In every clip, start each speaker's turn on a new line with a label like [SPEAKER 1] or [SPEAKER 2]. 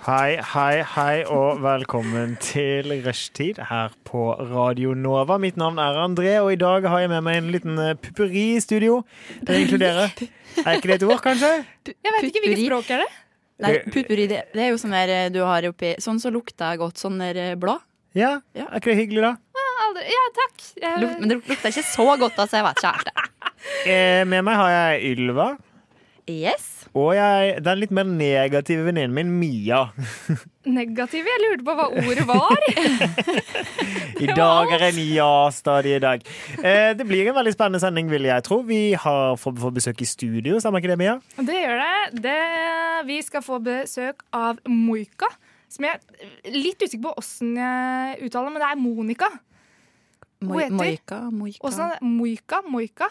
[SPEAKER 1] Hei, hei, hei, og velkommen til Rushtid her på Radio Nova. Mitt navn er André, og i dag har jeg med meg en liten eh, pupperi i studio. Det inkluderer Er ikke det et ord, kanskje?
[SPEAKER 2] Jeg vet ikke hvilket
[SPEAKER 3] Putpurri.
[SPEAKER 2] språk er det.
[SPEAKER 3] Nei, putpurri, det, det er jo sånn der eh, du har oppi Sånn så lukter jeg godt, sånn der eh, blad.
[SPEAKER 1] Ja?
[SPEAKER 3] Ja.
[SPEAKER 1] Er ikke det hyggelig, da?
[SPEAKER 2] Aldri. Ja, takk. Jeg,
[SPEAKER 3] Luk, men det lukter ikke så godt, altså. Jeg vet ikke helt det.
[SPEAKER 1] Eh, Med meg har jeg Ylva,
[SPEAKER 3] Yes.
[SPEAKER 1] og jeg, den litt mer negative venninnen min, Mia.
[SPEAKER 2] negativ. Jeg lurte på hva ordet var.
[SPEAKER 1] I dag er en ja-stadig i dag. Eh, Det blir en veldig spennende sending, vil jeg tro. Vi har fått fått besøk i studio, stemmer ikke det, Mia?
[SPEAKER 2] Det gjør det. det. Vi skal få besøk av Moika. Som jeg er litt usikker på åssen jeg uttaler, men det er Monica. Hva
[SPEAKER 3] Moi,
[SPEAKER 2] heter-
[SPEAKER 3] moika, moika.
[SPEAKER 2] Åssen Moika, Moika.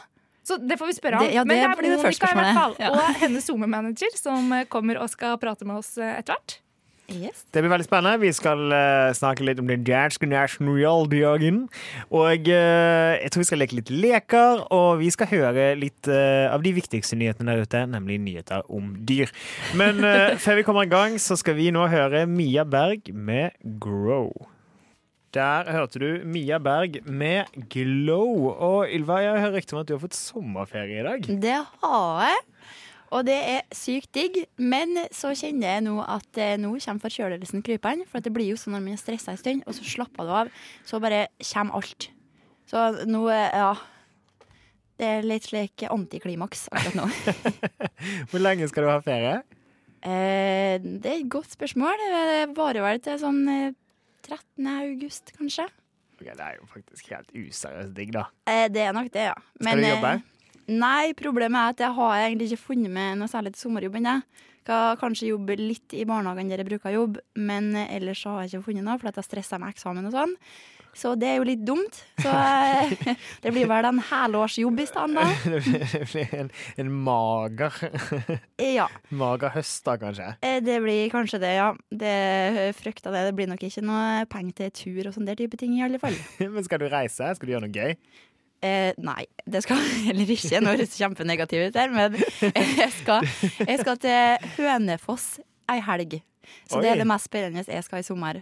[SPEAKER 2] Så det får vi spørre
[SPEAKER 3] Det-
[SPEAKER 2] om.
[SPEAKER 3] ja,
[SPEAKER 2] men
[SPEAKER 3] det
[SPEAKER 2] det er
[SPEAKER 3] blir det første
[SPEAKER 2] Monica i hvert fall.
[SPEAKER 3] spørsmålet. Ja.
[SPEAKER 2] Og hennes SoMe-manager som kommer og skal prate med oss eh, etter hvert.
[SPEAKER 3] Yes.
[SPEAKER 1] Det blir veldig spennende. Vi skal eh, snakke litt om den danske nasjonaldagen. Og eh, jeg tror vi skal leke litt leker, og vi skal høre litt eh, av de viktigste nyhetene der ute, nemlig nyheter om dyr. Men eh, før vi kommer i gang, så skal vi nå høre Mia Berg med Grow. Der hørte du Mia Berg med Glow. Og Ylva, jeg hører rykter om at du har fått sommerferie i dag.
[SPEAKER 3] Det har jeg. Og det er sykt digg, men så kjenner jeg nå at eh, nå kommer forkjølelsen krypende. For at det blir jo sånn når man er stressa en stund, og så slapper du av, så bare kommer alt. Så nå, eh, ja Det er litt slik antiklimaks akkurat nå.
[SPEAKER 1] Hvor lenge skal du ha ferie?
[SPEAKER 3] Eh, det er et godt spørsmål. Det varer vel til sånn eh, 13. august, kanskje.
[SPEAKER 1] Ok, det er jo faktisk helt useriøst digg, da.
[SPEAKER 3] Eh, det er nok det, ja.
[SPEAKER 1] Skal du jobbe?
[SPEAKER 3] eh, Nei, problemet er at jeg har egentlig ikke funnet meg noe særlig til sommerjobb ennå. Skal kanskje jobbe litt i barnehagen der jeg bruker å jobbe, men eh, ellers så har jeg ikke funnet noe, for at jeg stresser med eksamen og sånn. Så det er jo litt dumt. Så eh, det blir vel en helårsjobb i stedet, da.
[SPEAKER 1] Det blir- det blir en, en mager,
[SPEAKER 3] Eh, Ja.
[SPEAKER 1] mager høst, da, kanskje.
[SPEAKER 3] Eh, Det blir kanskje det, ja. Det frykter det. Det blir nok ikke noe penger til tur og sånn der type ting, i alle fall.
[SPEAKER 1] Men skal du reise? Skal du gjøre noe gøy?
[SPEAKER 3] Eh, nei, det skal jeg heller ikke. Nå høres det kjempenegativt ut her, men jeg skal, jeg skal til Hønefoss ei helg. Så det
[SPEAKER 1] Oi.
[SPEAKER 3] er det mest spennende jeg skal i sommer.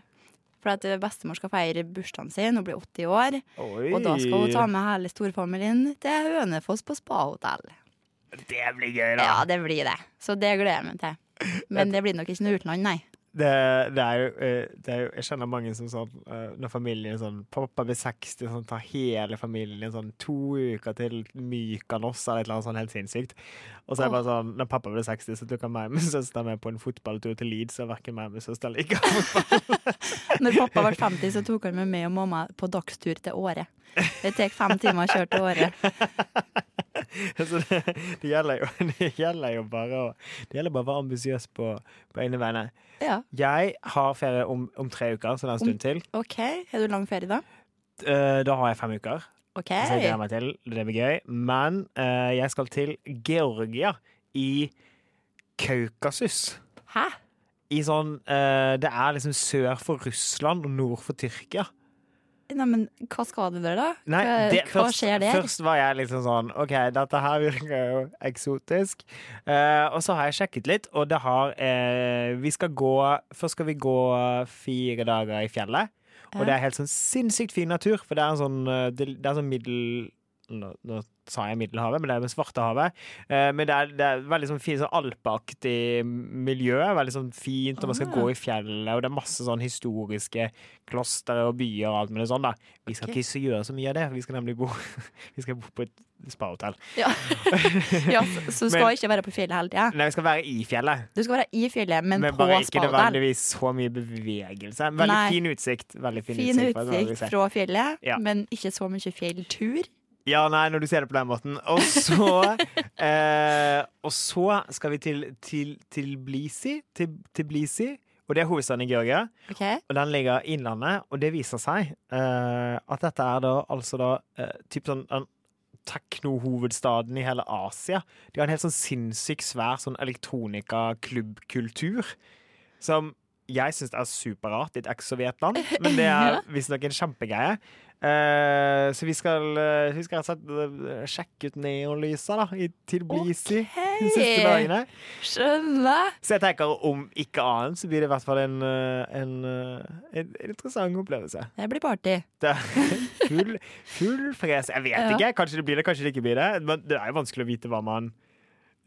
[SPEAKER 3] For at eh, bestemor skal feire bursdagen sin, hun blir 80 år.
[SPEAKER 1] Oi.
[SPEAKER 3] Og da skal hun ta med hele storfamilien til Hønefoss på spahotell.
[SPEAKER 1] Det blir gøy, da!
[SPEAKER 3] Ja, det blir det. Så det gleder jeg meg til. Men det blir nok ikke noe utland, nei.
[SPEAKER 1] Det, det, er jo, eh, det er jo Jeg kjenner mange som sånn eh, Når familien er sånn Pappa blir 60, sånn tar hele familien i sånn to uker til Mykonos eller et eller annet sånn helt sinnssykt. Og så er det bare sånn Når pappa blir 60, så tok han meg med søster med på en fotballtur til Leeds, og verken meg med søster liker fotball.
[SPEAKER 3] Når pappa ble 50, så tok han med meg og mamma på dagstur til Åre. Det tar fem timer å kjøre til Åre.
[SPEAKER 1] Så det, det, gjelder jo, det gjelder jo bare å Det gjelder bare å være ambisiøs på, på egne vegne.
[SPEAKER 3] Ja,
[SPEAKER 1] Jeg har ferie om, om tre uker, så det er en stund til.
[SPEAKER 3] OK. Har du lang ferie da?
[SPEAKER 1] Eh, da har jeg fem uker.
[SPEAKER 3] OK.
[SPEAKER 1] Så jeg gleder meg til. Altså, Det blir gøy. Men eh, jeg skal til Georgia i Kaukasus.
[SPEAKER 3] Hæ?
[SPEAKER 1] I sånn eh, Det er liksom sør for Russland og nord for Tyrkia.
[SPEAKER 3] Nei, men hva skal du der, da?
[SPEAKER 1] Nei,
[SPEAKER 3] hva,
[SPEAKER 1] det,
[SPEAKER 3] hva
[SPEAKER 1] først,
[SPEAKER 3] skjer der?
[SPEAKER 1] først var jeg liksom sånn OK, dette her virker jo eksotisk. Eh, og så har jeg sjekket litt, og det har eh, Vi skal gå Først skal vi gå fire dager i fjellet. Og
[SPEAKER 3] Ja.
[SPEAKER 1] det er helt sånn sinnssykt fin natur, for det er en sånn, eh, det, det er sånn middel... Nå, nå sa jeg Middelhavet, men det er med Svartehavet. Eh, men det er, det er veldig sånn fint, sånn alpeaktig miljø. Veldig sånn fint, og man skal
[SPEAKER 3] Ah.
[SPEAKER 1] gå i fjellet, og det er masse sånn historiske klostre og byer og alt mulig sånn, da. Vi skal
[SPEAKER 3] Ok.
[SPEAKER 1] ikke så gjøre så mye av det, vi skal nemlig bo Vi skal bo på et spahotell.
[SPEAKER 3] Ja. ja, så, så skal
[SPEAKER 1] Men-
[SPEAKER 3] ikke være på fjellet hele tida.
[SPEAKER 1] Nei, vi skal være i fjellet,
[SPEAKER 3] Du skal være i fjellet, men,
[SPEAKER 1] men,
[SPEAKER 3] på
[SPEAKER 1] bare ikke
[SPEAKER 3] spahotell.
[SPEAKER 1] nødvendigvis så mye bevegelse. Veldig
[SPEAKER 3] Nei.
[SPEAKER 1] fin utsikt. Veldig fin,
[SPEAKER 3] Fin
[SPEAKER 1] for at det sånn. var det vi
[SPEAKER 3] utsikt
[SPEAKER 1] ser.
[SPEAKER 3] fra fjellet,
[SPEAKER 1] Ja.
[SPEAKER 3] men ikke så mye fjelltur.
[SPEAKER 1] Ja, nei, når du ser det på den måten. Og så, eh, og så skal vi til, til, til Blisi. Til, til Blisi. Og det er hovedstaden i Georgia.
[SPEAKER 3] OK?
[SPEAKER 1] Og den ligger i Innlandet. Og det viser seg eh, at dette er da altså da eh, typ sånn den teknohovedstaden i hele Asia. De har en helt sånn sinnssykt svær sånn elektronikaklubbkultur som jeg syns er superrart i et eksovert land, men det er visstnok en kjempegreie. Eh, så vi skal, eh, vi skal rett og slett eh, sjekke ut neonlysa da, i Tilblisi de siste dagene.
[SPEAKER 3] Skjønner.
[SPEAKER 1] Så jeg tenker om ikke annet, så blir det i hvert fall en, eh, en, eh, en, en interessant opplevelse.
[SPEAKER 3] Det blir party.
[SPEAKER 1] Det er full, full fres. Jeg vet
[SPEAKER 3] Ja.
[SPEAKER 1] ikke. Kanskje det blir det, kanskje det ikke blir det. Men det er jo vanskelig å vite hva man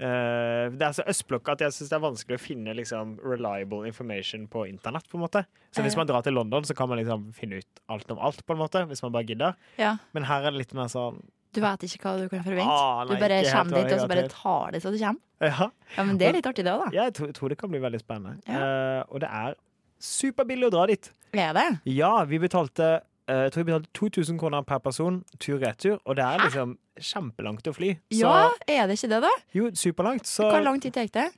[SPEAKER 1] eh, Det er så østblokka at jeg syns det er vanskelig å finne liksom, reliable information på internett. på en måte Så hvis
[SPEAKER 3] Ja.
[SPEAKER 1] man drar til London, så kan man liksom finne ut alt om alt, på en måte hvis man bare gidder.
[SPEAKER 3] Ja.
[SPEAKER 1] Men her er det litt mer sånn
[SPEAKER 3] Du vet ikke hva du kan forvente.
[SPEAKER 1] Ah, nei,
[SPEAKER 3] du bare
[SPEAKER 1] ikke helt
[SPEAKER 3] kommer dit, og så
[SPEAKER 1] hva
[SPEAKER 3] bare
[SPEAKER 1] jeg
[SPEAKER 3] tar det så det kommer.
[SPEAKER 1] Ja,
[SPEAKER 3] Ja, men det er litt artig, det òg, da.
[SPEAKER 1] jeg tror, jeg tror det kan bli veldig spennende. Eh, og det er superbillig å dra dit.
[SPEAKER 3] Er det?
[SPEAKER 1] Ja, vi betalte eh, jeg tror vi betalte 2000 kroner per person tur-retur, og det er liksom kjempelangt å fly. Så
[SPEAKER 3] Ja, er det ikke det, da?
[SPEAKER 1] Jo, superlangt. Så
[SPEAKER 3] Hvor lang tid tar det?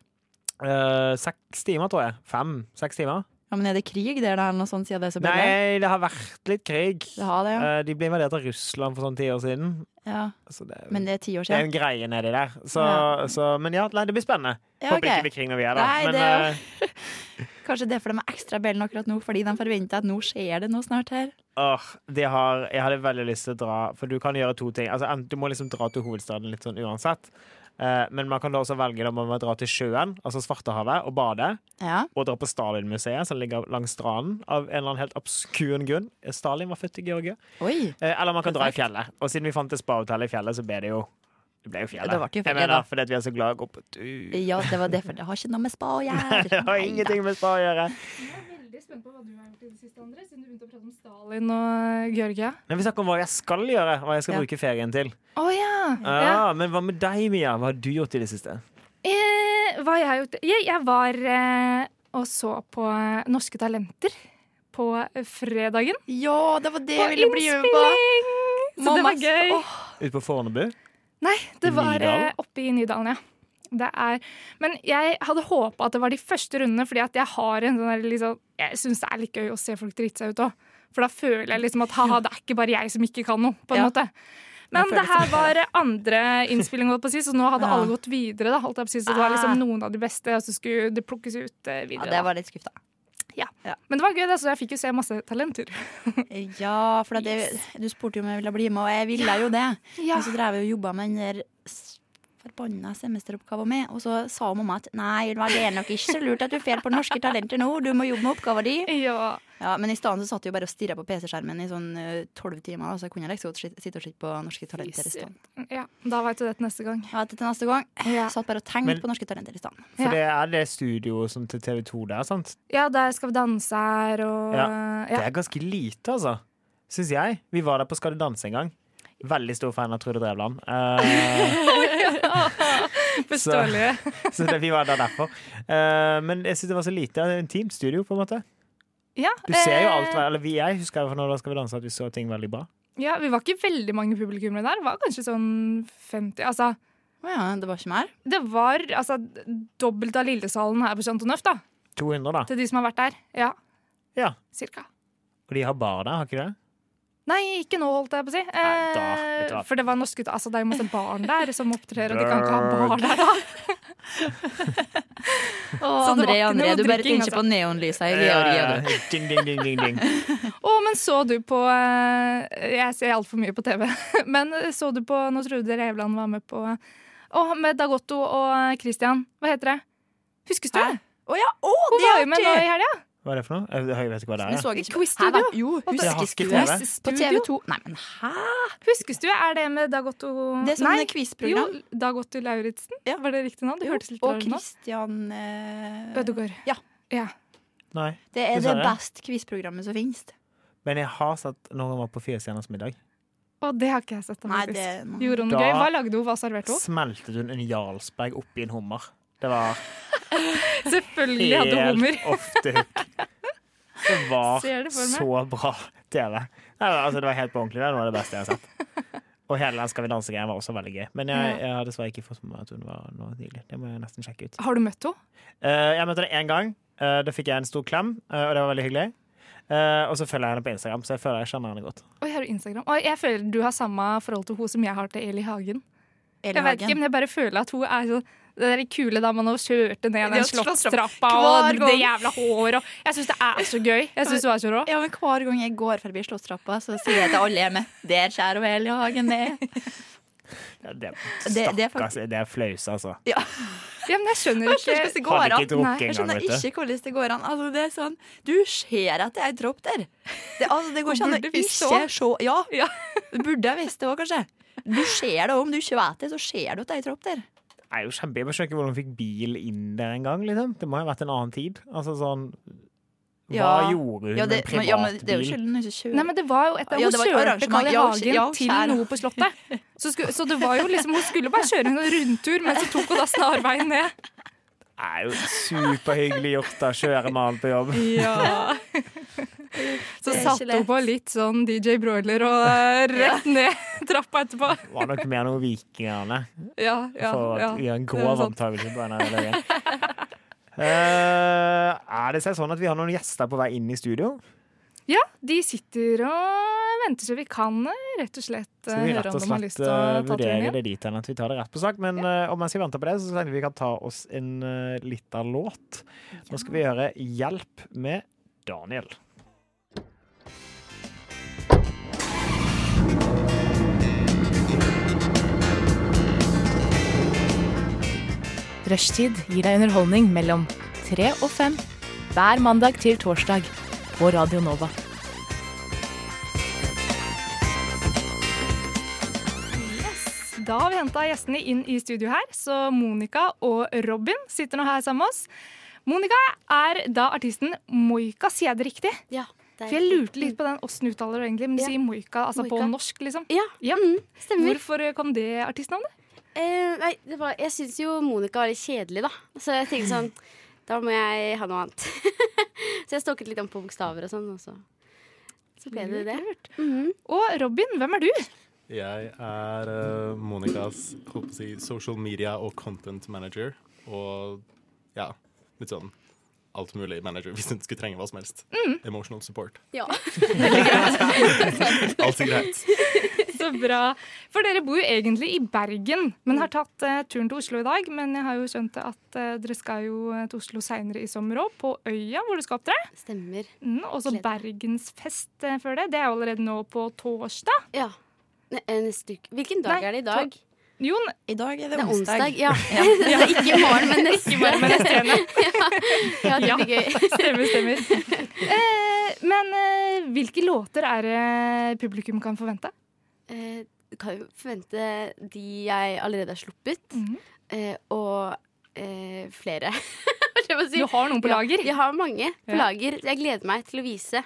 [SPEAKER 1] eh, seks timer, tror jeg. Fem-seks timer.
[SPEAKER 3] Ja, men er det krig der, da, eller noe sånt, siden det er så billig?
[SPEAKER 1] Nei, det har vært litt krig.
[SPEAKER 3] Det har det, ja.
[SPEAKER 1] Eh, de ble invadert av Russland for sånn ti år siden.
[SPEAKER 3] ja.
[SPEAKER 1] Så det,
[SPEAKER 2] Ehm,
[SPEAKER 3] Men det er ti år
[SPEAKER 1] det er
[SPEAKER 3] siden.
[SPEAKER 1] en greie nedi der. Så,
[SPEAKER 3] Ja.
[SPEAKER 1] så, men ja, nei, det blir spennende.
[SPEAKER 3] Ja,
[SPEAKER 1] Håper det ikke
[SPEAKER 3] ok.
[SPEAKER 1] blir krig når vi er der.
[SPEAKER 3] Nei,
[SPEAKER 1] men,
[SPEAKER 3] det er jo-
[SPEAKER 1] eh,
[SPEAKER 3] Kanskje det er for de er ekstra bellen akkurat nå, fordi de forventer at nå skjer det noe snart her.
[SPEAKER 1] Åh, det har, jeg hadde veldig lyst til å dra, for du kan gjøre to ting. Altså, enten du må liksom dra til hovedstaden litt sånn uansett, eh, men man kan da også velge om man vil dra til sjøen, altså Svartehavet, og bade,
[SPEAKER 3] Ja.
[SPEAKER 1] og dra på Stalin-museet, som ligger langs stranden, av en eller annen helt obskur grunn. Eh, Stalin var født i Georgia.
[SPEAKER 3] Oi.
[SPEAKER 1] Eh, eller man kan dra i
[SPEAKER 3] Perfekt.
[SPEAKER 1] fjellet. Og siden vi fant et spa-hotell i fjellet, så ble det jo det ble jo fjellet.
[SPEAKER 3] Det ble jo
[SPEAKER 1] jeg
[SPEAKER 3] fjellet, da.
[SPEAKER 1] mener, fordi at vi er så glad i å gå på tur.
[SPEAKER 3] Ja, det var derfor. Det har ikke noe med spa å gjøre.
[SPEAKER 1] Det har ingenting med spa å gjøre.
[SPEAKER 2] Jeg er veldig spent på hva du har gjort i det siste, André, siden du begynte å prate om Stalin og Georgia.
[SPEAKER 1] Men vi snakker om hva jeg skal gjøre, hva jeg skal
[SPEAKER 3] Ja.
[SPEAKER 1] bruke ferien til.
[SPEAKER 2] Å ja. ja.
[SPEAKER 1] Ja, men hva med deg, Mia? Hva har du gjort i det siste?
[SPEAKER 2] Eh, hva jeg har gjort Jeg, jeg var eh, og så på eh, Norske Talenter på eh, fredagen.
[SPEAKER 3] Ja, det var det jeg
[SPEAKER 2] På
[SPEAKER 3] ville bli med på.
[SPEAKER 2] innspilling! Så det
[SPEAKER 3] Mamma,
[SPEAKER 2] var gøy.
[SPEAKER 3] åh.
[SPEAKER 1] Ute på Fornebu?
[SPEAKER 2] Nei, det
[SPEAKER 1] I
[SPEAKER 2] var
[SPEAKER 1] Nydalen?
[SPEAKER 2] eh, oppe i Nydalen, ja. Det er, men jeg hadde håpa at det var de første rundene, fordi at jeg har en sånn der liksom, Jeg syns det er litt gøy å se folk drite seg ut òg. For da føler jeg liksom at ha-ha, det er ikke bare jeg som ikke kan noe, på en
[SPEAKER 3] Ja.
[SPEAKER 2] måte. Men
[SPEAKER 3] Man føler
[SPEAKER 2] det her var eh, andre innspilling, holdt på å si, så nå hadde
[SPEAKER 3] Ja.
[SPEAKER 2] alle gått videre. da, holdt jeg på å si, Så det var
[SPEAKER 3] Ah.
[SPEAKER 2] liksom noen av de beste, og så skulle det plukkes ut eh,
[SPEAKER 3] Ja, det
[SPEAKER 2] videre. da.
[SPEAKER 3] var litt skuffa.
[SPEAKER 2] Men det var gøy, da, så jeg fikk jo se masse talenter.
[SPEAKER 3] Ja, for at jeg, du spurte jo om jeg ville bli med, og jeg ville jo det.
[SPEAKER 2] Ja.
[SPEAKER 3] Men så drev jeg og jobba med den der s- forbanna semesteroppgaven min, og så sa mamma at nei, det er nok ikke så lurt at du fer på Norske Talenter nå, du må jobbe med oppgaven din.
[SPEAKER 2] Ja.
[SPEAKER 3] Ja, men i stedet så satt jeg jo bare og stirra på PC-skjermen i sånn tolv timer, da, så jeg kunne liksom sitte sitte og se på Norske Talenter i stedet.
[SPEAKER 2] ja. Da veit du det til neste gang.
[SPEAKER 3] Ja, til til neste gang.
[SPEAKER 2] Ja.
[SPEAKER 3] Satt bare og tenkte
[SPEAKER 1] Men-
[SPEAKER 3] på Norske Talenter i stedet.
[SPEAKER 1] For
[SPEAKER 2] Ja.
[SPEAKER 1] det er det studioet som til TV 2 der, sant?
[SPEAKER 2] Ja, der skal vi danse her, og eh,
[SPEAKER 1] Det
[SPEAKER 2] ja.
[SPEAKER 1] er ganske lite, altså. Syns jeg. Vi var der på Skal du danse en gang. Veldig stor fan av Trude Drevland. Eh,
[SPEAKER 2] Beståelige.
[SPEAKER 1] så det, vi var der derfor. Eh, men jeg syns det var så lite. Det er et Intimt studio, på en måte.
[SPEAKER 2] Ja,
[SPEAKER 1] Du ser jo
[SPEAKER 2] eh,
[SPEAKER 1] alt Eller vi, jeg husker fra når da Skal vi danse at vi så ting veldig bra.
[SPEAKER 2] Ja, Vi var ikke veldig mange publikummere der. Det var kanskje sånn 50 Altså,
[SPEAKER 3] Å ja, det var ikke mer?
[SPEAKER 2] det var altså, dobbelt av Lillesalen her på Chantonneuf, da.
[SPEAKER 1] 200, da.
[SPEAKER 2] Til de som har vært der. Ja,
[SPEAKER 1] Ja.
[SPEAKER 2] cirka.
[SPEAKER 1] Og de har bar der, har ikke det?
[SPEAKER 2] Nei, ikke nå, holdt jeg på å si.
[SPEAKER 1] Nei, da, vet du hva.
[SPEAKER 2] Eh, for det var norske Altså, det er jo masse barn der som opptrer, og de kan ikke ha bar der, da.
[SPEAKER 3] Å,
[SPEAKER 2] Så det var
[SPEAKER 3] André,
[SPEAKER 2] ikke
[SPEAKER 3] André,
[SPEAKER 2] noe
[SPEAKER 3] du bare
[SPEAKER 2] drikking,
[SPEAKER 3] tenker på neonlysa i
[SPEAKER 1] Ja,
[SPEAKER 3] Georgia,
[SPEAKER 1] ja,
[SPEAKER 3] du.
[SPEAKER 1] ja. Eh, Ding, ding, ding, ding, ding.
[SPEAKER 2] Å, men så du på eh, Jeg ser altfor mye på TV. Men eh, så du på når Trude Revland var med på eh, Å, med Dagotto og eh, Christian. Hva heter det? Huskes du?
[SPEAKER 3] Hæ? Å ja, å,
[SPEAKER 2] Hun
[SPEAKER 3] det
[SPEAKER 2] var
[SPEAKER 3] er
[SPEAKER 2] jo med nå i
[SPEAKER 3] artig!
[SPEAKER 2] helga.
[SPEAKER 1] Hva er det for noe? Jeg jeg vet ikke hva det
[SPEAKER 3] Du
[SPEAKER 1] er.
[SPEAKER 3] så ikke
[SPEAKER 2] Quiz-studio.
[SPEAKER 3] Hæ, hva? Jo,
[SPEAKER 1] Jeg har ikke
[SPEAKER 3] huskestue.
[SPEAKER 1] TV.
[SPEAKER 3] På TV 2. Nei, men hæ?
[SPEAKER 2] Huskes du? Er det med Dagotto
[SPEAKER 3] Det er sånn et
[SPEAKER 2] jo,
[SPEAKER 3] quizprogram.
[SPEAKER 2] Dagotto Lauritzen.
[SPEAKER 3] Ja.
[SPEAKER 2] Var det riktig navn? Det
[SPEAKER 3] Jo,
[SPEAKER 2] hørtes litt
[SPEAKER 3] Og
[SPEAKER 2] rart ut nå.
[SPEAKER 3] Christian eh,
[SPEAKER 2] Ødegaard.
[SPEAKER 3] Ja.
[SPEAKER 2] ja.
[SPEAKER 1] Nei.
[SPEAKER 3] Det er
[SPEAKER 1] Hva sa
[SPEAKER 3] det
[SPEAKER 1] du?
[SPEAKER 3] best quizprogrammet som finnes.
[SPEAKER 1] Men jeg har sett når hun var på Fire stjerners middag.
[SPEAKER 2] Og det har ikke jeg sett. da,
[SPEAKER 3] Nei,
[SPEAKER 2] faktisk.
[SPEAKER 3] det- nei.
[SPEAKER 2] Gjorde hun
[SPEAKER 1] Da-
[SPEAKER 2] noe gøy? Hva lagde hun? Hva serverte hun?
[SPEAKER 1] Smeltet hun en Jarlsberg oppi en hummer? Det var
[SPEAKER 2] Selvfølgelig hadde hun hummer.
[SPEAKER 1] helt ofte hook. Det var
[SPEAKER 2] Ser det for meg.
[SPEAKER 1] så bra TV. Nei, altså, det var helt på ordentlig. Det var det beste jeg har sett. Og hele den Skal vi danse-greien var også veldig gøy. Men jeg, jeg har dessverre ikke fått med meg at hun var noe nydelig. Det må jeg nesten sjekke ut.
[SPEAKER 2] Har du møtt henne?
[SPEAKER 1] Eh, jeg møtte henne én gang. Eh, da fikk jeg en stor klem, eh, og det var veldig hyggelig. Eh, og så følger jeg henne på Instagram, så jeg føler jeg kjenner henne godt.
[SPEAKER 2] Oi, har du Instagram? Oi, jeg føler du har samme forhold til henne som jeg har til Eli Hagen.
[SPEAKER 3] Eli
[SPEAKER 2] Jeg vet ikke,
[SPEAKER 3] Hagen.
[SPEAKER 2] men jeg bare føler at hun er sånn Det der kule da man kjørte ned
[SPEAKER 3] Det
[SPEAKER 2] den
[SPEAKER 3] var
[SPEAKER 2] slottstrappa
[SPEAKER 3] Hver
[SPEAKER 2] og det
[SPEAKER 3] gang.
[SPEAKER 2] jævla håret og Jeg syns det er så gøy. Jeg synes det var så rå.
[SPEAKER 3] Ja, men Hver gang jeg går forbi Slottstrappa, så sier jeg til alle hjemme Der skjærer og hele hagen ned.
[SPEAKER 1] Ja, Det,
[SPEAKER 3] Det- det er
[SPEAKER 1] stakkars, det er flaus, altså.
[SPEAKER 2] Ja, men jeg skjønner
[SPEAKER 3] Jeg skjønner ikke hvordan
[SPEAKER 1] Hadde ikke
[SPEAKER 3] det går an.
[SPEAKER 2] ikke Nei,
[SPEAKER 1] drukket
[SPEAKER 3] Jeg
[SPEAKER 1] engang,
[SPEAKER 3] skjønner
[SPEAKER 1] vet du.
[SPEAKER 3] ikke hvordan det går an. Altså, det er sånn, du ser at det er et dropp der. Det, altså, det går ikke an å
[SPEAKER 2] Burde
[SPEAKER 3] ikke
[SPEAKER 2] visst det
[SPEAKER 3] se.
[SPEAKER 2] også.
[SPEAKER 3] Ja,
[SPEAKER 2] Ja.
[SPEAKER 3] du burde ha visst det òg, kanskje. Du ser det også, om du ikke vet det, så ser du at det er et dropp der.
[SPEAKER 1] Det er jo kjempe, jeg skjønner ikke hvordan hun fikk bil inn der engang. Liksom. Det må jo ha vært en annen tid. Altså sånn Hva
[SPEAKER 3] Ja.
[SPEAKER 1] gjorde hun
[SPEAKER 3] Ja, det,
[SPEAKER 1] med en
[SPEAKER 3] men, ja, men
[SPEAKER 1] privatbil?
[SPEAKER 3] det er jo ikke noe som kjører.
[SPEAKER 2] Nei, men det var jo et
[SPEAKER 3] Ja,
[SPEAKER 2] Hun
[SPEAKER 3] det var et
[SPEAKER 2] kjørte
[SPEAKER 3] arrangement.
[SPEAKER 2] Carl I.
[SPEAKER 3] Ja, hun-
[SPEAKER 2] Hagen
[SPEAKER 3] ja, hun
[SPEAKER 2] til
[SPEAKER 3] skjærer.
[SPEAKER 2] noe på Slottet. Så, sku, så det var jo liksom, hun skulle bare kjøre en rundtur, men så tok hun da snarveien ned.
[SPEAKER 1] Det er jo superhyggelig gjort å kjøre med han på jobb.
[SPEAKER 2] Ja. Så
[SPEAKER 3] Det er
[SPEAKER 2] satte
[SPEAKER 3] ikke lett.
[SPEAKER 2] hun på litt sånn DJ Broiler og eh, rett ned trappa etterpå.
[SPEAKER 1] Det var nok mer noe vikingene
[SPEAKER 2] Ja, ja,
[SPEAKER 1] for å
[SPEAKER 2] ja.
[SPEAKER 1] gjøre en
[SPEAKER 2] Det er sånn.
[SPEAKER 1] grov
[SPEAKER 2] sant.
[SPEAKER 1] antakelse på denne dagen. Eh, er det seg sånn at vi har noen gjester på vei inn i studio?
[SPEAKER 2] Ja, de sitter og venter så vi kan eh, rett og slett eh,
[SPEAKER 1] Skal vi
[SPEAKER 2] høre
[SPEAKER 1] rett
[SPEAKER 2] om
[SPEAKER 1] og
[SPEAKER 2] de har
[SPEAKER 1] slett
[SPEAKER 2] lyst til å
[SPEAKER 1] eh,
[SPEAKER 2] ta turen
[SPEAKER 1] vurdere
[SPEAKER 2] igjen.
[SPEAKER 1] det dit hen at vi tar det rett på sak? Men eh, og mens vi venter på det, så tenker jeg vi kan ta oss en uh, lita låt. Nå skal vi høre 'Hjelp' med Daniel.
[SPEAKER 4] Rushtid gir deg underholdning mellom tre og fem hver mandag til torsdag på Radio Nova.
[SPEAKER 2] Da har vi henta gjestene inn i studio her, så Monica og Robin sitter nå her sammen med oss. Monica er da artisten Moika, sier jeg det riktig?
[SPEAKER 5] Ja, det
[SPEAKER 2] For jeg lurte litt på den åssen uttaler du egentlig, men du
[SPEAKER 5] Ja.
[SPEAKER 2] sier Moika altså på
[SPEAKER 5] Moika.
[SPEAKER 2] norsk, liksom.
[SPEAKER 5] Ja,
[SPEAKER 2] Ja.
[SPEAKER 5] Mm, stemmer.
[SPEAKER 2] Hvorfor kom det artistnavnet?
[SPEAKER 5] Eh, nei, det var, jeg syns jo Monica var litt kjedelig, da. Så jeg tenkte sånn Da må jeg ha noe annet. så jeg stokket litt om på bokstaver og sånn, og så, så ble det det. Mhm.
[SPEAKER 2] Og Robin, hvem er du?
[SPEAKER 6] Jeg er eh, Monicas håper å si, social media og content manager. Og ja, litt sånn alt mulig manager hvis en skulle trenge hva som helst. Emotional support.
[SPEAKER 5] Ja.
[SPEAKER 6] Alt er greit.
[SPEAKER 2] Så bra. For dere bor jo egentlig i Bergen, men har tatt eh, turen til Oslo i dag. Men jeg har jo skjønt at eh, dere skal jo eh, til Oslo seinere i sommer òg, på Øya, hvor du skal opptre.
[SPEAKER 5] Stemmer.
[SPEAKER 2] Mm, og så
[SPEAKER 5] Gleder meg.
[SPEAKER 2] Bergensfest eh, før det. Det er jo allerede nå på torsdag.
[SPEAKER 5] Ja. Ne eh, neste uke. Hvilken dag
[SPEAKER 2] Nei,
[SPEAKER 5] er det i dag?
[SPEAKER 2] Jon,
[SPEAKER 3] I dag er
[SPEAKER 5] Det
[SPEAKER 3] det
[SPEAKER 5] er
[SPEAKER 3] onsdag.
[SPEAKER 5] onsdag. Ja. Så det er ikke i morgen, men neste.
[SPEAKER 2] men det stemmer,
[SPEAKER 5] Ja, det
[SPEAKER 2] Ja.
[SPEAKER 5] blir gøy.
[SPEAKER 2] stemmer. stemmer. Eh, men eh, hvilke låter er det publikum kan forvente?
[SPEAKER 5] Eh, Du kan jo forvente de jeg allerede har sluppet,
[SPEAKER 2] Mhm.
[SPEAKER 5] eh, og eh, flere. Hva skal jeg si?
[SPEAKER 2] Du har noen på
[SPEAKER 5] Ja,
[SPEAKER 2] lager.
[SPEAKER 5] Jeg har mange på
[SPEAKER 2] Ja.
[SPEAKER 5] lager. Jeg gleder meg til å vise.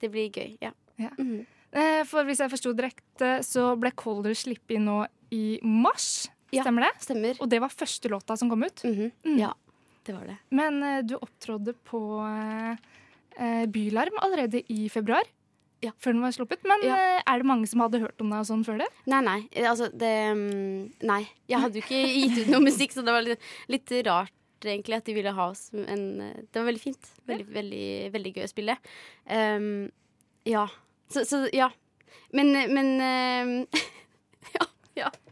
[SPEAKER 5] Det blir gøy. Ja.
[SPEAKER 2] Ja.
[SPEAKER 5] Mhm.
[SPEAKER 2] Eh, for hvis jeg forsto det direkte, så ble Colder sluppet nå i mars.
[SPEAKER 5] Ja.
[SPEAKER 2] Stemmer det?
[SPEAKER 5] Stemmer.
[SPEAKER 2] Og det var første låta som kom ut.
[SPEAKER 5] Mhm.
[SPEAKER 2] Mm.
[SPEAKER 5] Ja, det var det.
[SPEAKER 2] Men eh, du opptrådde på eh, eh, Bylarm allerede i februar.
[SPEAKER 5] Ja.
[SPEAKER 2] Før den var sluppet. Men
[SPEAKER 5] Ja.
[SPEAKER 2] eh, er det mange som hadde hørt om deg og sånn før det?
[SPEAKER 5] Nei, nei. eh, Altså, det mm, Nei. Jeg hadde jo ikke gitt ut noe musikk, så det var litt, litt rart. Egentlig at de ville ha oss men, eh, Det var veldig fint. Veldig, veldig, veldig gøy å spille. Ehm, ja. Så, så ja. Men, eh, men ehm,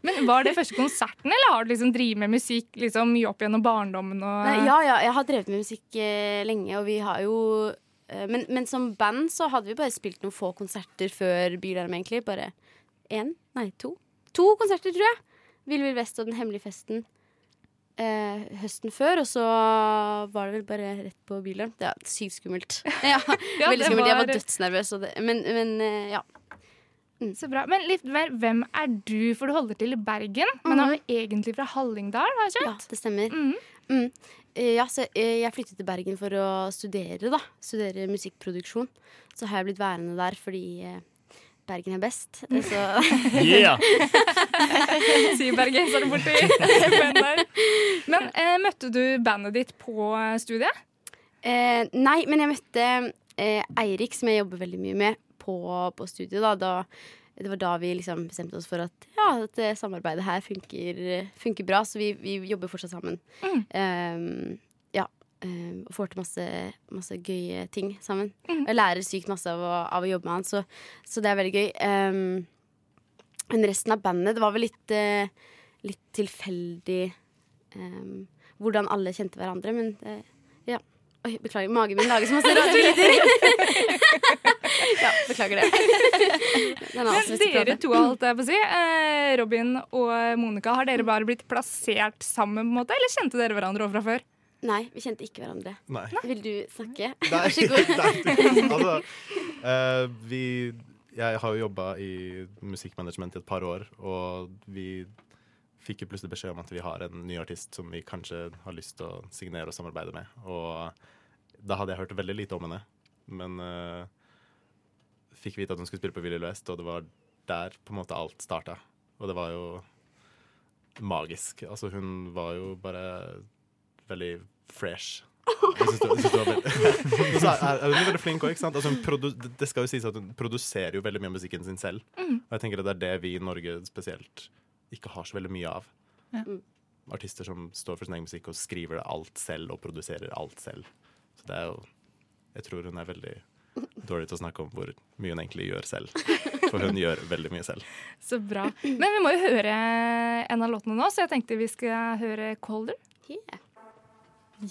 [SPEAKER 2] Men Var det første konserten, eller har du liksom drevet med musikk liksom, mye opp gjennom barndommen? Og,
[SPEAKER 5] Nei, ja, ja, jeg har drevet med musikk eh, lenge, og vi har jo eh, men, men som band så hadde vi bare spilt noen få konserter før Bylarm, egentlig. Bare én? Nei, to. To konserter, tror jeg. Vill Vill Vest og Den hemmelige festen eh, høsten før. Og så var det vel bare rett på Bylarm. Det er sykt skummelt. Ja,
[SPEAKER 2] Ja, det
[SPEAKER 5] veldig skummelt. Jeg
[SPEAKER 2] var-
[SPEAKER 5] var dødsnervøs. Og det, men, men eh, ja.
[SPEAKER 2] Så bra. Men litt mer, hvem er du? For du holder til i Bergen, men er du egentlig fra Hallingdal? Har jeg
[SPEAKER 5] ja,
[SPEAKER 2] skjønt?
[SPEAKER 5] det stemmer.
[SPEAKER 2] Mhm.
[SPEAKER 5] Mm. Eh, Ja, så eh, jeg flyttet til Bergen for å studere, da. Studere musikkproduksjon. Så har jeg blitt værende der fordi eh, Bergen er best. Eh, Så
[SPEAKER 1] Yeah.
[SPEAKER 2] Sier Bergen, så er det borti Bønder. Men eh, møtte du bandet ditt på eh, studiet?
[SPEAKER 5] eh, Nei, men jeg møtte eh, Eirik, som jeg jobber veldig mye med, på, på studiet, da. da. Det var da vi liksom bestemte oss for at ja, at eh, samarbeidet her funker, funker bra, så vi, vi jobber fortsatt sammen. Eh, ja. eh, og får til masse, masse gøye ting sammen. Og Jeg lærer sykt masse av å, av å jobbe med han, så, så det er veldig gøy. Ehm, men resten av bandet, det var vel litt, eh, litt tilfeldig ehm, hvordan alle kjente hverandre, men det, ja. Oi, beklager, magen min lager så masse rare lyder. ja, beklager det. Den
[SPEAKER 2] Men dere to, holdt jeg på å si, eh, Robin og Monica, har dere bare blitt plassert sammen, på en måte, eller kjente dere hverandre fra før?
[SPEAKER 5] Nei, vi kjente ikke hverandre.
[SPEAKER 6] Nei.
[SPEAKER 5] Vil du snakke?
[SPEAKER 6] Nei,
[SPEAKER 5] Vær så god.
[SPEAKER 6] nei. altså, eh, vi Jeg har jo jobba i musikkmanagement i et par år, og vi fikk jo plutselig beskjed om at vi har en ny artist som vi kanskje har lyst til å signere og samarbeide med. Og da hadde jeg hørt veldig lite om henne, men eh, fikk vite at hun skulle spille på Willy West, og det var der på en måte alt starta. Og det var jo magisk. Altså, hun var jo bare veldig fresh. Jeg synes det, jeg synes det var veldig Og så er, er hun jo veldig flink òg. Altså, hun produ- det- det skal jo sies at hun produserer jo veldig mye av musikken sin selv. Og jeg tenker at det er det vi i Norge spesielt ikke har så veldig mye av. Artister som står for sin egen musikk og skriver alt selv og produserer alt selv. Så det er jo Jeg tror hun er veldig dårlig til å snakke om hvor mye hun egentlig gjør selv. For hun gjør veldig mye selv.
[SPEAKER 2] Så bra. Men vi må jo høre en av låtene nå, så jeg tenkte vi skal høre Colder.
[SPEAKER 5] Yeah.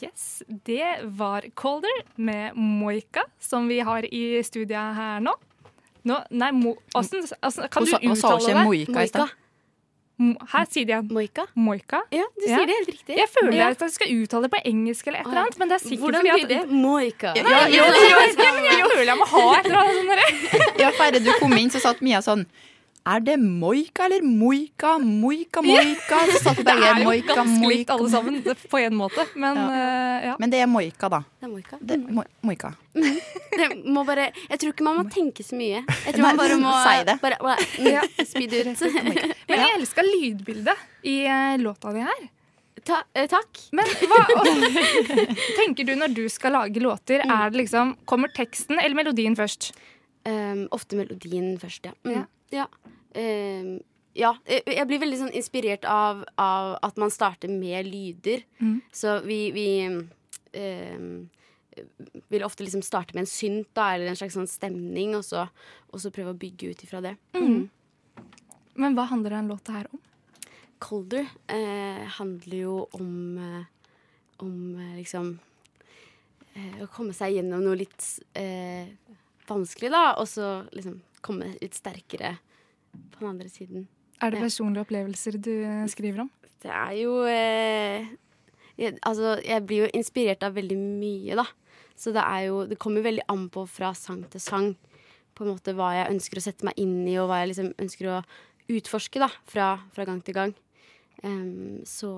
[SPEAKER 2] Yes, det var Colder med Moika, som vi har i studiet her nå. Nå, nei, Mo... Åssen åssen- Kan
[SPEAKER 3] Hun
[SPEAKER 2] du
[SPEAKER 3] sa- hun sa jo
[SPEAKER 2] uttale
[SPEAKER 3] ikke
[SPEAKER 2] det?
[SPEAKER 3] Moika i
[SPEAKER 5] Moika.
[SPEAKER 3] stad.
[SPEAKER 2] Mo- Her sier de igjen
[SPEAKER 5] Moika?
[SPEAKER 2] Moika.
[SPEAKER 5] Ja, du
[SPEAKER 2] Ja.
[SPEAKER 5] sier det helt riktig.
[SPEAKER 2] Jeg føler
[SPEAKER 5] Ja.
[SPEAKER 2] at jeg skal uttale det på engelsk eller et eller
[SPEAKER 5] Ah, ja.
[SPEAKER 2] annet, men det er sikkert
[SPEAKER 5] Hvordan
[SPEAKER 2] fordi
[SPEAKER 5] blir
[SPEAKER 2] at
[SPEAKER 5] det? Moika.
[SPEAKER 3] Ja, ja,
[SPEAKER 2] Ja, men jeg føler jeg må ha et eller annet sånt. der.
[SPEAKER 3] ja, Færre, du kom inn, så satt Mia sånn Er det Moika eller Moika? Moika, Moika. Så satt
[SPEAKER 2] Det
[SPEAKER 3] begge
[SPEAKER 2] er jo
[SPEAKER 3] Moika,
[SPEAKER 2] ganske likt
[SPEAKER 3] Moika.
[SPEAKER 2] alle sammen det- på en måte, men
[SPEAKER 3] Ja.
[SPEAKER 2] eh, ja.
[SPEAKER 3] Men det er Moika, da.
[SPEAKER 5] Det er Moika.
[SPEAKER 3] Det, er Mo- Moika.
[SPEAKER 5] Det må bare, jeg tror ikke man må tenke så mye. Jeg tror
[SPEAKER 3] Nei,
[SPEAKER 5] man bare må
[SPEAKER 3] si det.
[SPEAKER 5] Bare, bare,
[SPEAKER 2] Ja.
[SPEAKER 5] Spyd ut.
[SPEAKER 2] Men jeg elsker lydbildet i eh, låta di her.
[SPEAKER 5] Ta, eh, takk.
[SPEAKER 2] Men hva og- tenker du når du skal lage låter? Er det liksom, Kommer teksten eller melodien først?
[SPEAKER 5] Um, ofte melodien først, ja.
[SPEAKER 2] Ja.
[SPEAKER 5] Mm. Ja. Um, ja. Eh, Jeg blir veldig sånn inspirert av, av at man starter med lyder.
[SPEAKER 2] Mm.
[SPEAKER 5] Så vi, vi um, vil ofte liksom starte med en synt, da, eller en slags sånn stemning, og så, og så prøve å bygge ut ifra det.
[SPEAKER 2] Men hva handler den låta her om?
[SPEAKER 5] Colder eh, handler jo om eh, Om eh, liksom eh, Å komme seg gjennom noe litt eh, vanskelig, da, og så liksom komme litt sterkere på den andre siden.
[SPEAKER 2] Er det
[SPEAKER 5] Ja.
[SPEAKER 2] personlige opplevelser du eh, skriver om?
[SPEAKER 5] Det er jo eh, jeg, Altså, jeg blir jo inspirert av veldig mye, da. Så det er jo Det kommer veldig an på fra sang til sang på en måte hva jeg ønsker å sette meg inn i, og hva jeg liksom ønsker å utforske da, fra, fra gang til gang. Em, så,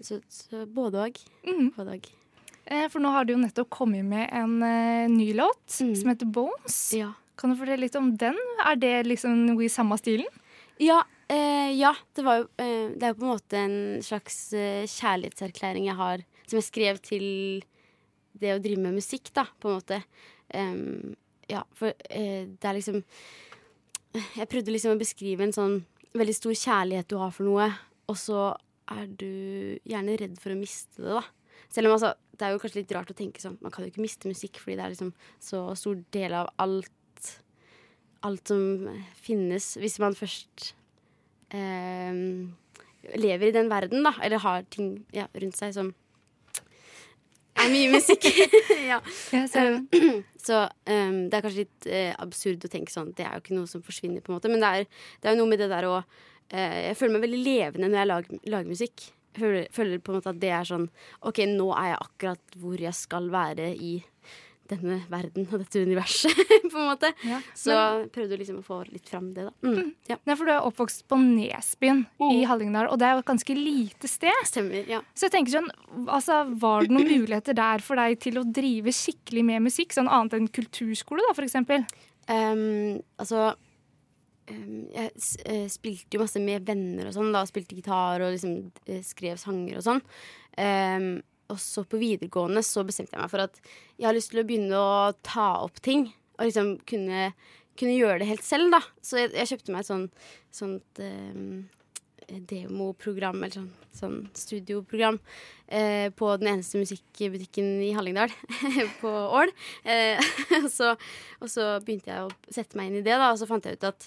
[SPEAKER 5] så, så både òg. Både og.
[SPEAKER 2] Eh, For nå har du jo nettopp kommet med en eh, ny låt
[SPEAKER 5] Mm.
[SPEAKER 2] som heter Bones.
[SPEAKER 5] Ja.
[SPEAKER 2] Kan du fortelle litt om den? Er det liksom noe i samme stilen?
[SPEAKER 5] Ja, eh, ja det, var jo, eh, det er jo på en måte en slags eh, kjærlighetserklæring jeg har, som jeg skrev til det å drive med musikk, da, på en måte. Em, ja, for eh, det er liksom Jeg prøvde liksom å beskrive en sånn veldig stor kjærlighet du har for noe, og så er du gjerne redd for å miste det, da. Selv om altså, det er jo kanskje litt rart å tenke sånn, man kan jo ikke miste musikk, fordi det er liksom så stor del av alt alt som finnes hvis man først eh, lever i den verden, da. Eller har ting ja, rundt seg som er mye musikk. ja.
[SPEAKER 2] Jeg ser den.
[SPEAKER 5] Ehm, Så eh, det er kanskje litt eh, absurd å tenke sånn. Det er jo ikke noe som forsvinner, på en måte. Men det er, det er jo noe med det der å eh, Jeg føler meg veldig levende når jeg lager, lager musikk. Jeg føler, føler på en måte at det er sånn OK, nå er jeg akkurat hvor jeg skal være i denne verden og dette universet, på en måte.
[SPEAKER 2] Ja.
[SPEAKER 5] Så prøvde jeg liksom å få litt fram det, da. Mm. Ja,
[SPEAKER 2] Nei, for du er oppvokst på Nesbyen i Hallingdal, og det er jo et ganske lite sted.
[SPEAKER 5] stemmer. Ja.
[SPEAKER 2] Så jeg tenker sånn, altså, Var det noen muligheter der for deg til å drive skikkelig med musikk? Sånn annet enn kulturskole, da, for eksempel?
[SPEAKER 5] Ehm, altså ehm, Jeg s- eh, spilte jo masse med venner og sånn, da. Spilte gitar og liksom eh, skrev sanger og sånn. Ehm, og så på videregående så bestemte jeg meg for at jeg har lyst til å begynne å ta opp ting. Og liksom kunne, kunne gjøre det helt selv, da. Så jeg, jeg kjøpte meg et sånn, sånt ehm, demoprogram, eller sånn, sånn studioprogram, eh, på den eneste musikkbutikken i Hallingdal, på Ål. Eh, og så, og så begynte jeg å sette meg inn i det, da, og så fant jeg ut at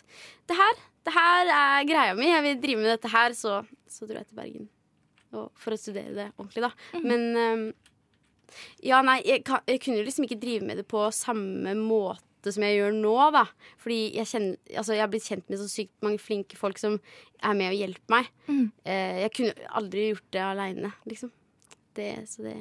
[SPEAKER 5] det her, det her er greia mi, jeg vil drive med dette her, så, så dro jeg til Bergen. og for å studere det ordentlig, da. Men ehm, ja, nei, jeg, kan, jeg kunne jo liksom ikke drive med det på samme måte som jeg gjør nå, da. Fordi jeg, kjenner, altså, jeg har blitt kjent med så sykt mange flinke folk som er med og hjelper meg. Eh, jeg kunne aldri gjort det aleine, liksom. Det, så det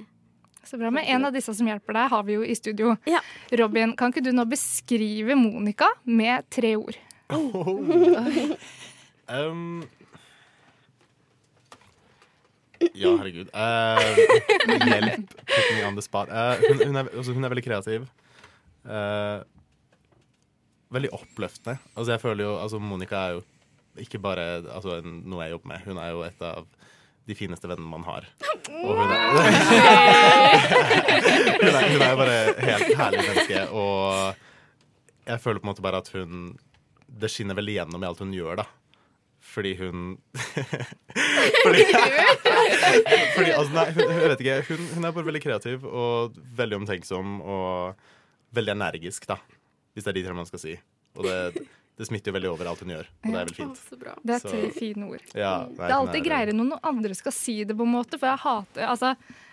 [SPEAKER 2] Så bra. Men en av disse som hjelper deg, har vi jo i studio.
[SPEAKER 5] Ja.
[SPEAKER 2] Robin, kan ikke du nå beskrive Monica med tre ord?
[SPEAKER 6] Um, ja, herregud. Eh, hjelp. Put me on the spot. Eh, hun, hun, er, altså, hun er veldig kreativ. Eh, veldig oppløftende. Altså, jeg føler jo, altså, Monica er jo ikke bare altså, en, noe jeg jobber med. Hun er jo et av de fineste vennene man har. Og hun er, hun er, hun er bare et helt herlig menneske. Og jeg føler på en måte bare at hun Det skinner veldig gjennom i alt hun gjør, da. Fordi hun Fordi, fordi altså, nei, hun, jeg vet ikke. Hun, hun er bare veldig kreativ og veldig omtenksom og veldig energisk, da. Hvis det er de tre man skal si. Og det, det smitter jo veldig over alt hun gjør, og det er veldig fint.
[SPEAKER 5] Så bra.
[SPEAKER 2] Det er
[SPEAKER 6] Så-
[SPEAKER 2] tre fine ord.
[SPEAKER 6] Ja, nei,
[SPEAKER 2] Det er
[SPEAKER 6] hun
[SPEAKER 2] alltid greiere når noen andre skal si det, på en måte. For jeg hater altså,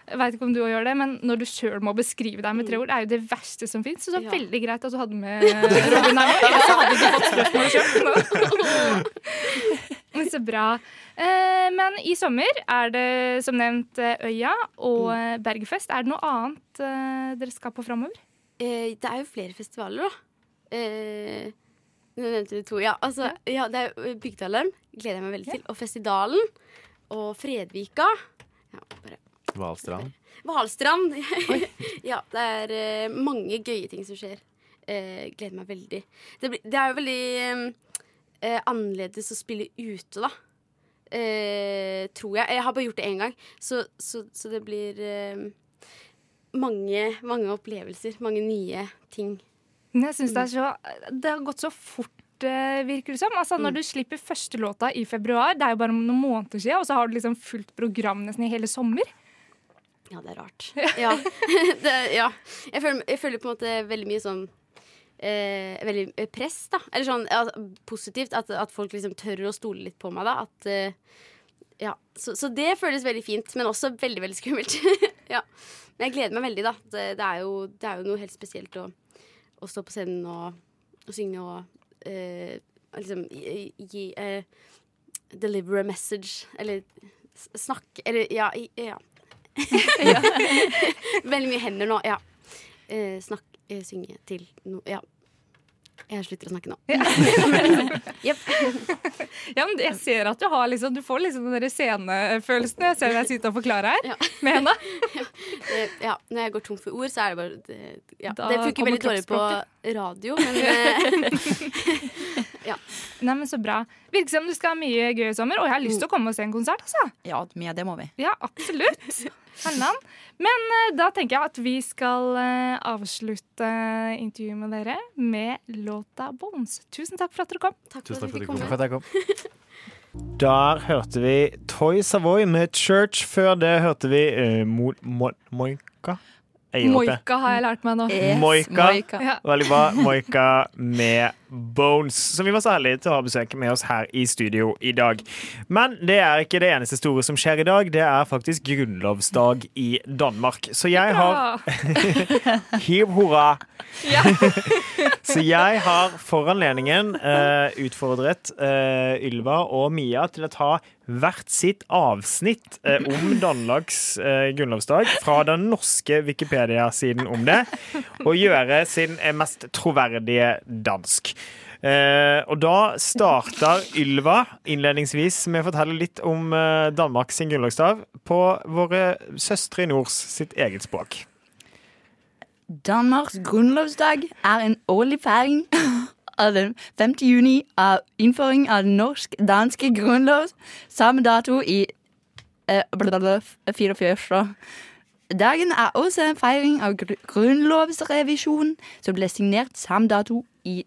[SPEAKER 2] Jeg veit ikke om du òg gjør det, men når du sjøl må beskrive deg med tre ord, det er jo det verste som fins. Så det er
[SPEAKER 5] Ja.
[SPEAKER 2] veldig greit at du hadde med eh, Robin her nå. Ellers så hadde du fått spørsmål sjøl. Men så bra. Eh, Men i sommer er det som nevnt eh, Øya og eh, Bergfest. Er det noe annet eh, dere skal på framover?
[SPEAKER 5] Eh, det er jo flere festivaler, da. Eh, nå nevnte du to. Ja, altså, ja det er jo Bygdealarm. Gleder jeg meg veldig til. Og Festivalen. Og Fredvika. Ja, bare
[SPEAKER 6] Valstrand.
[SPEAKER 5] Hvalstrand. ja, det er eh, mange gøye ting som skjer. Eh, gleder meg veldig. Det, blir, det er jo veldig eh, annerledes å spille ute, da. Eh, tror jeg. Jeg har bare gjort det én gang, så, så, så det blir eh, mange, mange opplevelser. Mange nye ting.
[SPEAKER 2] Men jeg synes det, er så, det har gått så fort, eh, virker det som. Altså, når du slipper første låta i februar, det er jo bare om noen måneder siden, og så har du liksom fulgt program nesten i hele sommer.
[SPEAKER 5] Ja, det er rart. Ja. det, ja. Jeg, føler, jeg føler på en måte veldig mye sånn eh, Veldig eh, press, da. Eller sånn ja, positivt. At, at folk liksom tør å stole litt på meg, da. At, eh, ja. så, så det føles veldig fint, men også veldig, veldig skummelt. ja. Men jeg gleder meg veldig, da. Det, det, er, jo, det er jo noe helt spesielt å, å stå på scenen og, og synge og eh, liksom gi, gi eh, Deliver a message. Eller s- snakke Eller ja. i- ja. Veldig mye hender nå, ja. Eh, snakk, eh, synge til noe Ja. Jeg slutter å snakke nå.
[SPEAKER 2] Ja, men jeg ser at du har liksom, du får liksom den der scenefølelsen. Jeg ser deg sitte og forklare her
[SPEAKER 5] Ja.
[SPEAKER 2] med henne.
[SPEAKER 5] Eh, ja, når jeg går tom for ord, så er det bare Det, ja.
[SPEAKER 2] Da
[SPEAKER 5] det funker
[SPEAKER 2] kommer
[SPEAKER 5] veldig dårlig på radio, men eh,
[SPEAKER 2] Nei, men så bra. Virker som du skal ha mye gøy i sommer, og jeg har lyst til å komme og se en konsert, altså.
[SPEAKER 3] Ja, med det må vi.
[SPEAKER 2] Ja, absolutt. Hernan. Men eh, da tenker jeg at vi skal eh, avslutte eh, intervjuet med dere med låta 'Bones'. Tusen takk for at dere kom.
[SPEAKER 5] takk
[SPEAKER 6] Tusen
[SPEAKER 5] for at vi
[SPEAKER 6] takk
[SPEAKER 5] fikk
[SPEAKER 6] for at du
[SPEAKER 5] komme.
[SPEAKER 6] kom.
[SPEAKER 1] Der hørte vi Toy Savoy med Church. Før det hørte vi eh, Mo Mo Moika. Jeg gir opp, jeg.
[SPEAKER 2] Moika har jeg lært meg nå.
[SPEAKER 3] Yes,
[SPEAKER 1] Moika.
[SPEAKER 2] Ja.
[SPEAKER 1] Veldig bra. Moika med Bones, som vi var så heldige til å ha besøk med oss her i studio i dag. Men det er ikke det eneste store som skjer i dag. Det er faktisk grunnlovsdag i Danmark. Så jeg har
[SPEAKER 2] Ja.
[SPEAKER 1] Hiv hurra!
[SPEAKER 2] Ja.
[SPEAKER 1] Så jeg har for anledningen eh, utfordret eh, Ylva og Mia til å ta hvert sitt avsnitt eh, om Danmarks eh, grunnlovsdag fra den norske Wikipedia-siden om det, og gjøre sin eh, mest troverdige dansk. Eh, og da starter Ylva innledningsvis med å fortelle litt om eh, Danmarks grunnlovsdag på våre søstre i nords sitt eget språk.
[SPEAKER 3] Danmarks grunnlovsdag er en årlig feiring av den 5. juni av innføring av den norsk-danske grunnlov, samme dato i eh, blablabla, 44. Dagen er også en feiring av gru- grunnlovsrevisjonen, som ble signert samme dato i,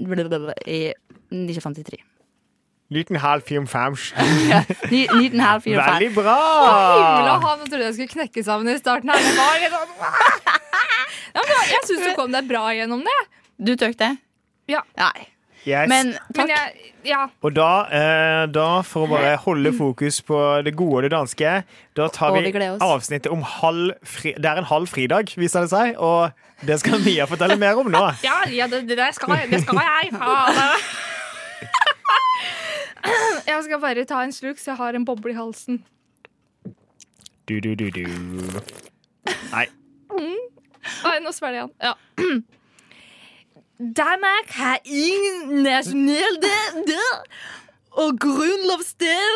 [SPEAKER 3] blablabla, i 1953.
[SPEAKER 1] Liten halv fire om fems.
[SPEAKER 3] Ni- 1954.
[SPEAKER 1] Veldig bra!
[SPEAKER 2] Himla hav, jeg trodde jeg skulle knekke sammen i starten her. Det var litt sånn ja, men jeg syns du kom deg bra gjennom det.
[SPEAKER 3] Du tok det?
[SPEAKER 2] Ja.
[SPEAKER 3] Nei.
[SPEAKER 1] Yes.
[SPEAKER 3] Men
[SPEAKER 2] Men
[SPEAKER 3] takk.
[SPEAKER 2] jeg, ja,
[SPEAKER 1] og da, eh, da, for å bare holde fokus på det gode og det danske, da tar
[SPEAKER 3] Og
[SPEAKER 1] vi
[SPEAKER 3] vi gleder oss.
[SPEAKER 1] avsnittet om halv fri... Det er en halv fridag, viser det seg, og det skal Mia fortelle mer om nå.
[SPEAKER 2] ja, ja det, det, der skal, det skal jeg. faen. Jeg skal bare ta en sluk, så jeg har en boble i halsen.
[SPEAKER 1] Du, du, du, du. Nei.
[SPEAKER 2] Oi, nå svelger jeg den. Ja. Danmark har ingen nasjonal dag, og grunnlovsdag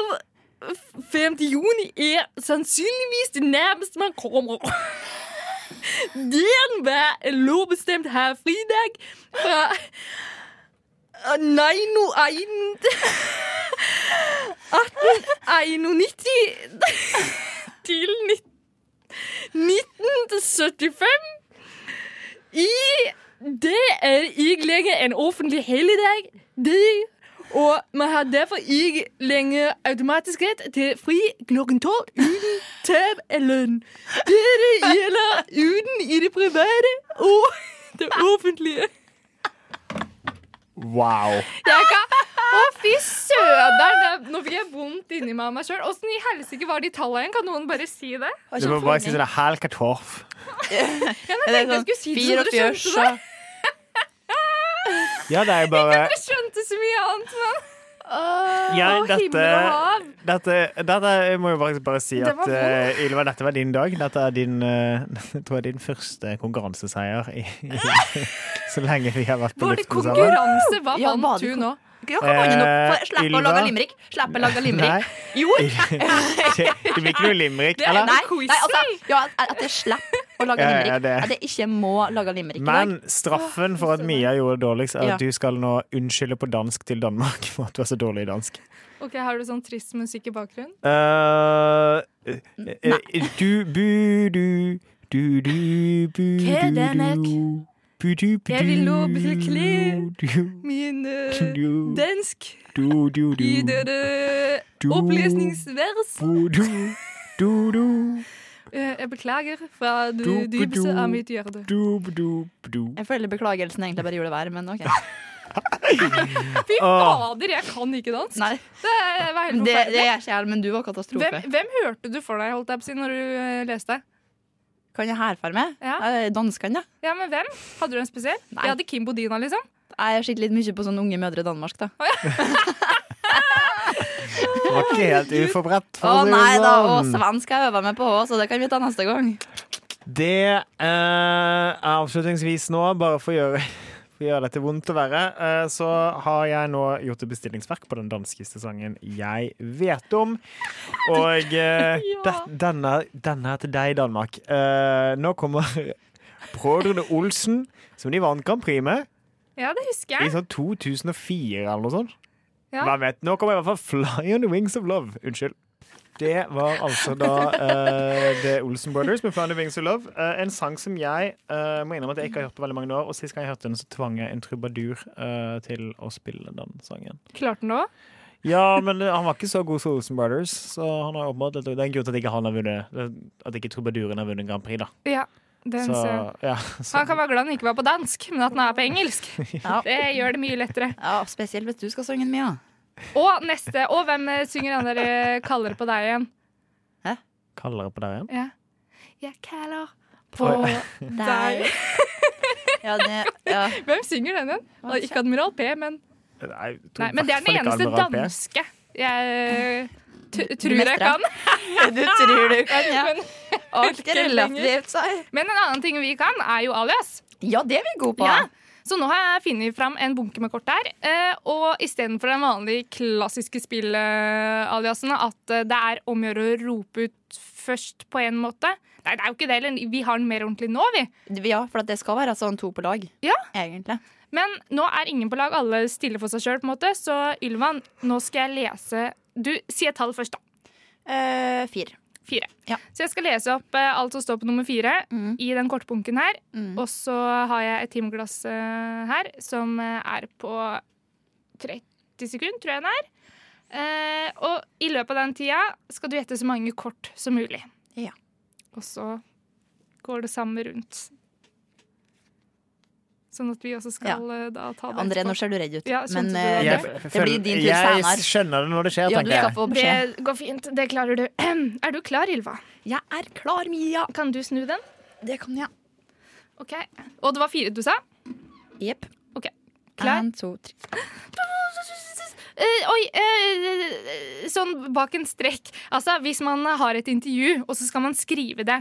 [SPEAKER 2] 5. juni er sannsynligvis det nærmeste man kommer. Den var en lovbestemt herrfridag fra øh, 1891 til 1975. I Det er ikke lenger en offentlig helligdag. Det- Og man har derfor ikke lenger automatisk rett til fri klokken tolv uten tap av lønn. Dette gjelder uten i det private og det offentlige.
[SPEAKER 1] Wow.
[SPEAKER 2] Jeg kan... Å, fy søderen! Nå fikk jeg vondt inni meg av meg sjøl. Åssen i helsike var de tallene igjen? Kan noen bare si det?
[SPEAKER 1] Du må bare si sånn halv katorf.
[SPEAKER 3] Er det
[SPEAKER 2] tenkte jeg skulle si det, så
[SPEAKER 3] 44,
[SPEAKER 2] dere skjønte det.
[SPEAKER 3] så-
[SPEAKER 1] Ja, det er jo bare
[SPEAKER 2] Jeg skjønte så mye annet, men
[SPEAKER 1] ja,
[SPEAKER 2] Å, himmel
[SPEAKER 1] dette,
[SPEAKER 2] og hav.
[SPEAKER 1] dette, dette jeg må jo bare, bare si
[SPEAKER 2] Det
[SPEAKER 1] at
[SPEAKER 2] var
[SPEAKER 1] eh, Ylva, dette var din dag. Dette er din, eh, jeg tror det er din første konkurranseseier i, i, så lenge vi har vært på
[SPEAKER 2] Var det
[SPEAKER 1] luften sammen.
[SPEAKER 2] konkurranse? Hva
[SPEAKER 3] Ja,
[SPEAKER 2] vant
[SPEAKER 3] var
[SPEAKER 2] du
[SPEAKER 3] det
[SPEAKER 2] nå?
[SPEAKER 3] Ja, kom an nå.
[SPEAKER 1] Eh,
[SPEAKER 3] For- Slipp å
[SPEAKER 1] Ylva?
[SPEAKER 3] lage limerick. Slipp å lage
[SPEAKER 1] Nei,
[SPEAKER 3] limerick. Jo.
[SPEAKER 1] det blir ikke noe limerick.
[SPEAKER 2] Det er
[SPEAKER 1] Eller?
[SPEAKER 3] Nei,
[SPEAKER 2] quiz,
[SPEAKER 3] nei altså, ja, at jeg slipper å lage
[SPEAKER 1] Ja, ja,
[SPEAKER 3] limerick.
[SPEAKER 1] det.
[SPEAKER 3] At jeg ikke må lage limerick i dag.
[SPEAKER 1] Men straffen for at Mia gjorde det dårligst, er
[SPEAKER 3] Ja.
[SPEAKER 1] at du skal nå unnskylde på dansk til Danmark for at du er så dårlig i dansk.
[SPEAKER 2] Ok, Har du sånn trist musikk i bakgrunnen?
[SPEAKER 1] Eh, eh, eh, du bu du du du bu du
[SPEAKER 2] Kedenek.
[SPEAKER 1] du Bu, du, bu,
[SPEAKER 2] Jeg vil
[SPEAKER 1] du,
[SPEAKER 2] nå bli kle-
[SPEAKER 1] du,
[SPEAKER 2] Min eh,
[SPEAKER 1] Du-
[SPEAKER 2] dansk
[SPEAKER 1] du, du, du,
[SPEAKER 2] i dette
[SPEAKER 1] Du-
[SPEAKER 2] opplesningsvers.
[SPEAKER 1] bu, du, du, du,
[SPEAKER 2] Eh, Jeg beklager fra det
[SPEAKER 1] Du- du-
[SPEAKER 2] dypeste
[SPEAKER 1] du.
[SPEAKER 2] av mitt hjerte.
[SPEAKER 1] du, bu, du, bu, du.
[SPEAKER 3] Jeg føler beklagelsen egentlig bare gjorde det verre, men OK.
[SPEAKER 1] Ah.
[SPEAKER 2] Fy
[SPEAKER 1] Åh.
[SPEAKER 2] fader, jeg kan ikke dansk!
[SPEAKER 3] Nei,
[SPEAKER 2] Det var helt
[SPEAKER 3] det, det
[SPEAKER 2] forferdelig.
[SPEAKER 3] er ikke jeg, men du var katastrofe.
[SPEAKER 2] Hvem, hvem hørte du for deg, holdt jeg på å si, når du eh, leste?
[SPEAKER 3] Kan jeg hærfarme?
[SPEAKER 2] Ja.
[SPEAKER 3] Eh, Danskene, ja.
[SPEAKER 2] Ja, men hvem? Hadde du en spesiell?
[SPEAKER 3] Nei.
[SPEAKER 2] Jeg hadde Kim Bodina, liksom.
[SPEAKER 3] Jeg sitter litt mye på sånn Unge mødre Danmark, da.
[SPEAKER 1] Det var ikke helt uforberedt,
[SPEAKER 3] Å
[SPEAKER 1] for å si
[SPEAKER 3] nei
[SPEAKER 1] det
[SPEAKER 3] da, å,
[SPEAKER 1] sånn.
[SPEAKER 3] svensk har jeg øvd meg på òg, så det kan vi ta neste gang.
[SPEAKER 1] Det eh, avslutningsvis nå, bare for å gjøre, for å gjøre dette vondt å være, eh, så har jeg nå gjort et bestillingsverk på den danskeste sangen jeg vet om. Og eh, det- denne, denne er til deg, Danmark. Eh, nå kommer Brødrene Olsen, som de vant Grand Prix med
[SPEAKER 2] Ja, det husker
[SPEAKER 1] i
[SPEAKER 2] jeg.
[SPEAKER 1] sånn 2004 eller noe sånt.
[SPEAKER 2] Ja.
[SPEAKER 1] Hvem vet? Nå kommer i hvert fall 'Fly on the Wings of Love'. Unnskyld. Det var altså da eh, The Olsen Brothers med 'Fly on the Wings of Love'. eh, en sang som jeg eh, må innrømme at jeg ikke har hørt på veldig mange år. Og sist gang jeg hørte den, så tvang jeg en trubadur eh, til å spille den sangen.
[SPEAKER 2] Klarte den det òg?
[SPEAKER 1] Ja, men eh, han var ikke så god som Olsen Brothers, så han har åpenbart Det er en grunn til at ikke han har vunnet At ikke trubaduren har vunnet Grand Prix, da.
[SPEAKER 2] Ja. Den
[SPEAKER 1] Så,
[SPEAKER 2] ser jeg.
[SPEAKER 1] ja,
[SPEAKER 2] Så
[SPEAKER 1] så.
[SPEAKER 2] Han kan være glad den ikke var på dansk, men at den er på engelsk.
[SPEAKER 3] Ja.
[SPEAKER 2] Det gjør det mye lettere.
[SPEAKER 3] Ja, Spesielt hvis du skal synge den mye. da.
[SPEAKER 2] Og neste. Og hvem eh, synger den der eh, 'Kaller på deg' igjen?
[SPEAKER 1] Kaller jeg på deg igjen?
[SPEAKER 2] Ja. Jeg kaller på
[SPEAKER 1] Oi.
[SPEAKER 2] deg.
[SPEAKER 3] Ja, det, ja.
[SPEAKER 2] Hvem synger den igjen? Og Ikke Admiral P, men
[SPEAKER 1] Nei, jeg tror
[SPEAKER 2] Nei, men det er den
[SPEAKER 1] i hvert fall ikke
[SPEAKER 2] eneste
[SPEAKER 1] Admiral P.
[SPEAKER 2] danske jeg eh, t tror
[SPEAKER 3] mestrer.
[SPEAKER 2] jeg kan.
[SPEAKER 3] Du tror du kan, ja.
[SPEAKER 2] Men,
[SPEAKER 3] Alt er relativt, sa jeg.
[SPEAKER 2] men en annen ting vi kan, er jo alias.
[SPEAKER 3] Ja, det er vi gode på.
[SPEAKER 2] Ja. Så nå har jeg funnet fram en bunke med kort her. eh, Og istedenfor den vanlige klassiske spillaliasen, at eh, det er om å gjøre å rope ut først på en måte Nei, det er jo ikke det heller. Vi har den mer ordentlig nå, vi.
[SPEAKER 3] Ja, for at det skal være sånn to på lag.
[SPEAKER 2] Ja.
[SPEAKER 3] Egentlig.
[SPEAKER 2] Men nå er ingen på lag. Alle stille for seg sjøl, på en måte. Så Ylvan, nå skal jeg lese Du, si et tall først, da.
[SPEAKER 3] Eh, fire.
[SPEAKER 2] Fire.
[SPEAKER 3] Ja.
[SPEAKER 2] Så jeg skal lese opp eh, alt som står på nummer fire
[SPEAKER 3] Mm.
[SPEAKER 2] i den kortbunken her.
[SPEAKER 3] Mm.
[SPEAKER 2] Og så har jeg et timeglass eh, her som eh, er på 30 sekunder, tror jeg den er. Eh, og i løpet av den tida skal du gjette så mange kort som mulig.
[SPEAKER 3] Ja.
[SPEAKER 2] Og så går det samme rundt. Sånn at vi også skal eh, da ta det
[SPEAKER 3] André, nå
[SPEAKER 2] etterpå.
[SPEAKER 3] ser du redd ut,
[SPEAKER 2] Ja,
[SPEAKER 3] men
[SPEAKER 2] skjønte du
[SPEAKER 3] eh,
[SPEAKER 2] det?
[SPEAKER 3] det,
[SPEAKER 1] f-
[SPEAKER 3] blir
[SPEAKER 1] føler-
[SPEAKER 3] din tur
[SPEAKER 1] Jeg
[SPEAKER 3] senere.
[SPEAKER 1] skjønner det når det skjer,
[SPEAKER 3] Ja, du
[SPEAKER 1] tenker
[SPEAKER 3] skal
[SPEAKER 1] jeg.
[SPEAKER 3] få beskjed.
[SPEAKER 2] Det går fint. Det klarer du. Er du klar, Ylva?
[SPEAKER 3] Jeg er klar, Mia.
[SPEAKER 2] Kan du snu den?
[SPEAKER 3] Det kan jeg.
[SPEAKER 2] Ok. Og det var fire du sa?
[SPEAKER 3] Jepp.
[SPEAKER 2] Ok. Klar?
[SPEAKER 3] Én, to, tre.
[SPEAKER 2] Eh, oi, eh, sånn bak en strekk. Altså, hvis man har et intervju, og så skal man skrive det.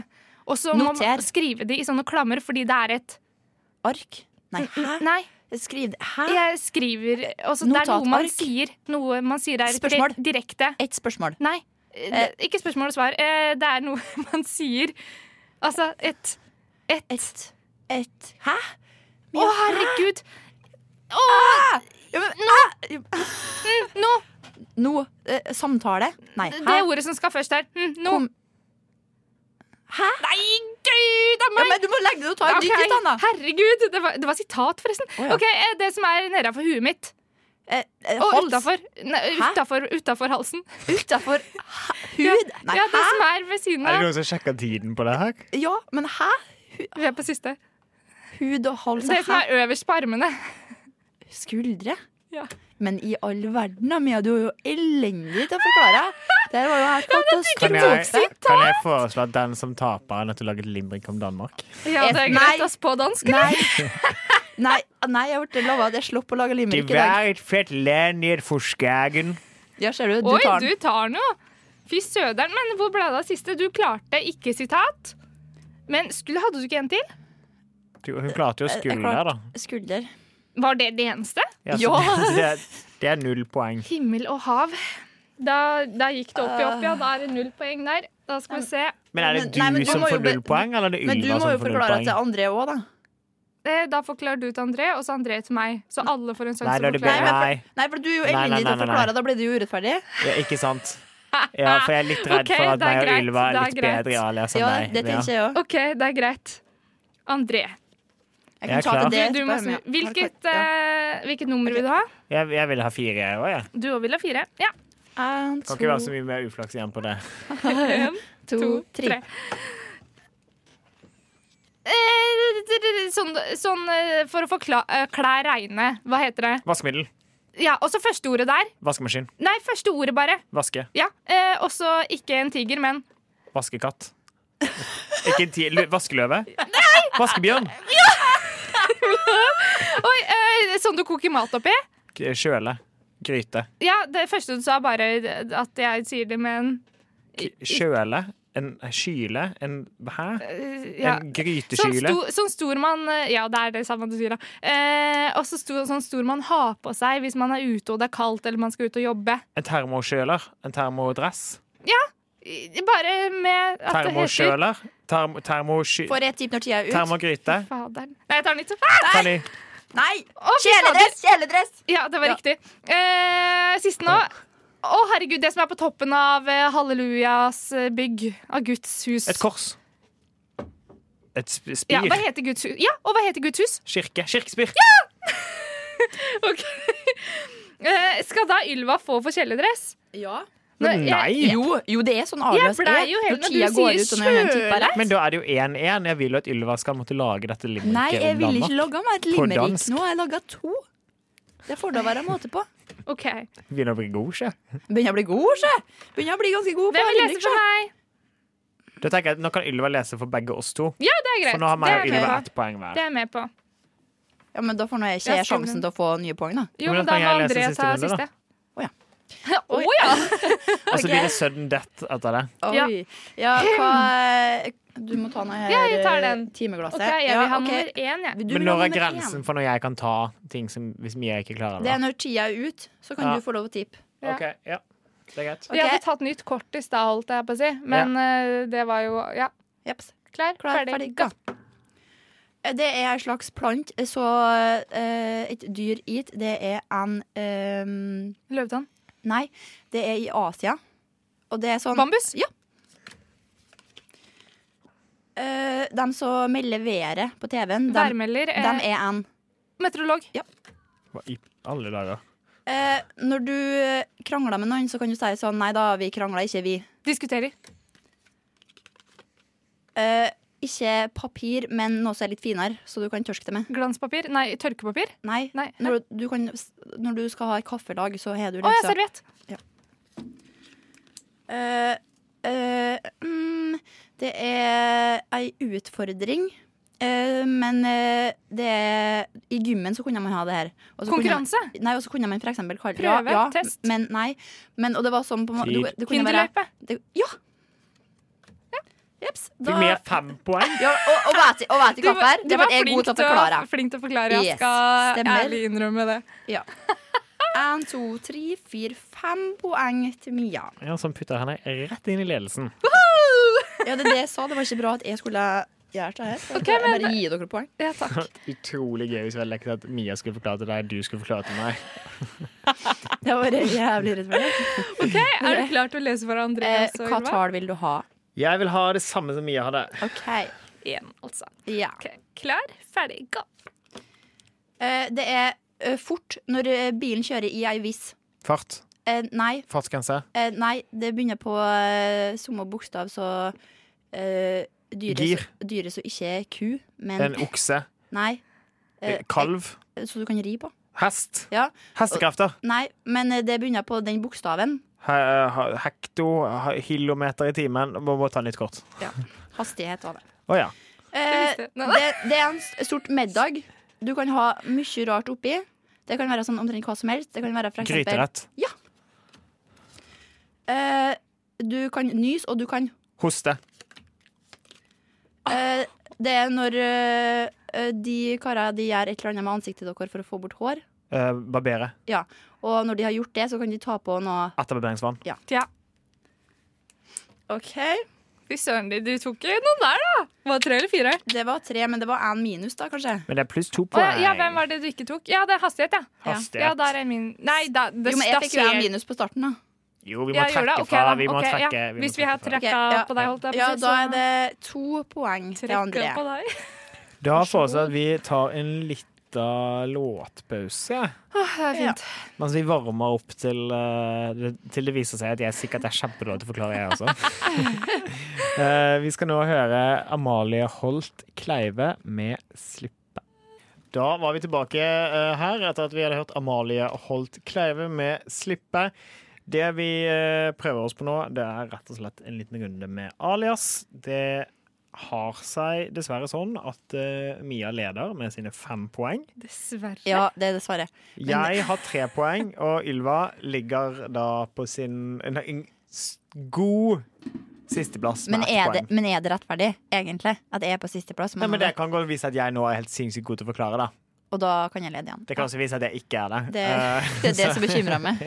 [SPEAKER 2] Og så må
[SPEAKER 3] Noter.
[SPEAKER 2] man skrive det i sånne klammer fordi det er et
[SPEAKER 3] Ark? Nei, hæ?
[SPEAKER 2] Nei,
[SPEAKER 3] Skriv det. Hæ?
[SPEAKER 2] jeg skriver altså, Det er noe man
[SPEAKER 3] Notatark.
[SPEAKER 2] sier. Noe man sier er
[SPEAKER 3] Spørsmål.
[SPEAKER 2] dire- direkte.
[SPEAKER 3] Ett spørsmål.
[SPEAKER 2] Nei, eh, det- ikke spørsmål og svar. Eh, det er noe man sier. Altså, et Et.
[SPEAKER 3] Ett Hæ?
[SPEAKER 2] Å, herregud! Å! nå! Mm, nå!
[SPEAKER 3] Nå. eh, samtale? Nei.
[SPEAKER 2] Det
[SPEAKER 3] Hæ?
[SPEAKER 2] ordet som skal først her. Mm, nå.
[SPEAKER 3] Kom. Hæ?
[SPEAKER 2] Nei, gud a
[SPEAKER 3] Ja,
[SPEAKER 2] meg!
[SPEAKER 3] men du må legge deg og ta et
[SPEAKER 2] Ok,
[SPEAKER 3] dytt i stanna.
[SPEAKER 2] Herregud, det var, det var sitat, forresten.
[SPEAKER 3] Å, ja.
[SPEAKER 2] Ok, eh, Det som er nedafor huet mitt.
[SPEAKER 3] Eh, eh,
[SPEAKER 2] Og
[SPEAKER 3] hals.
[SPEAKER 2] utafor.
[SPEAKER 3] Hæ?
[SPEAKER 2] Utafor, halsen.
[SPEAKER 3] Utafor hud? Nei,
[SPEAKER 2] ja, Det
[SPEAKER 3] hæ?
[SPEAKER 2] som er ved siden
[SPEAKER 1] Er det
[SPEAKER 2] av.
[SPEAKER 1] noen som sjekker tiden på det her?
[SPEAKER 3] Ja, men hæ?
[SPEAKER 2] Vi er på siste.
[SPEAKER 3] Hud og hals
[SPEAKER 2] Det
[SPEAKER 3] og
[SPEAKER 2] som
[SPEAKER 3] hæ?
[SPEAKER 2] er øverst på armene.
[SPEAKER 3] Skuldre?
[SPEAKER 2] Ja.
[SPEAKER 3] Men i all verden, da, Mia, du er jo elendig til å forklare. Det var jo helt
[SPEAKER 1] Kan jeg,
[SPEAKER 3] katastrofe.
[SPEAKER 1] kan jeg foreslå at den som taper, er nødt til å lage et limerick om Danmark?
[SPEAKER 2] Ja, det
[SPEAKER 3] Nei.
[SPEAKER 2] er greit. Ass, på dansk.
[SPEAKER 3] Nei. Nei, nei, jeg ble lova at jeg slapp å lage limerick i dag.
[SPEAKER 1] fett land ned for skagen.
[SPEAKER 3] Ja, ser du, du
[SPEAKER 2] Oi,
[SPEAKER 3] tar
[SPEAKER 2] du
[SPEAKER 3] den.
[SPEAKER 2] tar noe! Fy søderen. Men hvor ble det av siste? Du klarte ikke sitat. Men skulle, hadde du ikke en til?
[SPEAKER 1] Hun klarte jo
[SPEAKER 3] Eh, Jeg- jeg
[SPEAKER 1] skulder, da.
[SPEAKER 3] Skulder.
[SPEAKER 2] Var det det eneste?
[SPEAKER 1] Ja, så
[SPEAKER 3] Ja.
[SPEAKER 1] Det, det- det er null poeng.
[SPEAKER 2] Himmel og hav. Da, da gikk det opp i opp, ja. Da er det null poeng der. Da skal vi se.
[SPEAKER 1] Men er det du,
[SPEAKER 3] Nei, men du
[SPEAKER 1] som
[SPEAKER 3] må jo
[SPEAKER 1] får
[SPEAKER 3] be-
[SPEAKER 1] null poeng, eller er det
[SPEAKER 3] Men du
[SPEAKER 1] Ylva
[SPEAKER 3] må
[SPEAKER 1] som
[SPEAKER 3] jo
[SPEAKER 1] får null
[SPEAKER 3] forklare
[SPEAKER 1] poeng?
[SPEAKER 3] til andre òg, da.
[SPEAKER 2] Eh, Da forklarer du til André, og så André til meg. Så alle får en
[SPEAKER 1] Nei,
[SPEAKER 2] sjanse
[SPEAKER 1] da
[SPEAKER 2] til
[SPEAKER 1] er
[SPEAKER 2] å
[SPEAKER 1] det
[SPEAKER 2] forklare.
[SPEAKER 1] bedre.
[SPEAKER 3] Nei,
[SPEAKER 1] Nei,
[SPEAKER 3] Nei, for du er jo
[SPEAKER 1] Nei, nei,
[SPEAKER 3] elendig til
[SPEAKER 1] nei,
[SPEAKER 3] å
[SPEAKER 1] nei,
[SPEAKER 3] forklare, da blir det jo urettferdig.
[SPEAKER 1] ja, ikke sant? Ja, for jeg er litt redd
[SPEAKER 2] Ok,
[SPEAKER 1] for at
[SPEAKER 2] det er
[SPEAKER 1] meg og
[SPEAKER 2] greit,
[SPEAKER 1] Ylva er
[SPEAKER 2] det er
[SPEAKER 1] litt
[SPEAKER 2] greit.
[SPEAKER 1] bedre i alias enn
[SPEAKER 3] Ja,
[SPEAKER 1] deg.
[SPEAKER 3] det tenker jeg òg.
[SPEAKER 2] OK, det er greit. André,
[SPEAKER 3] Jeg
[SPEAKER 1] Jeg er
[SPEAKER 3] kan ta
[SPEAKER 1] klar.
[SPEAKER 3] til
[SPEAKER 2] du,
[SPEAKER 3] det
[SPEAKER 2] du må
[SPEAKER 3] etterpå, Mia.
[SPEAKER 2] snu. Hvilket,
[SPEAKER 3] Ja.
[SPEAKER 2] eh, hvilket nummer vil du ha?
[SPEAKER 1] Jeg, jeg vil ha fire, jeg òg, jeg.
[SPEAKER 2] Du òg vil ha fire. Ja.
[SPEAKER 3] En,
[SPEAKER 1] Kan ikke være så
[SPEAKER 3] to,
[SPEAKER 1] mye mer uflaks igjen på det.
[SPEAKER 3] to, tre.
[SPEAKER 2] Eh, d- d- d- Sånn, sånn eh, for å forklare klær reine. Hva heter det?
[SPEAKER 1] Vaskemiddel.
[SPEAKER 2] Ja, Og så første ordet der.
[SPEAKER 1] Vaskemaskin.
[SPEAKER 2] Nei, første ordet, bare.
[SPEAKER 1] Vaske.
[SPEAKER 2] Ja, eh, Og så ikke en tiger, men
[SPEAKER 1] Vaskekatt. Ikke en ti... lø- Vaskeløve. Vaskebjørn.
[SPEAKER 2] Oi, eh, Sånn du koker mat oppi?
[SPEAKER 1] K- Kjøle. Gryte.
[SPEAKER 2] Ja, det første du sa, bare at jeg sier det med en
[SPEAKER 1] K- Kjøle. En kyle. En Hæ?
[SPEAKER 2] eh, ja.
[SPEAKER 1] En
[SPEAKER 2] Sånn,
[SPEAKER 1] grytekyle.
[SPEAKER 2] sto, sånn stor man Ja, det er det samme du sier, da. Eh, og så sto- sånn stor man har på seg hvis man er ute og det er kaldt eller man skal ut og jobbe.
[SPEAKER 1] En termokjøler. En termodress.
[SPEAKER 2] I- Bare med at det heter
[SPEAKER 1] Termokjøler. Term termosky...
[SPEAKER 3] Får et tipp når tida er ut.
[SPEAKER 1] Termogryte.
[SPEAKER 2] Faderen. Nei, jeg tar den litt. Ah!
[SPEAKER 1] Kan de
[SPEAKER 3] Nei!
[SPEAKER 2] Å, fy fader!
[SPEAKER 3] Kjeledress! Kjeledress!
[SPEAKER 2] Ja, det var
[SPEAKER 3] Ja.
[SPEAKER 2] riktig. Eh, siste nå. Å, herregud, det som er på toppen av eh, Hallelujas eh, bygg. Av Guds hus.
[SPEAKER 1] Et kors. Et sp-
[SPEAKER 2] Ja,
[SPEAKER 1] spir.
[SPEAKER 2] hva heter Guds hus? Ja, og hva heter Guds hus?
[SPEAKER 1] Kirke. Kirkespir.
[SPEAKER 2] Ok. Eh, skal da Ylva få for kjeledress?
[SPEAKER 3] Ja.
[SPEAKER 1] Men
[SPEAKER 2] Nå,
[SPEAKER 1] nei.
[SPEAKER 3] Jo, jo, det er sånn
[SPEAKER 2] Jeg
[SPEAKER 3] alias
[SPEAKER 2] blei jo helt
[SPEAKER 3] Når
[SPEAKER 2] når
[SPEAKER 3] tida
[SPEAKER 2] du
[SPEAKER 3] går
[SPEAKER 2] sier
[SPEAKER 3] ut og når den tipper
[SPEAKER 1] Men da er det jo 1-1. Jeg vil jo at Ylva skal måtte lage dette limericket.
[SPEAKER 3] Nei, jeg
[SPEAKER 1] om
[SPEAKER 3] ville
[SPEAKER 1] Danmark.
[SPEAKER 3] ikke lage meg et
[SPEAKER 1] På
[SPEAKER 3] limerick.
[SPEAKER 1] dansk.
[SPEAKER 3] Nå har jeg laga to. Det får da være måte på.
[SPEAKER 2] OK.
[SPEAKER 1] Begynner å bli god, sjø.
[SPEAKER 3] Begynner jeg å bli god, sjø. Begynner jeg å bli ganske god på
[SPEAKER 2] Hvem vil lese
[SPEAKER 3] sjø.
[SPEAKER 2] for meg?
[SPEAKER 1] Da tenker jeg at Nå kan Ylva lese for begge oss to.
[SPEAKER 2] Ja, det er greit.
[SPEAKER 1] For nå har
[SPEAKER 2] Det
[SPEAKER 1] meg
[SPEAKER 2] er
[SPEAKER 1] og
[SPEAKER 2] jeg med
[SPEAKER 1] Ylva
[SPEAKER 2] på.
[SPEAKER 1] ett poeng hver.
[SPEAKER 2] Det er jeg med på.
[SPEAKER 3] Ja, men da får nå jeg
[SPEAKER 2] Ja,
[SPEAKER 3] ikke jeg
[SPEAKER 2] skulle
[SPEAKER 3] sjansen
[SPEAKER 2] den-
[SPEAKER 3] til å få nye poeng, da.
[SPEAKER 2] Jo,
[SPEAKER 1] Men
[SPEAKER 2] men
[SPEAKER 1] da
[SPEAKER 2] da
[SPEAKER 1] kan
[SPEAKER 2] må
[SPEAKER 1] jeg lese
[SPEAKER 2] André
[SPEAKER 1] siste
[SPEAKER 2] ta
[SPEAKER 1] runde, da.
[SPEAKER 2] siste.
[SPEAKER 3] Å ja.
[SPEAKER 2] Å ja!
[SPEAKER 1] Og så blir det sudden death etter det.
[SPEAKER 2] Ja.
[SPEAKER 3] Altså, Oi. Ja, hva eh, Du må ta noe her.
[SPEAKER 2] Ja, jeg tar
[SPEAKER 3] eh,
[SPEAKER 2] den.
[SPEAKER 3] timeglasset.
[SPEAKER 2] OK, jeg
[SPEAKER 3] Ja,
[SPEAKER 2] vil ha
[SPEAKER 3] ok.
[SPEAKER 2] nummer én, jeg.
[SPEAKER 3] Du
[SPEAKER 1] Men
[SPEAKER 3] vil
[SPEAKER 1] når er
[SPEAKER 3] ha nummer én.
[SPEAKER 1] grensen for når jeg kan ta ting som hvis Mia ikke klarer
[SPEAKER 3] Det
[SPEAKER 1] det?
[SPEAKER 3] er når tida er ut, så kan
[SPEAKER 1] Ja.
[SPEAKER 3] du få lov å tippe.
[SPEAKER 1] da? Ok, ja. Det er greit.
[SPEAKER 3] Ok.
[SPEAKER 2] Vi hadde tatt nytt kort i stad, holdt jeg på å si. Men eh, det var jo Ja.
[SPEAKER 3] Jeps.
[SPEAKER 2] Klar,
[SPEAKER 3] Klar,
[SPEAKER 2] ferdig,
[SPEAKER 3] ferdig,
[SPEAKER 2] gå.
[SPEAKER 3] gå. Eh, Det er en slags plant, så eh, et dyr it, det er en ehm,
[SPEAKER 2] Løvetann.
[SPEAKER 3] Nei, det er i Asia. Og det er sånn
[SPEAKER 2] Bambus.
[SPEAKER 3] Ja. Eh, de som melder været på TV-en, de,
[SPEAKER 2] Værmelder.
[SPEAKER 3] de
[SPEAKER 2] Eh,
[SPEAKER 3] er en
[SPEAKER 2] meteorolog.
[SPEAKER 1] Hva I alle dager.
[SPEAKER 3] Eh, Når du eh, krangler med noen, så kan du si sånn Nei da, vi krangler ikke, vi.
[SPEAKER 2] Diskuterer.
[SPEAKER 3] Eh, Ikke papir, men noe som er litt finere, så du kan tørske det med.
[SPEAKER 2] Glanspapir? Nei, tørkepapir?
[SPEAKER 3] Nei.
[SPEAKER 2] Nei.
[SPEAKER 3] Når du, du kan, når du skal ha et kaffelag, så har du
[SPEAKER 2] Å ja,
[SPEAKER 3] liksom
[SPEAKER 2] serviett!
[SPEAKER 3] Eh, eh, mm, Det er ei utfordring. Eh, men eh, det er I gymmen så kunne man ha det her. Og så kunne man-
[SPEAKER 2] Konkurranse!
[SPEAKER 3] Nei, og så kunne man for eksempel kalle
[SPEAKER 2] Prøve,
[SPEAKER 3] ja, ja,
[SPEAKER 2] test.
[SPEAKER 3] Men nei. Men, og det var sånn på en måte
[SPEAKER 1] Tid.
[SPEAKER 3] det kunne være-
[SPEAKER 2] Hinderløype!
[SPEAKER 3] det- Ja! Jeps.
[SPEAKER 1] Fikk med fem poeng.
[SPEAKER 3] ja, og, og vet og vet
[SPEAKER 2] Du
[SPEAKER 3] hva
[SPEAKER 2] var-
[SPEAKER 3] for?
[SPEAKER 2] du
[SPEAKER 3] Det
[SPEAKER 2] var
[SPEAKER 3] var jeg god til å forklare.
[SPEAKER 2] flink til å forklare. Jeg
[SPEAKER 3] Yes,
[SPEAKER 2] skal
[SPEAKER 3] stemmer.
[SPEAKER 2] ærlig innrømme det.
[SPEAKER 3] Én, to, tre, fire, fem poeng til Mia.
[SPEAKER 1] Ja, Som putter henne rett inn i ledelsen.
[SPEAKER 3] Ja, det er det jeg sa. Det var ikke bra at jeg skulle gjøre det her. Så
[SPEAKER 2] Ok,
[SPEAKER 3] jeg
[SPEAKER 2] men-
[SPEAKER 3] bare gi dere poeng.
[SPEAKER 2] Ja, takk.
[SPEAKER 1] Utrolig gøy hvis vi hadde lekt at Mia skulle forklare til deg, du skulle forklare til meg.
[SPEAKER 3] Det var jævlig rettferdig.
[SPEAKER 2] Ok, Er du klar til å lese for andre?
[SPEAKER 3] Eh,
[SPEAKER 2] også,
[SPEAKER 3] hva
[SPEAKER 2] Ylva?
[SPEAKER 3] tall vil du ha?
[SPEAKER 1] Jeg vil ha det samme som Mia hadde.
[SPEAKER 3] OK.
[SPEAKER 2] En, altså.
[SPEAKER 3] Ja.
[SPEAKER 2] Ok, Klar, ferdig, gå.
[SPEAKER 3] Eh, det er eh, fort når eh, bilen kjører i ei viss
[SPEAKER 1] Fart.
[SPEAKER 3] eh, Nei.
[SPEAKER 1] Fartsgrense.
[SPEAKER 3] Eh, nei, det begynner på eh, samme bokstav, så eh, dyret,
[SPEAKER 1] Gir.
[SPEAKER 3] så- Dyret som ikke er ku, men
[SPEAKER 1] En okse.
[SPEAKER 3] Nei.
[SPEAKER 1] Eh,
[SPEAKER 3] Eh,
[SPEAKER 1] Kalv.
[SPEAKER 3] eh, Så du kan ri på?
[SPEAKER 1] Hest.
[SPEAKER 3] Ja.
[SPEAKER 1] Hestekrefter.
[SPEAKER 3] Nei, men eh, det begynner på den bokstaven.
[SPEAKER 1] He- he- Hekto. he- Kilometer i timen. Må bare ta nytt kort.
[SPEAKER 3] Hastighet var det.
[SPEAKER 1] Å ja.
[SPEAKER 3] Eh,
[SPEAKER 2] Det visste jeg. Nei,
[SPEAKER 3] det, det er en s- stort middag. Du kan ha mye rart oppi. Det kan være sånn omtrent hva som helst. Det kan være for eksempel
[SPEAKER 1] Gryterett.
[SPEAKER 3] eh, Du kan nys, og du kan
[SPEAKER 1] Hoste.
[SPEAKER 3] eh, Det er når eh, eh, de karene de gjør et eller annet med ansiktet deres for å få bort hår.
[SPEAKER 1] Eh, barbere.
[SPEAKER 3] Og når de har gjort det, så kan de ta på noe
[SPEAKER 1] Etterbarberingsvann.
[SPEAKER 2] Ja.
[SPEAKER 3] OK.
[SPEAKER 2] Fy søren, de- du tok ikke noen der, da! Var det tre eller fire?
[SPEAKER 3] Det var tre, men det var én minus, da, kanskje.
[SPEAKER 1] Men det er pluss to
[SPEAKER 2] Å, ja,
[SPEAKER 1] poeng.
[SPEAKER 2] ja, hvem var det du ikke tok? Ja, det er hastighet, ja.
[SPEAKER 1] Hastighet.
[SPEAKER 2] Ja, der er min Nei, da, det,
[SPEAKER 3] Jo, men jeg
[SPEAKER 2] da
[SPEAKER 3] fikk jo én
[SPEAKER 2] ser-
[SPEAKER 3] minus på starten, da.
[SPEAKER 1] Jo, vi må
[SPEAKER 2] Ja, gjorde
[SPEAKER 1] trekke
[SPEAKER 2] det? Ok,
[SPEAKER 1] fra.
[SPEAKER 2] da.
[SPEAKER 1] Vi må
[SPEAKER 2] Ok, ja.
[SPEAKER 1] trekke, vi må
[SPEAKER 2] Hvis vi har
[SPEAKER 1] trekke fra.
[SPEAKER 3] Ok,
[SPEAKER 2] trekka
[SPEAKER 3] ja.
[SPEAKER 2] på deg, holdt jeg på
[SPEAKER 3] Ja,
[SPEAKER 2] å si,
[SPEAKER 3] da er
[SPEAKER 2] så-
[SPEAKER 3] det to poeng til
[SPEAKER 2] Trekka
[SPEAKER 3] André.
[SPEAKER 2] på deg.
[SPEAKER 1] Da foreslår jeg at vi tar en lita låtpause.
[SPEAKER 2] Det er fint.
[SPEAKER 1] Mens vi varmer opp til, eh, det- til det viser seg at jeg sikkert er kjempedårlig til å forklare, jeg også. Eh, vi skal nå høre Amalie Holt Kleive med 'Slippe'. Da var vi tilbake eh, her etter at vi hadde hørt Amalie Holt Kleive med 'Slippe'. Det vi eh, prøver oss på nå, det er rett og slett en liten runde med alias. Det har seg dessverre sånn at eh, Mia leder med sine fem poeng.
[SPEAKER 2] Dessverre.
[SPEAKER 3] Ja, det er dessverre.
[SPEAKER 1] Jeg har tre poeng, og Ylva ligger da på sin en, en s- god sisteplass med
[SPEAKER 3] Men
[SPEAKER 1] ett
[SPEAKER 3] er, det,
[SPEAKER 1] poeng.
[SPEAKER 3] men er det rettferdig, egentlig? At jeg er på sisteplass?
[SPEAKER 1] Nei, men det kan godt vise at jeg nå er helt sinnssykt god til å forklare det.
[SPEAKER 3] Og da kan jeg lede igjen.
[SPEAKER 1] Det kan også vise at jeg ikke er det.
[SPEAKER 3] Det,
[SPEAKER 1] Eh,
[SPEAKER 3] det er det som bekymrer meg.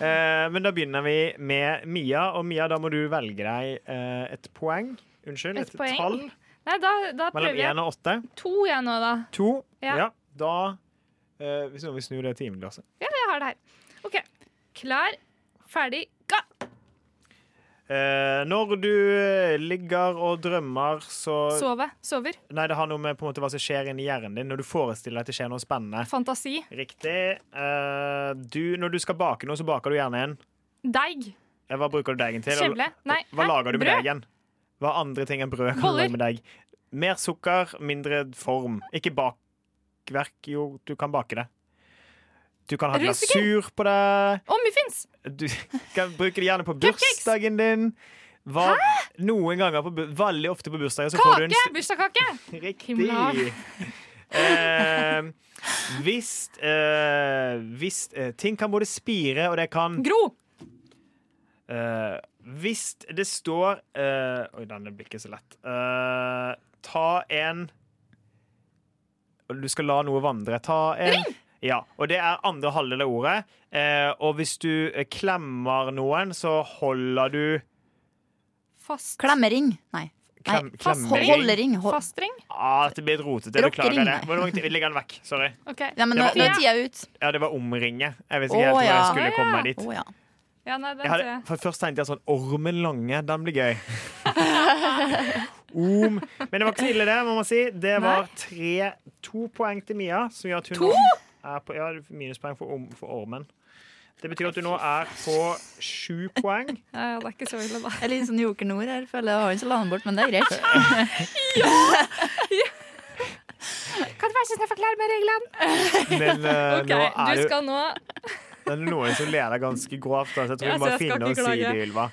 [SPEAKER 1] eh, men da begynner vi med Mia, og Mia, da må du velge deg eh, et poeng. Unnskyld,
[SPEAKER 2] Et
[SPEAKER 1] et,
[SPEAKER 2] poeng.
[SPEAKER 1] tall
[SPEAKER 2] Nei, da, da prøver
[SPEAKER 1] mellom
[SPEAKER 2] jeg
[SPEAKER 1] én og åtte.
[SPEAKER 2] to, jeg nå, da.
[SPEAKER 1] To.
[SPEAKER 2] Ja.
[SPEAKER 1] Ja. Da eh, Hvis noen vil snu det timeglasset.
[SPEAKER 2] Jeg har det her. OK. Klar, ferdig, gå!
[SPEAKER 1] Eh, når du eh, ligger og drømmer,
[SPEAKER 2] Sove. Sover.
[SPEAKER 1] Nei, det har noe med på en måte hva som skjer inni hjernen din når du forestiller deg at det skjer noe spennende.
[SPEAKER 2] Fantasi.
[SPEAKER 1] Riktig. Eh, du, når du skal bake noe, så baker du gjerne en.
[SPEAKER 2] Deig.
[SPEAKER 1] Eh, Hva bruker du deigen til?
[SPEAKER 2] Kjevle. Nei,
[SPEAKER 1] Hva
[SPEAKER 2] hæ?
[SPEAKER 1] lager du med
[SPEAKER 2] Brød?
[SPEAKER 1] deigen? Hva andre ting enn brød kan du
[SPEAKER 2] Boller.
[SPEAKER 1] lage med deig? Mer sukker, mindre form. Ikke bakverk. Jo, du kan bake det. Du kan ha
[SPEAKER 2] Røyseking.
[SPEAKER 1] glasur på det.
[SPEAKER 2] Og muffins!
[SPEAKER 1] Du kan bruke det gjerne på
[SPEAKER 2] Cupcakes.
[SPEAKER 1] bursdagen din. Hva, noen ganger, på, bu- veldig ofte på bursdagen, så får du en
[SPEAKER 2] Kake!
[SPEAKER 1] st-
[SPEAKER 2] Bursdagskake!
[SPEAKER 1] Riktig.
[SPEAKER 2] Himla.
[SPEAKER 1] Eh, Hvis eh, hvis, eh, ting kan både spire, og det kan
[SPEAKER 2] Gro.
[SPEAKER 1] eh, Hvis det står eh, Oi, denne blir ikke så lett. Eh, ta en Du skal la noe vandre. Ta en Ja, og det er andre halvdel av ordet. Eh, og hvis du eh, klemmer noen, så holder du
[SPEAKER 2] Fast.
[SPEAKER 3] Klemmering. Nei.
[SPEAKER 1] klem,
[SPEAKER 3] Nei,
[SPEAKER 2] fast
[SPEAKER 1] klemmering.
[SPEAKER 3] Holdering. Hold.
[SPEAKER 2] Fastring.
[SPEAKER 1] Ah, det blir et rotete. Beklager
[SPEAKER 3] Rockering.
[SPEAKER 1] det. Hvor langt- Legg den vekk. Sorry.
[SPEAKER 2] OK.
[SPEAKER 3] Ja, men
[SPEAKER 1] Det
[SPEAKER 3] nå,
[SPEAKER 1] var-
[SPEAKER 3] nå er tida ut.
[SPEAKER 1] Ja, det var omringe. Jeg vet ikke
[SPEAKER 3] Å,
[SPEAKER 1] helt hvor jeg
[SPEAKER 3] ja.
[SPEAKER 1] skulle
[SPEAKER 2] Å, ja.
[SPEAKER 1] komme meg dit.
[SPEAKER 3] Å ja.
[SPEAKER 2] Ja, nei, den
[SPEAKER 1] Jeg
[SPEAKER 2] ser
[SPEAKER 1] hadde,
[SPEAKER 2] jeg.
[SPEAKER 1] for først tenkte jeg sånn Ormen Lange, den blir gøy. Om. Men det var ikke så ille, det, må man si. Det var tre, to poeng til Mia, som gjør at hun nå er på ja, minuspoeng for, om, for ormen. Det betyr at du nå er på sju poeng.
[SPEAKER 2] Ja, ja, det er ikke så ille, da.
[SPEAKER 3] Jeg er litt sånn Joker Nord her, føler jeg. jeg. Har ikke landet bort, men det er greit.
[SPEAKER 2] Kan du være så snill å forklare meg reglene?
[SPEAKER 1] Men eh,
[SPEAKER 2] Ok,
[SPEAKER 1] nå er
[SPEAKER 2] du
[SPEAKER 1] det,
[SPEAKER 2] skal nå
[SPEAKER 1] det er noen som ler deg ganske grovt. Altså. Jeg tror vi
[SPEAKER 2] Ja,
[SPEAKER 1] må
[SPEAKER 2] så jeg skal
[SPEAKER 1] finne
[SPEAKER 2] ikke
[SPEAKER 1] oss i
[SPEAKER 2] klage.
[SPEAKER 1] det, Ylva.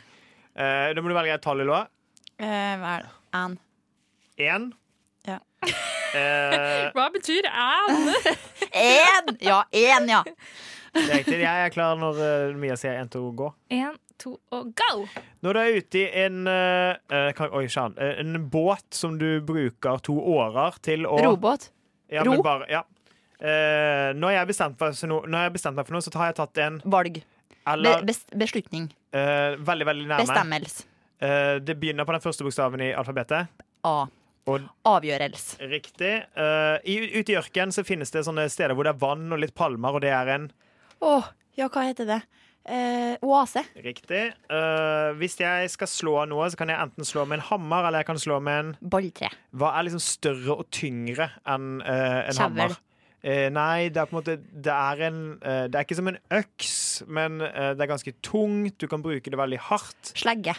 [SPEAKER 1] Eh, da må du velge et tall, Ylva.
[SPEAKER 3] Eh, Hva er det? Ann.
[SPEAKER 1] Én.
[SPEAKER 3] Ja.
[SPEAKER 1] Eh,
[SPEAKER 2] Hva betyr and?
[SPEAKER 3] Én! Ja, én, ja.
[SPEAKER 1] det er riktig. Jeg er klar når eh, Mia sier 1, 2, gå.
[SPEAKER 2] Én, to og go! Å
[SPEAKER 1] Når du er ute i en eh, eh, kan, Oi, sann. Eh, En båt som du bruker to årer til å
[SPEAKER 3] Robåt.
[SPEAKER 1] Ja,
[SPEAKER 3] ro.
[SPEAKER 1] men bare, ja. Eh, når, jeg bestemt meg for noe, når jeg har bestemt meg for noe, så har jeg tatt en
[SPEAKER 3] Valg. Be
[SPEAKER 1] eller
[SPEAKER 3] bes- beslutning.
[SPEAKER 1] eh, veldig, veldig nærme.
[SPEAKER 3] Bestemmelse.
[SPEAKER 1] Eh, det begynner på den første bokstaven i alfabetet.
[SPEAKER 3] A.
[SPEAKER 1] Og-
[SPEAKER 3] Avgjørelse.
[SPEAKER 1] Riktig. Eh, i, ute i ørken så finnes det sånne steder hvor det er vann og litt palmer, og det er en
[SPEAKER 3] Å, ja, hva heter det? Eh, oase.
[SPEAKER 1] riktig. Eh, hvis jeg skal slå noe, så kan jeg enten slå med en hammer, eller jeg kan slå med en
[SPEAKER 3] Balltre.
[SPEAKER 1] Hva er liksom større og tyngre enn eh, en
[SPEAKER 3] Kjevel.
[SPEAKER 1] hammer? Eh, nei, det er på en måte Det er, en, eh, det er ikke som en øks, men eh, det er ganske tungt. Du kan bruke det veldig hardt.
[SPEAKER 3] Slegge.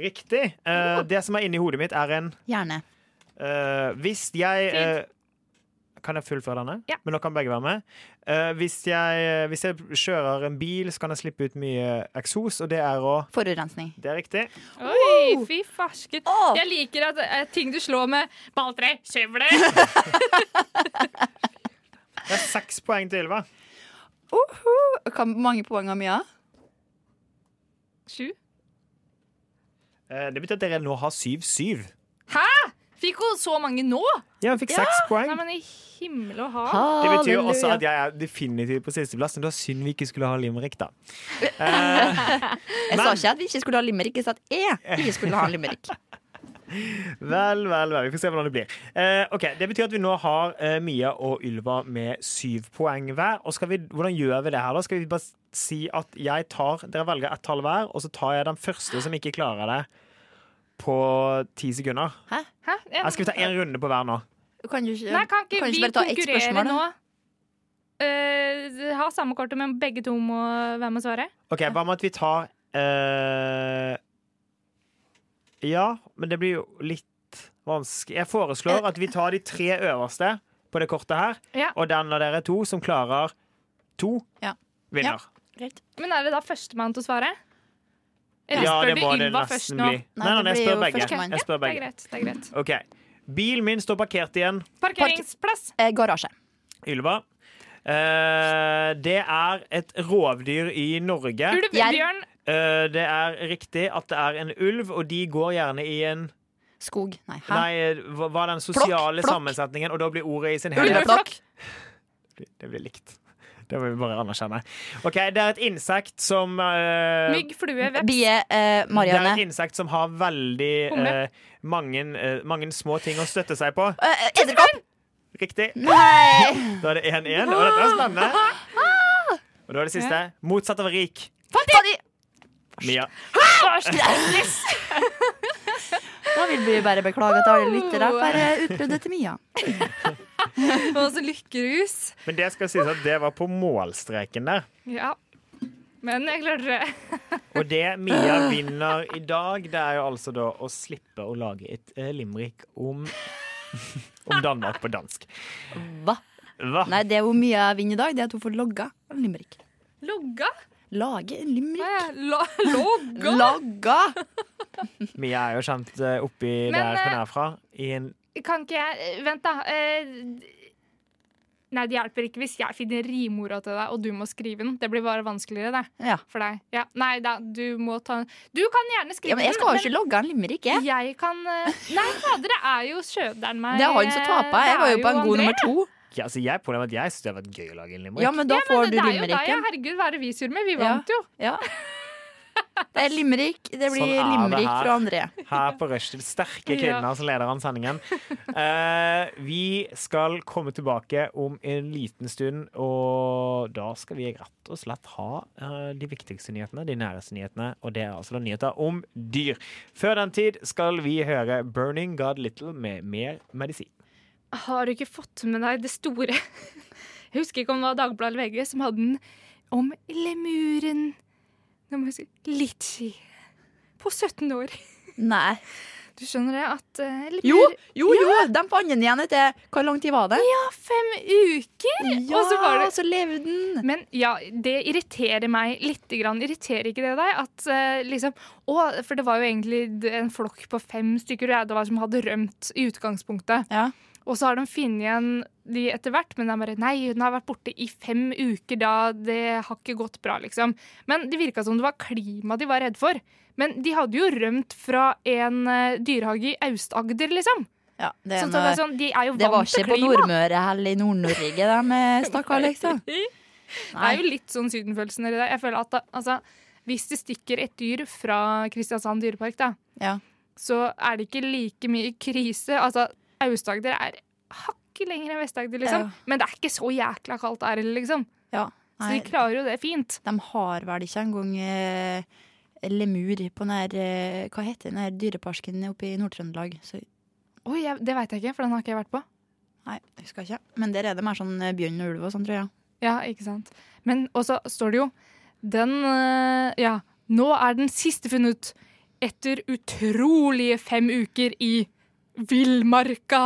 [SPEAKER 1] Riktig. Eh, det som er inni hodet mitt, er en
[SPEAKER 3] Hjerne.
[SPEAKER 1] eh, Hvis jeg eh, Kan jeg fullføre denne?
[SPEAKER 2] Ja.
[SPEAKER 1] Men nå kan begge være med. Eh, hvis, jeg, hvis jeg kjører en bil, så kan jeg slippe ut mye eksos, og det er å
[SPEAKER 3] Forurensning.
[SPEAKER 1] Det er riktig.
[SPEAKER 2] Oi, fy farsken.
[SPEAKER 3] Å.
[SPEAKER 2] Jeg liker at eh, ting du slår med balltre, kjevle
[SPEAKER 1] Det er seks poeng til Ylva.
[SPEAKER 3] Uhu. Hva mange poeng har Mia?
[SPEAKER 2] Sju.
[SPEAKER 1] Eh, det betyr at dere nå har syv-syv.
[SPEAKER 2] Fikk hun så mange nå?
[SPEAKER 1] Ja, hun fikk seks poeng.
[SPEAKER 2] Nei, men i himmel og hav.
[SPEAKER 1] Det
[SPEAKER 3] Halleluja.
[SPEAKER 1] betyr jo også at jeg er definitivt på sisteplass, men det var synd vi ikke skulle ha Limerick, da. Eh,
[SPEAKER 3] Jeg sa ikke at vi ikke skulle ha limerick, jeg sa at jeg ikke skulle ha limerick.
[SPEAKER 1] vel, vel, vel. Vi får se hvordan det blir. Eh, ok, Det betyr at vi nå har eh, Mia og Ylva med syv poeng hver. Og skal vi, Hvordan gjør vi det her, da? Skal vi bare si at jeg tar, dere velger ett tall hver, og så tar jeg den første som ikke klarer det, på ti sekunder?
[SPEAKER 2] Hæ? En-
[SPEAKER 1] Her skal vi ta én runde på hver nå?
[SPEAKER 3] Kan du ikke,
[SPEAKER 2] Nei, kan ikke
[SPEAKER 3] kan du
[SPEAKER 2] vi
[SPEAKER 3] ikke bare ta ett
[SPEAKER 2] konkurrere
[SPEAKER 3] spørsmål?
[SPEAKER 2] nå?
[SPEAKER 3] da?
[SPEAKER 2] Eh, ha samme kortet, men begge to må være med og svare?
[SPEAKER 1] OK, hva med at vi tar eh, Ja, men det blir jo litt vanskelig. Jeg foreslår at vi tar de tre øverste på det kortet her,
[SPEAKER 2] Ja.
[SPEAKER 1] og den av dere to som klarer to,
[SPEAKER 3] Ja.
[SPEAKER 1] vinner.
[SPEAKER 2] Men er det da førstemann til å svare?
[SPEAKER 1] Ja,
[SPEAKER 2] Eller spør
[SPEAKER 1] det må
[SPEAKER 2] du
[SPEAKER 1] det
[SPEAKER 2] Ylva først
[SPEAKER 1] nesten
[SPEAKER 2] nå?
[SPEAKER 1] bli. Nei, nei,
[SPEAKER 3] det
[SPEAKER 1] jeg
[SPEAKER 3] blir
[SPEAKER 1] spør
[SPEAKER 3] jo
[SPEAKER 1] begge.
[SPEAKER 3] førstemann.
[SPEAKER 1] Jeg spør
[SPEAKER 2] Det er
[SPEAKER 1] begge.
[SPEAKER 2] greit. det er greit
[SPEAKER 1] OK. Bilen min står parkert igjen.
[SPEAKER 2] Parkeringsplass.
[SPEAKER 3] Eh, garasje.
[SPEAKER 1] Ylva. Eh, det er et rovdyr i Norge.
[SPEAKER 2] Ulv,
[SPEAKER 3] Jerv.
[SPEAKER 2] bjørn,
[SPEAKER 1] Eh, det er riktig at det er en ulv, og de går gjerne i en
[SPEAKER 3] Skog. Nei, hæ?
[SPEAKER 1] Nei, hva hva er den sosiale
[SPEAKER 3] Flokk, flokk.
[SPEAKER 1] sammensetningen? Og da blir ordet i sin helhet
[SPEAKER 3] Ulveflokk.
[SPEAKER 1] Det blir likt. Det må vi bare anerkjenne. OK, det er et insekt som eh,
[SPEAKER 2] mygg, flue, veps.
[SPEAKER 3] Bie. Eh,
[SPEAKER 1] Det er et
[SPEAKER 3] Marianne.
[SPEAKER 1] insekt som har veldig
[SPEAKER 2] Humle.
[SPEAKER 1] eh, mange, eh, mange små ting å støtte seg på.
[SPEAKER 3] Eh, Edderkopp!
[SPEAKER 1] Riktig.
[SPEAKER 3] Nei!
[SPEAKER 1] Da er det 1-1, og dette er spennende. Og da er det siste. Motsatt av rik.
[SPEAKER 3] Fordi
[SPEAKER 1] Mia.
[SPEAKER 3] Da vil vi bare beklage til alle lyttere for eh, utbruddet til Mia.
[SPEAKER 2] Og så lykkerus.
[SPEAKER 1] Men det skal sies at det var på målstreken der.
[SPEAKER 2] Ja. Men jeg klarte det.
[SPEAKER 1] Og det Mia vinner i dag, det er jo altså da å slippe å lage et eh, limerick om, om Danmark på dansk.
[SPEAKER 3] Hva?
[SPEAKER 1] Hva?
[SPEAKER 3] Nei, det er hvor mye jeg vinner i dag, det er at hun får logga en limerick.
[SPEAKER 2] Logga?
[SPEAKER 3] Lage en limerick?
[SPEAKER 2] Ja, la- Logga?
[SPEAKER 3] Logga!
[SPEAKER 1] Mia er jo kjent eh, oppi
[SPEAKER 2] Men,
[SPEAKER 1] der hun
[SPEAKER 2] eh,
[SPEAKER 1] er fra. I en
[SPEAKER 2] Kan ikke jeg Vent, da. Eh, Nei, det hjelper ikke hvis jeg finner rimorda til deg, og du må skrive den. Det blir bare vanskeligere, det.
[SPEAKER 3] Ja.
[SPEAKER 2] For deg. Ja. Nei da, du må ta Du kan gjerne skrive
[SPEAKER 3] ja, men jeg skal jo ikke logge en limerick, jeg.
[SPEAKER 2] Jeg kan eh, Nei, fader, det er jo skjøderen meg. eh,
[SPEAKER 3] Det er han som taper. Jeg var jo på en god nummer to.
[SPEAKER 1] ja, altså, jeg problemet er at jeg syns det har vært gøy å lage en limerick.
[SPEAKER 3] Ja, men da
[SPEAKER 2] Men
[SPEAKER 3] får
[SPEAKER 2] det
[SPEAKER 3] du
[SPEAKER 2] er jo deg, ja.
[SPEAKER 3] limericken.
[SPEAKER 2] herregud, hva er det vi surrer med? Vi
[SPEAKER 3] Ja.
[SPEAKER 2] vant jo.
[SPEAKER 3] Ja. Det er limerick. Det blir
[SPEAKER 1] Sånn er det
[SPEAKER 3] limerick
[SPEAKER 1] her.
[SPEAKER 3] fra André.
[SPEAKER 1] Her på Rushdie. Sterke kvinner
[SPEAKER 2] Ja.
[SPEAKER 1] som leder an sendingen. Eh, vi skal komme tilbake om en liten stund, og da skal vi rett og slett ha eh, de viktigste nyhetene, de næreste nyhetene, og det er altså da nyheter om dyr. Før den tid skal vi høre 'Burning God Little' med mer medisin.
[SPEAKER 2] Har du ikke fått med deg det store Jeg husker ikke om det var Dagbladet eller VG som hadde en om lemuren Nå må jeg huske Litchi. På 17 år.
[SPEAKER 3] Nei.
[SPEAKER 2] Du skjønner det at uh,
[SPEAKER 3] Jo, jo, jo! De fant den igjen etter Hvor lang tid var det? Ja,
[SPEAKER 2] fem uker! og så var det
[SPEAKER 3] så levde den.
[SPEAKER 2] Men ja, det irriterer meg lite grann. Irriterer ikke det deg? At eh, liksom Å, for det var jo egentlig en flokk på fem stykker og jeg, det var som hadde rømt i utgangspunktet.
[SPEAKER 3] Ja.
[SPEAKER 2] Og så har de funnet igjen de etter hvert, men de bare Nei, hun har vært borte i fem uker, da. Det har ikke gått bra, liksom. Men det virka som det var klima de var redd for. Men de hadde jo rømt fra en eh, dyrehage i Aust-Agder, liksom.
[SPEAKER 3] Ja, det, er
[SPEAKER 2] Så
[SPEAKER 3] eh,
[SPEAKER 2] det, var
[SPEAKER 3] noe-
[SPEAKER 2] sånn, de er jo
[SPEAKER 3] det var
[SPEAKER 2] vant
[SPEAKER 3] ikke
[SPEAKER 2] til
[SPEAKER 3] på
[SPEAKER 2] klima.
[SPEAKER 3] Nordmøre eller i Nord-Norge de eh, stakk av, liksom.
[SPEAKER 2] Det er jo litt sånn sydenfølelse nedi der. Jeg føler at da, altså, Hvis det stikker et dyr fra Kristiansand dyrepark, da,
[SPEAKER 3] Ja.
[SPEAKER 2] så er det ikke like mye krise. Altså, Aust-Agder er hakket lenger enn Vest-Agder, liksom.
[SPEAKER 3] Ja.
[SPEAKER 2] Men det er ikke så jækla kaldt der heller, liksom.
[SPEAKER 3] Ja.
[SPEAKER 2] Så de
[SPEAKER 3] Nei,
[SPEAKER 2] klarer jo det fint.
[SPEAKER 3] de har vel ikke engang eh, lemur på den her eh, Hva heter den her dyreparken oppe i Nord-Trøndelag? Så-
[SPEAKER 2] Oi, jeg, det veit jeg ikke, for den har ikke jeg vært på.
[SPEAKER 3] Nei, jeg husker ikke. Men der er det mer sånn eh, bjørn og ulv og sånn, tror jeg.
[SPEAKER 2] Ja, ikke sant. Men og så står det jo Den øh, Ja, nå er den siste funnet ut etter utrolige fem uker i villmarka.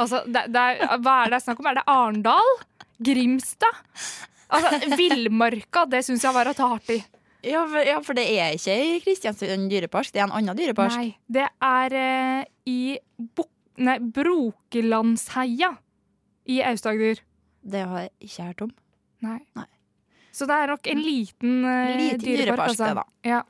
[SPEAKER 2] Altså, det, det er, hva er det snakk om? Er det Arendal? Grimstad? Altså, villmarka, det syns jeg var å ta hardt i.
[SPEAKER 3] Ja, for, ja, for det er ikke i Kristiansund dyrepark, det er en annen dyrepark.
[SPEAKER 2] Nei, det er øh, i Bok... Nei, Brokelandsheia i Aust-Agder.
[SPEAKER 3] Det har jeg ikke hørt om.
[SPEAKER 2] Nei.
[SPEAKER 3] Nei.
[SPEAKER 2] Så det er nok en liten, øh,
[SPEAKER 3] Liten dyrepark, det da.
[SPEAKER 2] Ja.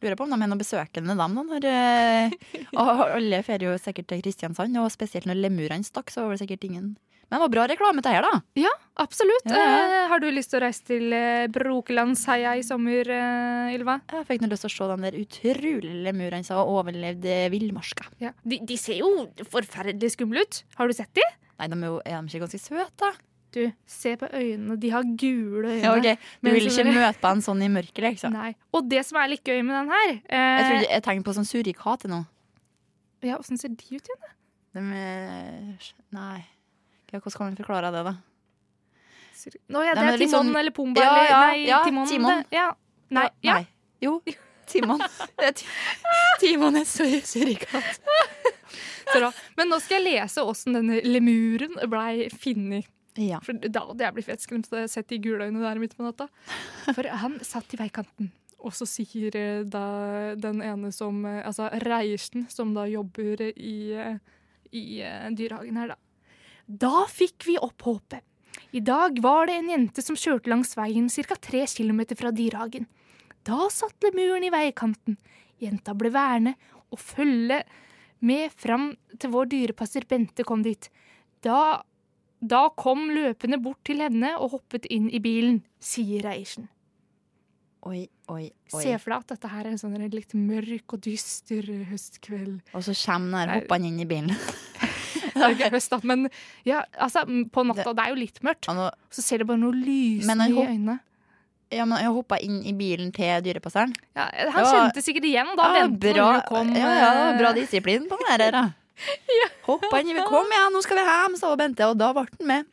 [SPEAKER 3] Lurer på om de er noen besøkende, dem. da, når, eh, og alle fer jo sikkert til Kristiansand, og spesielt når lemurene stakk, så var det sikkert ingen Men det var bra reklame, det her, da.
[SPEAKER 2] Absolutt.
[SPEAKER 3] Ja, ja.
[SPEAKER 2] Eh, har du lyst til å reise til eh, Brokelandsheia i sommer, eh, Ylva?
[SPEAKER 3] Jeg fikk nå lyst til å se de der utrolig lemurene som har overlevd eh, villmarka.
[SPEAKER 2] De, de ser jo forferdelig skumle ut. Har du sett de?
[SPEAKER 3] Nei, de er, jo, er de ikke ganske søte, da?
[SPEAKER 2] Du, se på øynene. De har gule øyne.
[SPEAKER 3] Ja, ok. Du
[SPEAKER 2] Men
[SPEAKER 3] vil
[SPEAKER 2] så
[SPEAKER 3] ikke
[SPEAKER 2] dere-
[SPEAKER 3] møte på en sånn i mørket, liksom.
[SPEAKER 2] Nei. Og det som er litt gøy med den her eh,
[SPEAKER 3] Jeg, tror, jeg tenker på sånn surikat nå.
[SPEAKER 2] ja, Hvordan ser de ut igjen?
[SPEAKER 3] De er Nei. Ja, hvordan kan man forklare det, da?
[SPEAKER 2] Ser- Nå, ja,
[SPEAKER 3] Nei,
[SPEAKER 2] det
[SPEAKER 3] men
[SPEAKER 2] er
[SPEAKER 3] litt
[SPEAKER 2] Timon
[SPEAKER 3] sånn-
[SPEAKER 2] eller Pumba
[SPEAKER 3] Ja,
[SPEAKER 2] eller
[SPEAKER 3] ja,
[SPEAKER 2] Nei,
[SPEAKER 3] ja,
[SPEAKER 2] Timon.
[SPEAKER 3] Timon.
[SPEAKER 2] Det, ja. Nei, ja.
[SPEAKER 3] Nei. Jo. Timon. Det er Ti- Timon er sur- surikat.
[SPEAKER 2] Så da. Men nå skal jeg lese åssen denne lemuren blei funnet.
[SPEAKER 3] Ja.
[SPEAKER 2] For da hadde jeg blitt fettskremt da jeg sett de gule øynene der midt på natta. For han satt i veikanten. Og så sier eh, da den ene som eh, Altså Reiersen, som da jobber i, eh, i eh, dyrehagen her, da. Da fikk vi opp håpet. I dag var det en jente som kjørte langs veien ca. tre kilometer fra dyrehagen. Da satt lemuren i veikanten. Jenta ble værende og følge med fram til vår dyrepasser Bente kom dit. Da da kom løpende bort til henne og hoppet inn i bilen, sier Reiersen.
[SPEAKER 3] Oi, oi, oi.
[SPEAKER 2] Se for deg at dette her er en sånn litt mørk og dyster eh, høstkveld.
[SPEAKER 3] Og så kommer den
[SPEAKER 2] Nei.
[SPEAKER 3] her hoppende inn i bilen.
[SPEAKER 2] Det er ikke høst, da, Eh, men ja, altså, på natta, det er jo litt mørkt,
[SPEAKER 3] Han var-
[SPEAKER 2] så ser du bare noe
[SPEAKER 3] Men
[SPEAKER 2] lysende
[SPEAKER 3] han
[SPEAKER 2] i
[SPEAKER 3] hopp-
[SPEAKER 2] øynene.
[SPEAKER 3] Ja, men jeg hoppa inn i bilen til dyrepasseren.
[SPEAKER 2] Ja, eh,
[SPEAKER 3] Det
[SPEAKER 2] han
[SPEAKER 3] var-
[SPEAKER 2] kjente sikkert igjen da,
[SPEAKER 3] Ja,
[SPEAKER 2] Bente,
[SPEAKER 3] Ah, bra,
[SPEAKER 2] når hun kom.
[SPEAKER 3] ja, ja, det var bra
[SPEAKER 2] eh,
[SPEAKER 3] disiplin på den her. da. Hoppa inn i bilen. Kom igjen, nå skal vi hjem, sa Bente, og da ble han med.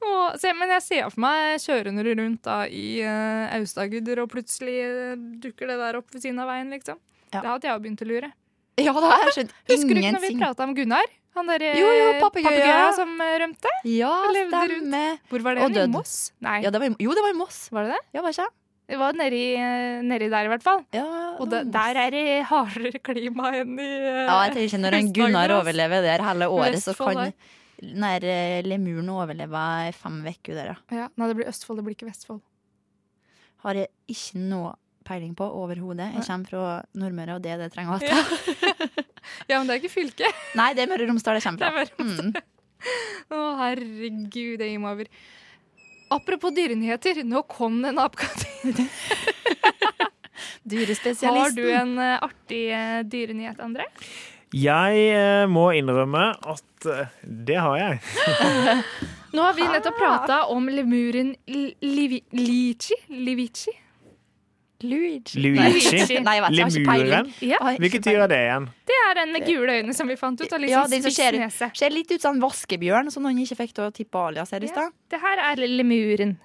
[SPEAKER 2] Og, se, men jeg ser for meg kjørende rundt da, i uh, Aust-Agder, og plutselig eh, dukker det der opp ved siden av veien, liksom.
[SPEAKER 3] Ja.
[SPEAKER 2] Da hadde jeg jo begynt å lure.
[SPEAKER 3] Ja, da har jeg skjønt
[SPEAKER 2] Husker du ikke når vi
[SPEAKER 3] ingenting.
[SPEAKER 2] prata om Gunnar? Han derre
[SPEAKER 3] Jo, jo,
[SPEAKER 2] eh,
[SPEAKER 3] papegøya.
[SPEAKER 2] papegøya som eh, rømte?
[SPEAKER 3] Ja,
[SPEAKER 2] Levde rundt.
[SPEAKER 3] stemmer.
[SPEAKER 2] Hvor var
[SPEAKER 3] Og
[SPEAKER 2] det? I
[SPEAKER 3] død.
[SPEAKER 2] Moss? Nei,
[SPEAKER 3] Ja, det var i, jo, det var i Moss.
[SPEAKER 2] var det det?
[SPEAKER 3] Ja, var ikke jeg?
[SPEAKER 2] Det var nedi, eh, nedi der, i hvert fall.
[SPEAKER 3] Ja,
[SPEAKER 2] Og
[SPEAKER 3] det var
[SPEAKER 2] det,
[SPEAKER 3] i Moss.
[SPEAKER 2] der er det hardere klima enn i eh,
[SPEAKER 3] Ja, jeg tenker når en
[SPEAKER 2] Vest-Agder,
[SPEAKER 3] Gunnar
[SPEAKER 2] ass.
[SPEAKER 3] overlever det her hele året, så
[SPEAKER 2] Vestfold
[SPEAKER 3] kan den her eh, lemuren overleve i fem uker der, ja.
[SPEAKER 2] ja, Nei, det blir Østfold, det blir ikke Vestfold.
[SPEAKER 3] Har jeg ikke noe peiling på overhodet. Jeg kommer fra Nordmøre, og det er det jeg trenger å vite.
[SPEAKER 2] Ja, men det er ikke fylke.
[SPEAKER 3] Nei, det er Møre og Romsdal jeg
[SPEAKER 2] Det er
[SPEAKER 3] kommer
[SPEAKER 2] Møre
[SPEAKER 3] fra. Mm.
[SPEAKER 2] Å, herregud, det gir meg over. Apropos dyrenyheter, nå kom det en apekatt.
[SPEAKER 3] Dyrespesialisten.
[SPEAKER 2] Har du en eh, artig eh, dyrenyhet, André?
[SPEAKER 1] Jeg eh, må innrømme at eh, det har jeg.
[SPEAKER 2] Nå har vi nettopp prata om lemuren Li- Livi- Lichi. Livici.
[SPEAKER 3] Luigi?
[SPEAKER 1] Luigi.
[SPEAKER 3] Nei, jeg vet, jeg har ikke peiling.
[SPEAKER 1] Lemuren.
[SPEAKER 2] Ja,
[SPEAKER 3] Har jeg ikke
[SPEAKER 1] Hvilket dyr
[SPEAKER 3] peiling.
[SPEAKER 1] er det igjen?
[SPEAKER 2] det er den med gule øynene som vi fant ut, og litt
[SPEAKER 3] Ja,
[SPEAKER 2] sånn
[SPEAKER 3] den som
[SPEAKER 2] spiss
[SPEAKER 3] ser-
[SPEAKER 2] nese.
[SPEAKER 3] Ser litt ut som en vaskebjørn, som noen ikke fikk til å tippe alias her i
[SPEAKER 2] Ja.
[SPEAKER 3] stad.
[SPEAKER 2] Det her er lemuren.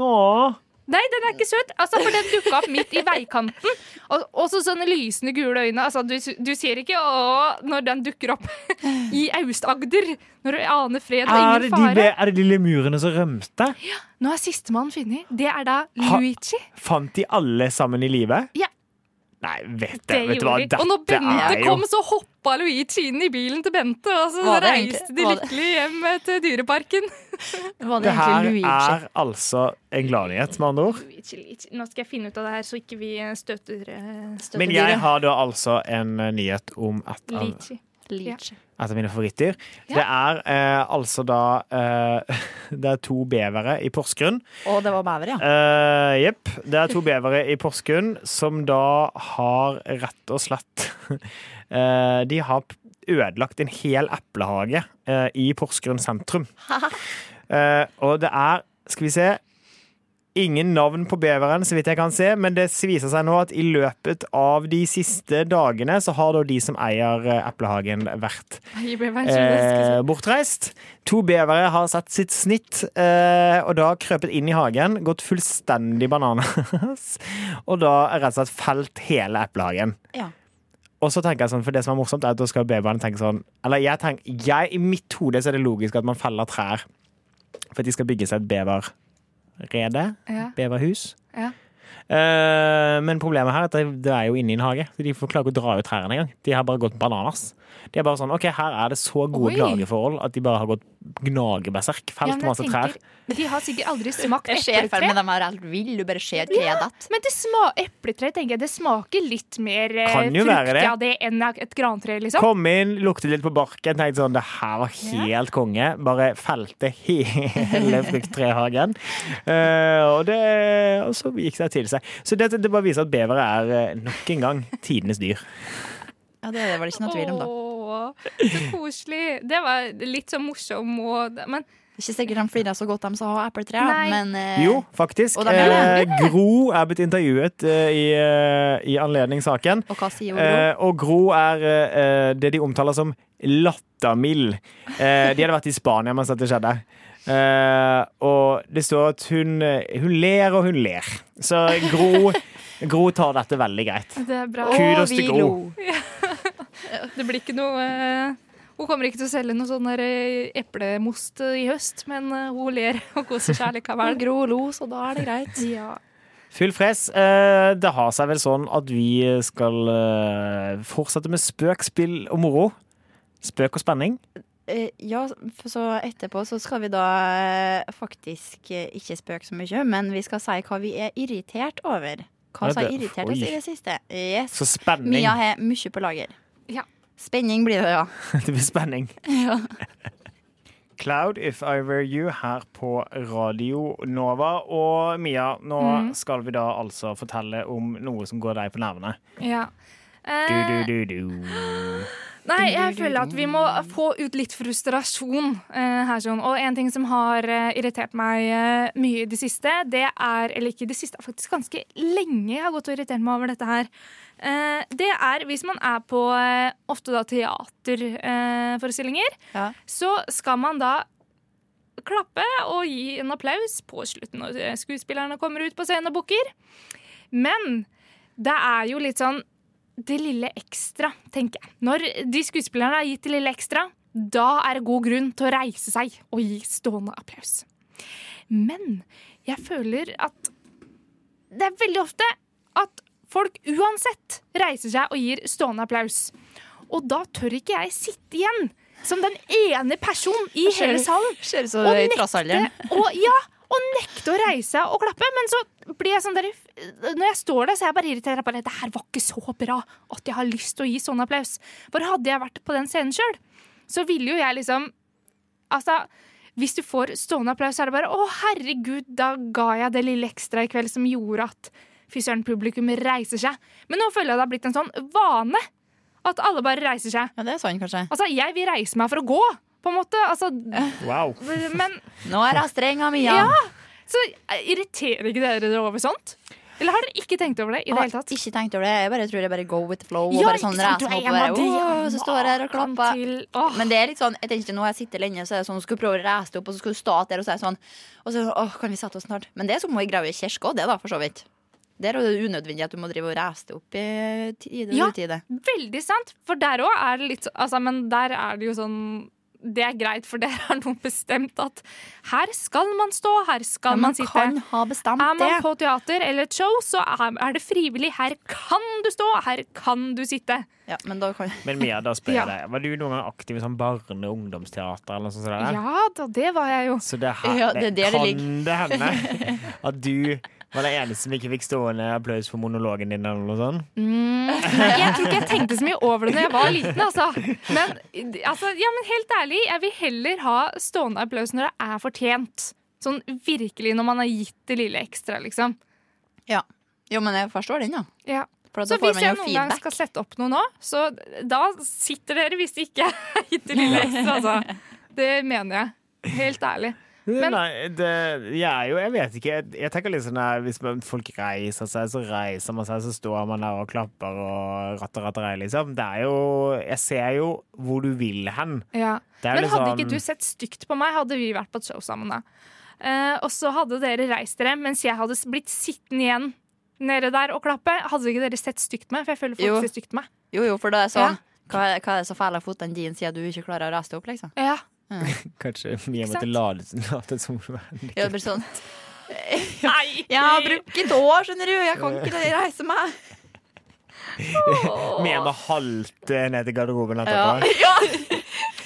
[SPEAKER 1] Åh.
[SPEAKER 2] Nei, den er ikke søt. Altså, for den dukka opp midt i veikanten. Og også sånne lysende gule øyne. Altså, du, du ser ikke å, når den dukker opp i Aust-Agder. Når du aner fred og
[SPEAKER 1] Er, det
[SPEAKER 2] ingen
[SPEAKER 1] de,
[SPEAKER 2] fare.
[SPEAKER 1] er det de lemurene som rømte?
[SPEAKER 2] Nå er sistemann funnet. Det er da
[SPEAKER 1] Ha-
[SPEAKER 2] Luigi.
[SPEAKER 1] Fant de alle sammen i live?
[SPEAKER 2] Ja.
[SPEAKER 1] Nei, vet
[SPEAKER 2] Det
[SPEAKER 1] jeg, vet du hva,
[SPEAKER 2] gjorde de.
[SPEAKER 1] dette
[SPEAKER 2] Og når Bente
[SPEAKER 1] er jo
[SPEAKER 2] kom, så hoppa Luigi inn i bilen til Bente. Og så
[SPEAKER 3] Var det
[SPEAKER 2] reiste
[SPEAKER 3] egentlig-
[SPEAKER 2] de
[SPEAKER 3] var det-
[SPEAKER 2] lykkelig hjem til Dyreparken.
[SPEAKER 3] Var
[SPEAKER 1] Det
[SPEAKER 3] det
[SPEAKER 1] her
[SPEAKER 3] egentlig Luigi?
[SPEAKER 1] er altså en gladnyhet, med andre ord.
[SPEAKER 2] Luigi, Luigi. Nå skal jeg finne ut av det her, så ikke vi eh, støter eh,
[SPEAKER 1] Men jeg har da altså en eh, nyhet om et av,
[SPEAKER 2] Luigi.
[SPEAKER 3] Luigi.
[SPEAKER 1] et av mine favorittdyr. Det er eh, altså da eh, Det er to bevere i Porsgrunn.
[SPEAKER 3] Å, det var bever, ja.
[SPEAKER 1] Eh, Jepp. det er to bevere i Porsgrunn som da har rett og slett eh, De har p- ødelagt en hel eplehage eh, i Porsgrunn sentrum. Eh, og det er, skal vi se Ingen navn på beveren, så vidt jeg kan se, men det viser seg nå at i løpet av de siste dagene så har da de som eier eh, eplehagen, vært
[SPEAKER 2] Nei, jeg ble
[SPEAKER 1] eh, bortreist. To bevere har satt sitt snitt eh, og da krøpet inn i hagen, gått fullstendig bananas og da rett og slett felt hele eplehagen.
[SPEAKER 3] Ja.
[SPEAKER 1] Og så tenker jeg sånn, for det som er morsomt, er at da skal beveren tenke sånn Eller jeg tenker, jeg, i mitt hode så er det logisk at man feller trær for at de skal bygge seg et beverrede, Eh,
[SPEAKER 2] Ja.
[SPEAKER 1] beverhus.
[SPEAKER 2] Ja.
[SPEAKER 1] Eh, men problemet her er at det, det er jo inne i en hage, så de får klare å dra ut trærne engang. De har bare gått bananas. De er bare sånn, ok, Her er det så gode
[SPEAKER 2] Oi.
[SPEAKER 1] gnageforhold at de bare har gått gnageberserk. Felt
[SPEAKER 2] Ja, men jeg
[SPEAKER 1] masse trær.
[SPEAKER 2] tenker, De har sikkert aldri smakt
[SPEAKER 3] Jeg ser for
[SPEAKER 2] epletre.
[SPEAKER 3] meg de er helt ville, du bare ser treet datt.
[SPEAKER 2] Men det sma epletre tenker jeg, det smaker litt mer eh,
[SPEAKER 1] Kan jo være
[SPEAKER 2] frukt
[SPEAKER 1] det.
[SPEAKER 2] av det enn av et grantre. liksom.
[SPEAKER 1] Kom inn, lukte litt på barken, tenkte sånn Det her var helt konge. Bare felte hele frukttrehagen. Eh, og, det, og så gikk det til seg. Så det, det bare viser at bevere er eh, nok en gang tidenes dyr.
[SPEAKER 3] Ja, Det er det vel ikke noe tvil om, da.
[SPEAKER 2] Åh, så koselig. Det var litt sånn morsom og Men
[SPEAKER 3] Det er Ikke sikkert de flirer så godt, de som har epletre.
[SPEAKER 2] Nei.
[SPEAKER 3] Men eh,
[SPEAKER 1] Jo, faktisk.
[SPEAKER 3] og da mener jeg
[SPEAKER 1] Eh, Gro er blitt intervjuet eh, i, eh, i anledning saken.
[SPEAKER 3] Og hva sier Olo?
[SPEAKER 1] Eh, og Gro er eh, eh, det de omtaler som lattermild. Eh, de hadde vært i Spania mens dette skjedde. Eh, og det står at hun, eh, hun ler og hun ler. Så Gro, Gro tar dette veldig greit.
[SPEAKER 2] det er bra.
[SPEAKER 1] Å, kudos til
[SPEAKER 3] vi
[SPEAKER 1] Gro.
[SPEAKER 3] lo.
[SPEAKER 2] Det blir ikke noe eh, Hun kommer ikke til å selge noe sånn der, eh, eplemost eh, i høst, men eh, hun ler og koser seg
[SPEAKER 3] Men
[SPEAKER 2] likevel.
[SPEAKER 3] Gro lo, så da er det greit.
[SPEAKER 2] Ja.
[SPEAKER 1] Full fres. Eh, det har seg vel sånn at vi skal eh, fortsette med spøk, spill og moro. Spøk og spenning.
[SPEAKER 3] Eh, ja, for så etterpå så skal vi da eh, faktisk eh, ikke spøke så mye, men vi skal si hva vi er irritert over.
[SPEAKER 1] Ja,
[SPEAKER 3] Hva som har
[SPEAKER 1] det-
[SPEAKER 3] irritert oss
[SPEAKER 1] oi.
[SPEAKER 3] i det siste. Yes.
[SPEAKER 1] Så spenning.
[SPEAKER 3] Mia har mye på lager.
[SPEAKER 2] Ja.
[SPEAKER 3] Spenning blir det, ja.
[SPEAKER 1] Det blir spenning. Cloud, If I Were You, her på Radio Nova. Og Mia, nå skal vi da altså fortelle om noe som går deg på nervene.
[SPEAKER 2] ja.
[SPEAKER 1] Du,
[SPEAKER 2] Eh,
[SPEAKER 1] du, du, du.
[SPEAKER 2] Nei, jeg føler at vi må få ut litt frustrasjon eh, her. Sånn. Og en ting som har eh, irritert meg eh, mye i det siste, det er Eller ikke i det siste, faktisk ganske lenge jeg har gått og irritert meg over dette her. Eh, det er hvis man er på eh, ofte da teaterforestillinger,
[SPEAKER 3] Ja.
[SPEAKER 2] så skal man da klappe og gi en applaus på slutten når eh, skuespillerne kommer ut på scenen og booker. Men det er jo litt sånn det lille ekstra, tenker jeg. Når de skuespillerne har gitt det lille ekstra, da er det god grunn til å reise seg og gi stående applaus. Men jeg føler at det er veldig ofte at folk uansett reiser seg og gir stående applaus. Og da tør ikke jeg sitte igjen som den ene personen i hele salen
[SPEAKER 3] Ser ut som
[SPEAKER 2] Og
[SPEAKER 3] i
[SPEAKER 2] nekte-
[SPEAKER 3] trassalderen.
[SPEAKER 2] og, ja, og nekte å reise og klappe. Men så blir jeg sånn der Når jeg står der, så er jeg bare irritert. Jeg bare, Det her var ikke så bra at jeg har lyst til å gi sånn applaus. For hadde jeg vært på den scenen sjøl, så ville jo jeg liksom Altså, hvis du får stående applaus, så er det bare Å, herregud, da ga jeg det lille ekstra i kveld som gjorde at Fy søren, publikum reiser seg. Men nå føler jeg det har blitt en sånn vane. At alle bare reiser seg.
[SPEAKER 3] Ja, det er sånn, kanskje.
[SPEAKER 2] Altså, jeg vil reise meg for å gå, på en måte. Altså,
[SPEAKER 1] Wow.
[SPEAKER 2] men
[SPEAKER 3] Nå er jeg streng av Mia.
[SPEAKER 2] eh, Ja. Så irriterer ikke dere dere over sånt? Eller har dere ikke tenkt over det i det hele tatt?
[SPEAKER 3] Ikke tenkt over det. Jeg bare tror jeg bare go with the flow.
[SPEAKER 2] Ja,
[SPEAKER 3] og bare
[SPEAKER 2] ikke
[SPEAKER 3] sånn
[SPEAKER 2] sant? Du
[SPEAKER 3] reiser meg
[SPEAKER 2] er
[SPEAKER 3] opp og bare,
[SPEAKER 2] hjemme, du er
[SPEAKER 3] «Åh», Så står jeg her og
[SPEAKER 2] Kan
[SPEAKER 3] klapper.
[SPEAKER 2] til- Åh.
[SPEAKER 3] Men det er litt sånn, jeg tenker ikke nå har jeg sitter lenge, så er det sånn, du skal prøve å reise deg opp, og så skal du stå der og si sånn Og så åh, kan vi sette oss snart? Men det er som å grave i kirke òg, det, da, for så vidt. Der er det unødvendig at du må drive og reise deg opp i tide og
[SPEAKER 2] Ja.
[SPEAKER 3] utide.
[SPEAKER 2] Veldig sant. For der òg er det litt så- altså, Men der er det jo sånn Det er greit, for der har noen bestemt at her skal man stå, her skal
[SPEAKER 3] Men
[SPEAKER 2] man
[SPEAKER 3] man
[SPEAKER 2] sitte.
[SPEAKER 3] kan ha
[SPEAKER 2] er
[SPEAKER 3] bestemt det.
[SPEAKER 2] man på teater eller et show, så er er det frivillig. Her kan du stå, her kan du sitte.
[SPEAKER 3] Ja, men da kan
[SPEAKER 1] Men Mia, da spør
[SPEAKER 2] Ja.
[SPEAKER 1] jeg deg, var du noen gang aktiv i sånn barne- og ungdomsteater eller noe sånt? sånt der?
[SPEAKER 2] Ja da, det var jeg jo.
[SPEAKER 1] Så det, her,
[SPEAKER 3] Ja, det
[SPEAKER 1] det,
[SPEAKER 3] er der det
[SPEAKER 1] kan det hende at du var den eneste som ikke fikk stående applaus for monologen din eller noe sånt.
[SPEAKER 2] Nei, jeg tror ikke jeg tenkte så mye over det når jeg var liten, altså. Men, altså, ja, men helt ærlig, jeg vil heller ha stående applaus når det er fortjent. Sånn virkelig når man har gitt det lille ekstra, liksom.
[SPEAKER 3] Ja. Jo, men jeg forstår den, ja.
[SPEAKER 2] Ja.
[SPEAKER 3] For
[SPEAKER 2] Så
[SPEAKER 3] da får
[SPEAKER 2] hvis
[SPEAKER 3] man
[SPEAKER 2] jeg
[SPEAKER 3] jo
[SPEAKER 2] noen gang
[SPEAKER 3] feedback.
[SPEAKER 2] skal sette opp noe nå, så da sitter dere hvis det ikke er gitt det lille ekstra, altså. Det mener jeg. Helt ærlig. Men-
[SPEAKER 1] Nei, det, jeg er jo, jeg vet ikke. Jeg, jeg tenker litt sånn her, Hvis man, folk reiser seg, så reiser man seg, så står man der og klapper og ratter, ratter, ei, liksom. Det er jo Jeg ser jo hvor du vil hen.
[SPEAKER 2] Ja.
[SPEAKER 1] Det er
[SPEAKER 2] Men
[SPEAKER 1] litt
[SPEAKER 2] hadde
[SPEAKER 1] sånn-
[SPEAKER 2] ikke du sett stygt på meg, hadde vi vært på et show sammen da. Eh, og så hadde dere reist dere, mens jeg hadde s- blitt sittende igjen nede der og klappe. Hadde ikke dere sett stygt på meg? For jeg føler folk
[SPEAKER 3] Jo.
[SPEAKER 2] ser stygt på meg.
[SPEAKER 3] Jo, jo, for da er det sånn hva, er- hva er det så fæle av føttene dine sier at du ikke klarer å reise deg opp, liksom?
[SPEAKER 2] Ja.
[SPEAKER 1] Kanskje Mia
[SPEAKER 2] sant?
[SPEAKER 1] måtte late late som hun var en
[SPEAKER 3] Ja, det blir sånn
[SPEAKER 2] Nei!
[SPEAKER 3] Jeg har brukt et år, skjønner du. Jeg kan ikke reise meg.
[SPEAKER 1] Mia må halte ned til garderoben
[SPEAKER 3] Ja.
[SPEAKER 1] etterpå.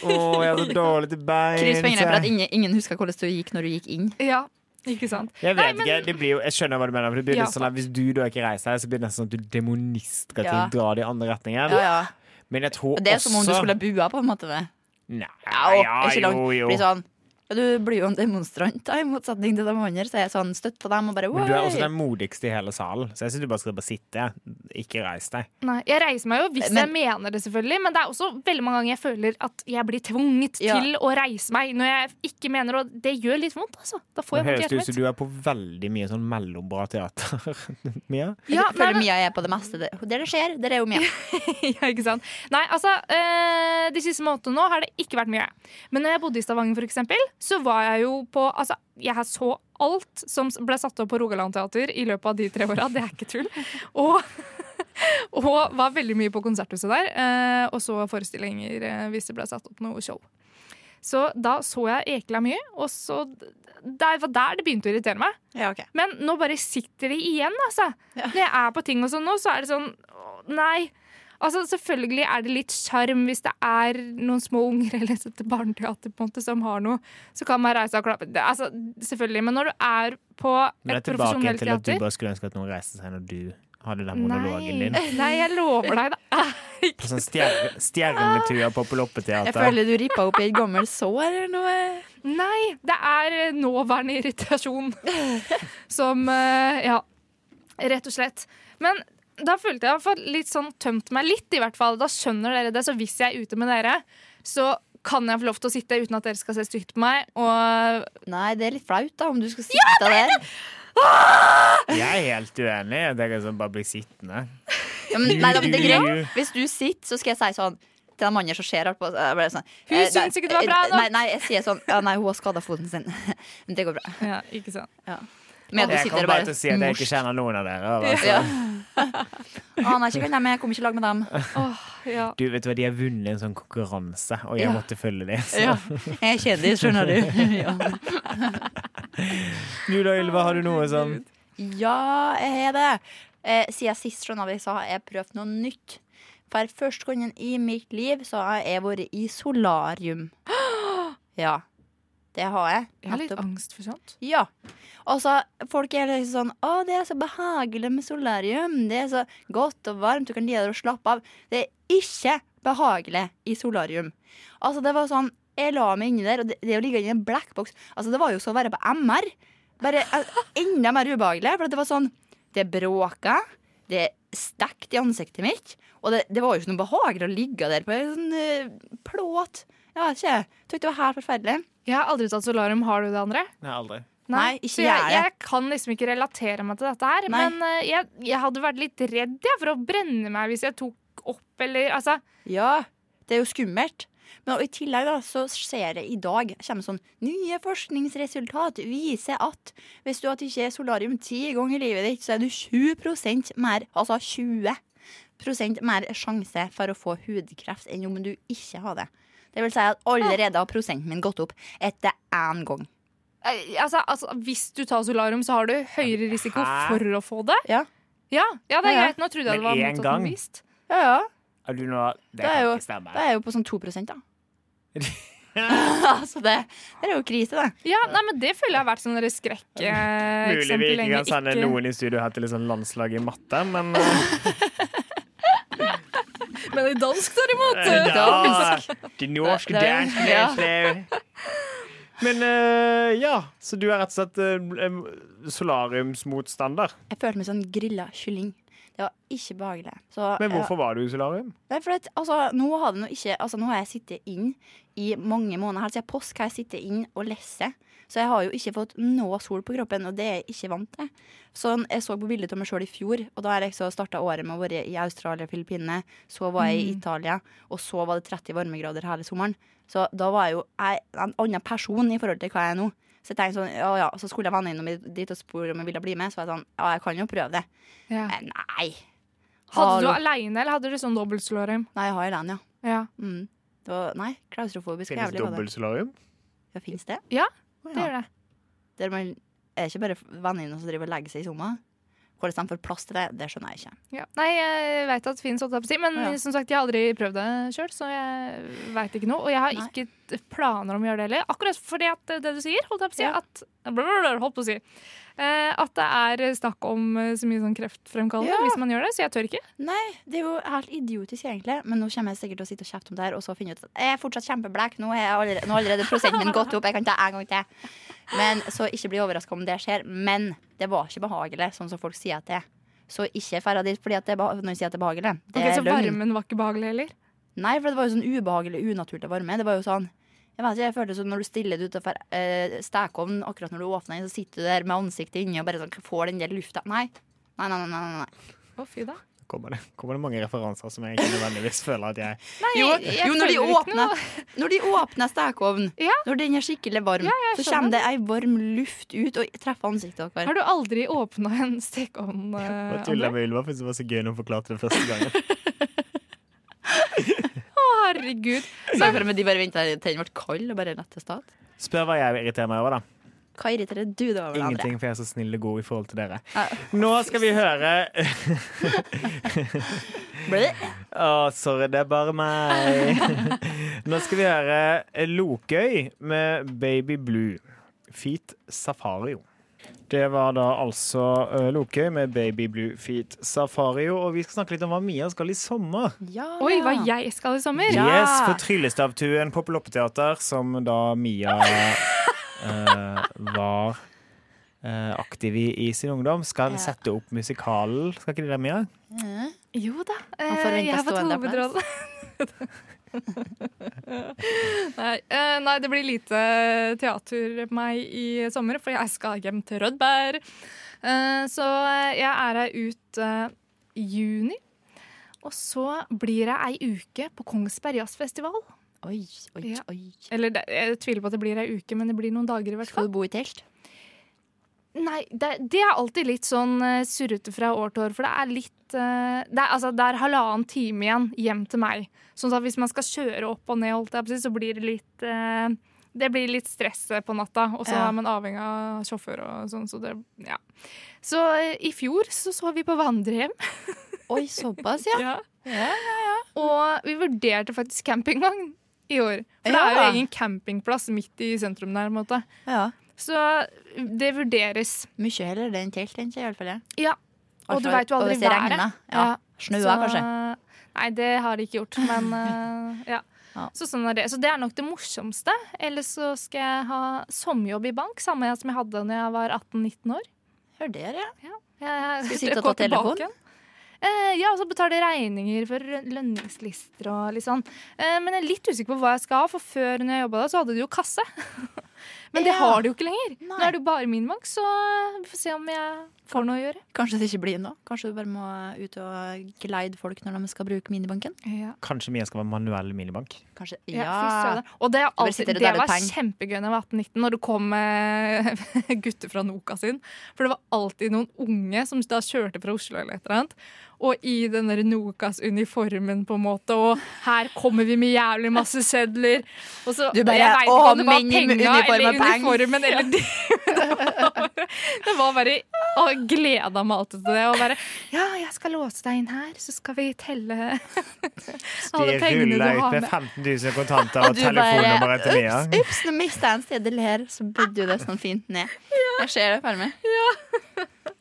[SPEAKER 1] Å, jeg har så dårlig til bein.
[SPEAKER 3] Kryss fingrene
[SPEAKER 1] sier
[SPEAKER 3] for
[SPEAKER 1] jeg.
[SPEAKER 3] at ingen, ingen husker hvordan du gikk når du gikk inn.
[SPEAKER 2] Ja, ikke sant.
[SPEAKER 1] Jeg vet
[SPEAKER 2] Nei, men-
[SPEAKER 1] ikke, det blir jo, jeg skjønner hva du mener. For det blir
[SPEAKER 2] Ja.
[SPEAKER 1] litt sånn at Hvis du da ikke reiser deg, så blir det nesten sånn at du demonistrer til
[SPEAKER 3] Ja.
[SPEAKER 1] å dra det i andre retningen.
[SPEAKER 3] Ja, ja.
[SPEAKER 1] Men jeg tror
[SPEAKER 3] Det er som om du
[SPEAKER 1] også-
[SPEAKER 3] skulle ha bua, på en måte. Det.
[SPEAKER 1] Nei,
[SPEAKER 3] Ja,
[SPEAKER 1] ja,
[SPEAKER 3] ikke langt.
[SPEAKER 1] jo, jo.
[SPEAKER 3] Blir sånn, ja, du blir jo en demonstrant, da, i motsetning til de andre. Så jeg er sånn, støtt på dem og bare
[SPEAKER 1] Men du er også
[SPEAKER 3] «Oi!»
[SPEAKER 1] den modigste i hele salen, så jeg syns du bare skal bare sitte. Ikke reis deg.
[SPEAKER 2] Nei, jeg reiser meg jo hvis
[SPEAKER 3] Men-
[SPEAKER 2] jeg mener det, selvfølgelig. Men det er også veldig mange ganger jeg føler at jeg blir tvunget
[SPEAKER 3] Ja.
[SPEAKER 2] til å reise meg når jeg ikke mener det. Og det gjør litt vondt, altså. Da får
[SPEAKER 1] Det
[SPEAKER 2] jeg
[SPEAKER 1] høres
[SPEAKER 2] vondt i
[SPEAKER 1] ut
[SPEAKER 2] hjertet
[SPEAKER 1] som
[SPEAKER 2] mitt.
[SPEAKER 1] du er på veldig mye sånn mellombra teater, Mia.
[SPEAKER 3] Jeg
[SPEAKER 2] Ja, nei,
[SPEAKER 3] føler
[SPEAKER 2] men-
[SPEAKER 3] Mia er på det meste. Det, der det skjer, der er jo Mia.
[SPEAKER 2] ja, ikke sant? Nei, altså, eh, de siste månedene nå har det ikke vært mye. Men når jeg bodde i Stavanger, for eksempel, så var jeg jo på Altså, jeg så alt som ble satt opp på Rogaland Teater i løpet av de tre åra. Det er ikke tull. Og, og var veldig mye på konserthuset der. eh, og så forestillinger eh, hvis det ble satt opp noe show. Så da så jeg ekla mye, og så Det var der det begynte å irritere meg.
[SPEAKER 3] Ja, ok.
[SPEAKER 2] Men nå bare sitter de igjen, altså. Når jeg er på ting og sånn nå, så er det sånn åh, Nei. Altså, selvfølgelig er det litt sjarm hvis det er noen små unger eller et barneteater på en måte som har noe, så kan man reise og klappe. Det, altså, selvfølgelig. Men når du er på
[SPEAKER 1] Men det
[SPEAKER 2] et
[SPEAKER 1] er tilbake
[SPEAKER 2] profesjonelt
[SPEAKER 1] til at du
[SPEAKER 2] teater
[SPEAKER 1] bare skulle ønske at noen reiste seg når du hadde den monologen
[SPEAKER 2] nei,
[SPEAKER 1] din.
[SPEAKER 2] nei, jeg lover deg, det er
[SPEAKER 1] På sånn stjerne, stjernetur på
[SPEAKER 3] Jeg
[SPEAKER 1] loppeteater.
[SPEAKER 3] føler du rippa opp i et gammelt sår eller noe.
[SPEAKER 2] Nei, det er eh, nåværende irritasjon som eh, Ja, rett og slett. Men da følte jeg i hvert fall litt sånn tømt meg litt, i hvert fall. Da skjønner dere det. Så hvis jeg er ute med dere, så kan jeg få lov til å sitte uten at dere skal se stygt på meg. Og
[SPEAKER 3] Nei, det er litt flaut, da, om du skal sitte der.
[SPEAKER 1] Jeg er helt uenig. Jeg tenker sånn, bare bli sittende.
[SPEAKER 3] Ja, men, nei, da, men det er greit.
[SPEAKER 1] Jo.
[SPEAKER 3] Hvis du sitter, så skal jeg si sånn til de andre som ser rart på oss. Jeg bare sånn,
[SPEAKER 2] Hun
[SPEAKER 3] eh,
[SPEAKER 2] syns
[SPEAKER 3] nei,
[SPEAKER 2] ikke det var bra
[SPEAKER 3] eh,
[SPEAKER 2] nok.
[SPEAKER 3] Nei, nei, jeg sier sånn ja, Nei, hun har skada foten sin. Men det går bra.
[SPEAKER 2] Ja, ikke sant.
[SPEAKER 3] Men at du
[SPEAKER 1] Jeg
[SPEAKER 3] sitter
[SPEAKER 1] kommer
[SPEAKER 3] og
[SPEAKER 1] bare til å si at jeg ikke
[SPEAKER 3] morsk.
[SPEAKER 1] kjenner noen av dere. og bare
[SPEAKER 3] Ja. Å, nei, ikke kan dem. Jeg kommer ikke i lag med dem.
[SPEAKER 2] Ja.
[SPEAKER 1] Du vet du hva, De har vunnet en sånn konkurranse, og jeg
[SPEAKER 3] Ja.
[SPEAKER 1] måtte følge dem. Så.
[SPEAKER 3] Ja. Jeg er kjendis, skjønner du. Ja.
[SPEAKER 1] Du da, Ylva, har du noe som
[SPEAKER 3] ja, jeg er det. Eh, siden sist skjønner vi, så har jeg prøvd noe nytt. For første gangen i mitt liv så har jeg vært i solarium. Ja, det har jeg.
[SPEAKER 2] Jeg har litt
[SPEAKER 3] Nettopp.
[SPEAKER 2] angst for sånt.
[SPEAKER 3] Ja. Og så folk er liksom sånn Å, det er så behagelig med solarium. Det er så godt og varmt, du kan ligge der og slappe av. Det er ikke behagelig i solarium. Altså, det var sånn Jeg la meg inni der, og det, det å ligge i en blackbox Altså, det var jo så å være på MR. Bare eh, enda mer ubehagelig, for at det var sånn Det bråka, det stekte i ansiktet mitt, og det, det var jo ikke noe behagelig å ligge der på en sånn eh, plåt. Jeg vet ikke. Jeg syntes det var helt forferdelig.
[SPEAKER 2] Jeg har aldri tatt solarium. Har du det, André?
[SPEAKER 1] Nei, aldri.
[SPEAKER 3] Nei, ikke
[SPEAKER 2] så jeg,
[SPEAKER 3] jeg.
[SPEAKER 2] jeg kan liksom ikke relatere meg til dette her.
[SPEAKER 3] Nei.
[SPEAKER 2] Men eh, jeg, jeg hadde vært litt redd jeg, for å brenne meg hvis jeg tok opp eller altså,
[SPEAKER 3] Ja, det er jo skummelt. Men i tillegg da, så ser jeg i dag kommer sånn Nye forskningsresultat viser at hvis du at ikke er solarium ti ganger i livet ditt, så er du 20 mer, altså 20 mer sjanse for å få hudkreft enn om du ikke har det. Det vil si at allerede har prosenten min gått opp etter én gang.
[SPEAKER 2] eh, altså, altså Hvis du tar solarium, så har du høyere risiko
[SPEAKER 1] Hæ?
[SPEAKER 2] for å få det.
[SPEAKER 3] Ja.
[SPEAKER 2] Ja, ja det er
[SPEAKER 3] Ja, ja.
[SPEAKER 2] greit. Nå trodde jeg
[SPEAKER 1] Men
[SPEAKER 2] det var
[SPEAKER 1] én
[SPEAKER 2] motsatt
[SPEAKER 1] gang.
[SPEAKER 2] bevist.
[SPEAKER 3] Ja, ja.
[SPEAKER 1] Er du nå Det
[SPEAKER 3] er
[SPEAKER 1] kan
[SPEAKER 3] jo-
[SPEAKER 1] ikke stemme.
[SPEAKER 3] Da er jeg jo på sånn 2 da. altså, det, det er jo krise, det.
[SPEAKER 2] Ja, nei, men Det føler jeg har vært sånn
[SPEAKER 1] Mulig vi
[SPEAKER 2] skrekkeksempel
[SPEAKER 1] ikke
[SPEAKER 2] lenge.
[SPEAKER 1] kan sende
[SPEAKER 2] Ikke,
[SPEAKER 1] noen i studio her til liksom landslag i matte, men eh,
[SPEAKER 2] men i dansk, derimot!
[SPEAKER 1] Eh. ja, De norske
[SPEAKER 3] Det- det er-
[SPEAKER 1] danske landslag. Men eh, ja, så du er rett og slett eh, em, solariumsmotstander.
[SPEAKER 3] Jeg følte meg som en grilla kylling. Det var ikke behagelig. Så,
[SPEAKER 1] Men hvorfor var du i solarium?
[SPEAKER 3] Nei, for at, altså, nå, har det nå ikke, altså, nå har jeg sittet inn i mange måneder. Helt siden påske har jeg sittet inn og lesse. Så jeg har jo ikke fått noe sol på kroppen, og det er jeg ikke vant til. Sånn, jeg så på bildet av meg sjøl i fjor, og da har jeg så starta året med å være i Australia og Filippinene. Så var jeg i Italia, og så var det 30 varmegrader hele sommeren. Så da var jeg jo jeg, en annen person i forhold til hva jeg er nå. Så jeg tenkte sånn, ja, ja, så skulle jeg vende innom dit og spørre om jeg ville bli med. Så var jeg sånn, ja, jeg kan jo prøve det.
[SPEAKER 2] Ja.
[SPEAKER 3] Men nei.
[SPEAKER 2] Hadde du
[SPEAKER 3] Hallo.
[SPEAKER 2] aleine, eller hadde du sånn dobbeltsolarium?
[SPEAKER 3] Nei, jeg har jo den, ja.
[SPEAKER 2] Ja.
[SPEAKER 3] Mm. Det var, nei, klaustrofobisk er
[SPEAKER 1] Finnes
[SPEAKER 3] jævlig. var det.
[SPEAKER 1] dobbeltsolarium?
[SPEAKER 3] Ja, finnes det?
[SPEAKER 2] Ja,
[SPEAKER 3] Å,
[SPEAKER 2] Det gjør det.
[SPEAKER 3] Der man er ikke bare venninner som driver og legger seg i sommer. Hvordan de får plass til det, det skjønner jeg ikke.
[SPEAKER 2] Ja. Nei, jeg veit at det finnes, holdt jeg på å si, men
[SPEAKER 3] Ja.
[SPEAKER 2] som sagt, jeg har aldri prøvd det sjøl, så jeg veit ikke noe. Og jeg har
[SPEAKER 3] Nei.
[SPEAKER 2] ikke t- planer om å gjøre det heller. Akkurat fordi at det du sier, holdt jeg på å si,
[SPEAKER 3] Ja.
[SPEAKER 2] at, blablabla, holdt på å si eh, at det er snakk om eh, så mye sånn kreftfremkallende
[SPEAKER 3] Ja.
[SPEAKER 2] hvis man gjør det, så jeg tør ikke.
[SPEAKER 3] Det er jo helt idiotisk, egentlig, men nå kommer jeg sikkert til å sitte og kjefte om det her, og så finne ut at jeg er fortsatt kjempeblek, nå er jeg allerede, nå har allerede prosenten min gått opp, jeg kan ta en gang til. Men Så ikke bli overraska om det skjer. Men det var ikke behagelig, sånn som folk sier at det er. Så ikke dra dit fordi at det er beha- når de sier at det er behagelig. Det
[SPEAKER 2] Ok,
[SPEAKER 3] er
[SPEAKER 2] så
[SPEAKER 3] løgn.
[SPEAKER 2] varmen var ikke behagelig heller.
[SPEAKER 3] Nei, for det var jo sånn ubehagelig, unaturlig varme. Det var jo sånn jeg vet ikke, jeg følte sånn Når du stiller deg utenfor eh, stekeovnen, akkurat når du åpner den, så sitter du der med ansiktet inni og bare sånn får den der lufta. Nei. Nei, nei, nei. nei, nei, nei.
[SPEAKER 2] Å, fy da.
[SPEAKER 1] Kommer det, kommer det mange referanser som jeg ikke nødvendigvis føler at jeg
[SPEAKER 3] Jo,
[SPEAKER 2] jeg
[SPEAKER 3] jo, når de
[SPEAKER 2] føler ikke
[SPEAKER 3] åpner, når de åpner stekeovnen,
[SPEAKER 2] Ja.
[SPEAKER 3] når den er skikkelig varm, så
[SPEAKER 2] skjønner.
[SPEAKER 3] kommer det ei varm luft ut og treffer ansiktet vårt.
[SPEAKER 2] Har du aldri åpna en stekeovn? eh,
[SPEAKER 1] Jeg
[SPEAKER 2] André?
[SPEAKER 1] tulla med Ylva, for det var så gøy når hun forklarte det første gangen.
[SPEAKER 2] Å, herregud.
[SPEAKER 3] Så jeg føler meg de bare venter til den ble kald og bare rett til start.
[SPEAKER 1] Spør hva jeg irriterer meg over, da.
[SPEAKER 3] Hva irriterer du deg over, André?
[SPEAKER 1] Ingenting, for jeg er så snill og god i forhold til dere.
[SPEAKER 3] Ja.
[SPEAKER 1] Nå skal vi høre
[SPEAKER 3] Bleh.
[SPEAKER 1] Å, sorry, det er bare meg. Nå skal vi høre Lokøy med Baby Blue. Feet Safario. Det var da altså eh, Lokøy med Baby Blue Feet Safario. Og vi skal snakke litt om hva Mia skal i sommer.
[SPEAKER 3] Ja,
[SPEAKER 2] Oi, hva jeg skal i sommer?
[SPEAKER 3] Ja.
[SPEAKER 1] Yes, for Tryllestavtuen på Ploppeteater, som da Mia eh, var eh, aktiv i i sin ungdom, skal
[SPEAKER 3] Ja.
[SPEAKER 1] sette opp musikalen. Skal ikke de det, Mia?
[SPEAKER 3] Ja.
[SPEAKER 2] Jo da.
[SPEAKER 3] Han får
[SPEAKER 2] eh, jeg har fått
[SPEAKER 3] stående applaus.
[SPEAKER 2] hovedrollen. nei, eh, nei, det blir lite teater på meg i sommer, for jeg skal hjem til Rødberg. Eh, Så eh, jeg er her ut eh, i juni. Og så blir jeg ei uke på Kongsberg Jazzfestival.
[SPEAKER 3] Oi, oi,
[SPEAKER 2] Ja.
[SPEAKER 3] oi.
[SPEAKER 2] Eller det- jeg tviler på at det blir ei uke, men det blir noen dager i hvert
[SPEAKER 3] Skal
[SPEAKER 2] fall.
[SPEAKER 3] du bo i telt?
[SPEAKER 2] Nei, det, det er alltid litt sånn eh, surrete fra år til år, for det er litt eh, det er, altså, det er halvannen time igjen hjem til meg. Sånn at hvis man skal kjøre opp og ned, holdt jeg på å si, så blir det litt eh, Det blir litt stress eh, på natta, og så
[SPEAKER 3] Ja.
[SPEAKER 2] er man avhengig av sjåfør og sånn, så det Ja. Så eh, i fjor så så vi på vandrehjem.
[SPEAKER 3] Oi, såpass, ja.
[SPEAKER 2] Ja.
[SPEAKER 3] Ja,
[SPEAKER 2] Og vi vurderte faktisk campingvogn i år. For det er jo
[SPEAKER 3] Ja.
[SPEAKER 2] egen campingplass midt i sentrum der, på en måte.
[SPEAKER 3] ja.
[SPEAKER 2] Så eh, det vurderes.
[SPEAKER 3] Mye heller det enn telt, tenker jeg iallfall.
[SPEAKER 2] Ja. Og du veit jo aldri været.
[SPEAKER 3] Ja.
[SPEAKER 2] Ja.
[SPEAKER 3] Snøa,
[SPEAKER 2] Så-
[SPEAKER 3] kanskje.
[SPEAKER 2] Nei, det har det ikke gjort, men eh, ja.
[SPEAKER 3] Ja.
[SPEAKER 2] Så sånn er det. Så det er nok det morsomste. Ellers så skal jeg ha sommerjobb i bank, samme som jeg hadde når jeg var 18-19 år.
[SPEAKER 3] Hør der, ja.
[SPEAKER 2] Jeg,
[SPEAKER 3] Skal du sitte og
[SPEAKER 2] gå
[SPEAKER 3] ta telefon?
[SPEAKER 2] tilbake. Eh, ja, og så betale regninger for lønningslister og litt sånn. Eh, men jeg er litt usikker på hva jeg skal ha, for før når jeg jobba der, så hadde de jo kasse. Men det
[SPEAKER 3] Ja.
[SPEAKER 2] har det jo ikke lenger. Nå
[SPEAKER 3] Nei.
[SPEAKER 2] er det jo bare min maks, så vi får se om jeg får noe å gjøre.
[SPEAKER 3] Kanskje det ikke blir noe. Kanskje du bare må ut og glide folk når de skal bruke minibanken.
[SPEAKER 2] Ja,
[SPEAKER 1] Kanskje vi skal være manuell minibank.
[SPEAKER 3] Kanskje,
[SPEAKER 2] ja.
[SPEAKER 3] ja.
[SPEAKER 2] fy søren. Og det, er
[SPEAKER 3] bare
[SPEAKER 2] alltid,
[SPEAKER 3] sitter og
[SPEAKER 2] det
[SPEAKER 3] deler
[SPEAKER 2] var
[SPEAKER 3] peng.
[SPEAKER 2] kjempegøy da jeg var 18-19, når det kom eh, gutter fra Noka sin. For det var alltid noen unge som da kjørte fra Oslo eller et eller annet. Og i den der Nokas-uniformen, på en måte. Og her kommer vi med jævlig masse sedler. Og så,
[SPEAKER 3] Du bare,
[SPEAKER 2] jeg vet ikke
[SPEAKER 3] «Åh,
[SPEAKER 2] om det var
[SPEAKER 3] menn i
[SPEAKER 2] penga
[SPEAKER 3] uniform
[SPEAKER 2] eller
[SPEAKER 3] og peng».
[SPEAKER 2] uniformen eller det. Det var bare Å, jeg gleda meg alltid til det. Og bare Ja, jeg skal låse deg inn her, så skal vi telle
[SPEAKER 1] De
[SPEAKER 2] alle pengene du
[SPEAKER 1] ruller ut
[SPEAKER 2] har
[SPEAKER 1] med
[SPEAKER 2] med.
[SPEAKER 1] 15 000 kontanter og
[SPEAKER 3] Du bare,
[SPEAKER 1] telefonnummeret til Mia.
[SPEAKER 3] ups, ups, nå mista jeg en sted her, så bødde jo det sånn fint ned. Jeg ser det for meg.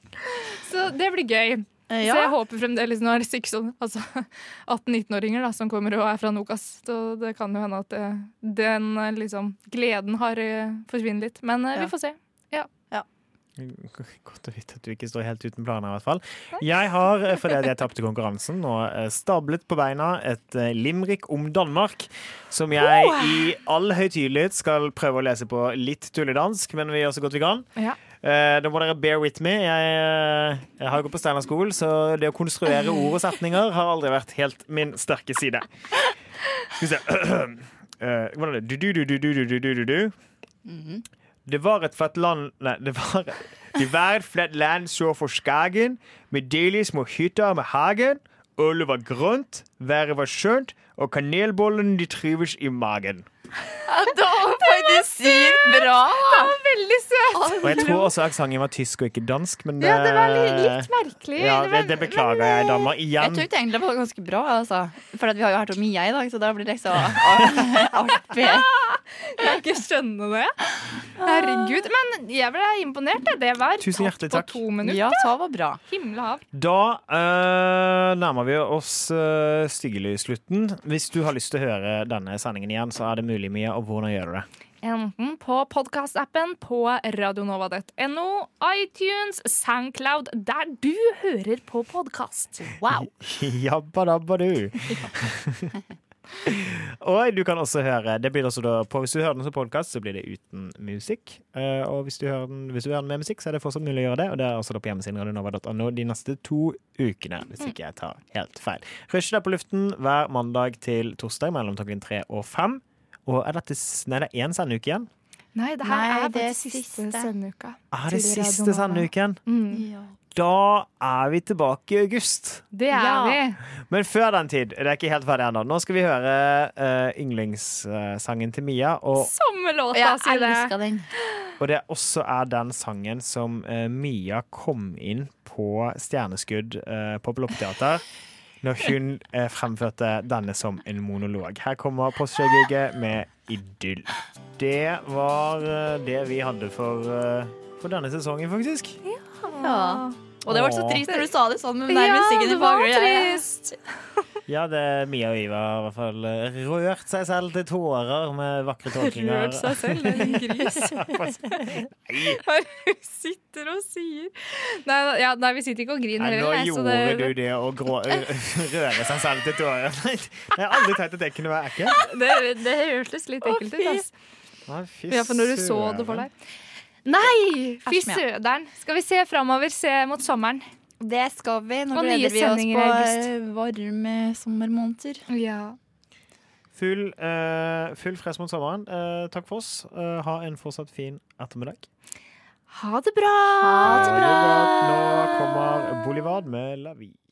[SPEAKER 2] Så det blir gøy.
[SPEAKER 3] Eh,
[SPEAKER 2] Så jeg
[SPEAKER 3] Ja.
[SPEAKER 2] håper fremdeles Nå er det ikke sånn altså, 18-19-åringer da, som kommer og er fra Nokas. Så det kan jo hende at eh, den eh, liksom, gleden har eh, forsvinner litt. Men eh,
[SPEAKER 3] Ja.
[SPEAKER 2] vi får se.
[SPEAKER 1] Godt å vite at du ikke står helt uten planer, i hvert fall. Jeg har, eh, fordi at jeg tapte konkurransen, nå eh, stablet på beina et eh, limerick om Danmark, som jeg i all høytidelighet skal prøve å lese på litt tulledansk, men vi gjør så godt vi kan.
[SPEAKER 2] Ja.
[SPEAKER 1] Eh, da må dere bear with me. Jeg, eh, jeg har gått på Steinar skole, så det å konstruere ord og setninger har aldri vært helt min sterke side. Skal vi se Eh, Hvordan er det? Du, du, du, du, du, du, du, du, du. Det var et flott land Nei, det var, det var et flott land sør for Skagen, med deilige små hytter med hagen. Ølet var grønt, været var skjønt, og kanelbollene de trives i magen.
[SPEAKER 3] Det var faktisk sykt bra!
[SPEAKER 2] Veldig søt!
[SPEAKER 1] Og jeg tror også aksenten var tysk og ikke dansk, men
[SPEAKER 2] Ja, det var litt, litt merkelig.
[SPEAKER 1] Ja,
[SPEAKER 2] var-
[SPEAKER 1] det, det beklager jeg, damer.
[SPEAKER 3] Jeg
[SPEAKER 1] Igjen.
[SPEAKER 3] tror ikke egentlig det var ganske bra, altså. For at vi har jo hørt om Mia i dag, så da blir det liksom artig.
[SPEAKER 2] Jeg kan ikke skjønne det. Herregud. Men jeg ble imponert. jeg. Det var
[SPEAKER 1] Tusen hjertelig
[SPEAKER 2] tatt
[SPEAKER 1] takk.
[SPEAKER 2] på to minutter.
[SPEAKER 3] Ja, så var bra.
[SPEAKER 2] Himla hav.
[SPEAKER 1] Da eh, nærmer vi oss uh, styggelig slutten. Hvis du har lyst til å høre denne sendingen igjen, så er det mulig, Mia. Og hvordan gjør du det?
[SPEAKER 2] Enten på podkastappen på radionova.no, iTunes, Soundcloud, der du hører på podkast. Wow.
[SPEAKER 1] Jabba dabba du. og du kan også høre det blir det også da på, Hvis du hører den som podkast, så blir det uten musikk. Eh, og hvis du, hører den, hvis du hører den med musikk, så er det fortsatt mulig å gjøre det. Og det er også da på hjemmesiden radionova.no de neste to ukene, hvis ikke jeg tar helt feil. Rush deg på luften hver mandag til torsdag mellom klokken tre og fem. Og er dette s- Nei, det er én sendeuke igjen.
[SPEAKER 2] Nei, det her
[SPEAKER 3] Nei,
[SPEAKER 2] er
[SPEAKER 3] det er
[SPEAKER 2] faktisk siste
[SPEAKER 3] siste.
[SPEAKER 2] sendeuka.
[SPEAKER 1] Er det
[SPEAKER 2] til Radio
[SPEAKER 1] siste
[SPEAKER 2] Nova.
[SPEAKER 1] sendeuken?
[SPEAKER 2] Mm,
[SPEAKER 1] Da er vi tilbake i august.
[SPEAKER 2] det er
[SPEAKER 3] Ja.
[SPEAKER 2] vi.
[SPEAKER 1] Men før den tid, det er ikke helt ferdig ennå. Nå skal vi høre eh, yndlingssangen til Mia. Og,
[SPEAKER 2] Samme
[SPEAKER 3] Og
[SPEAKER 2] låta,
[SPEAKER 3] jeg
[SPEAKER 2] si det.
[SPEAKER 3] elska den.
[SPEAKER 1] og det også er den sangen som eh, Mia kom inn på Stjerneskudd eh, på Blokkteater når hun eh, fremførte denne som en monolog. Her kommer Postgirget med Idyll. Det var eh, det vi hadde for, eh, for denne sesongen, faktisk.
[SPEAKER 3] Ja. Og det var så
[SPEAKER 1] Åh.
[SPEAKER 3] trist når du sa det sånn med den der
[SPEAKER 2] Ja,
[SPEAKER 3] musikken
[SPEAKER 2] det
[SPEAKER 3] i
[SPEAKER 2] var
[SPEAKER 3] bakgrunnen. Ja, ja.
[SPEAKER 2] trist.
[SPEAKER 1] Ja, det, Mia og Iva har i hvert fall eh, rørt seg selv til tårer med vakre tolkninger.
[SPEAKER 2] Rørt seg selv, en gris. Hun sitter og sier Nei, ja, nei vi sitter ikke og griner
[SPEAKER 1] Nei, nå
[SPEAKER 2] heller. jeg, så
[SPEAKER 1] gjorde du det å grå, røre seg selv til tårer. Nei, Jeg har aldri tenkt at det kunne være ekkelt.
[SPEAKER 2] det, det, det hørtes litt ekkelt ut. ass.
[SPEAKER 1] Nei, fy
[SPEAKER 2] Ja, for når du så det for
[SPEAKER 1] søren.
[SPEAKER 2] deg. Nei! Fy
[SPEAKER 3] Æsj, Mia.
[SPEAKER 2] søderen. Skal vi se framover, se mot sommeren.
[SPEAKER 3] Det skal vi. Nå
[SPEAKER 2] Og nye
[SPEAKER 3] gleder vi oss
[SPEAKER 2] sendinger i
[SPEAKER 3] på
[SPEAKER 2] august.
[SPEAKER 3] eh, varme sommermåneder.
[SPEAKER 2] Ja.
[SPEAKER 1] Full, eh, full fres mot sommeren. Eh, takk for oss. Eh, ha en fortsatt fin ettermiddag.
[SPEAKER 2] Ha det bra!
[SPEAKER 1] Ha det godt. Nå kommer Bolivar med La Vie.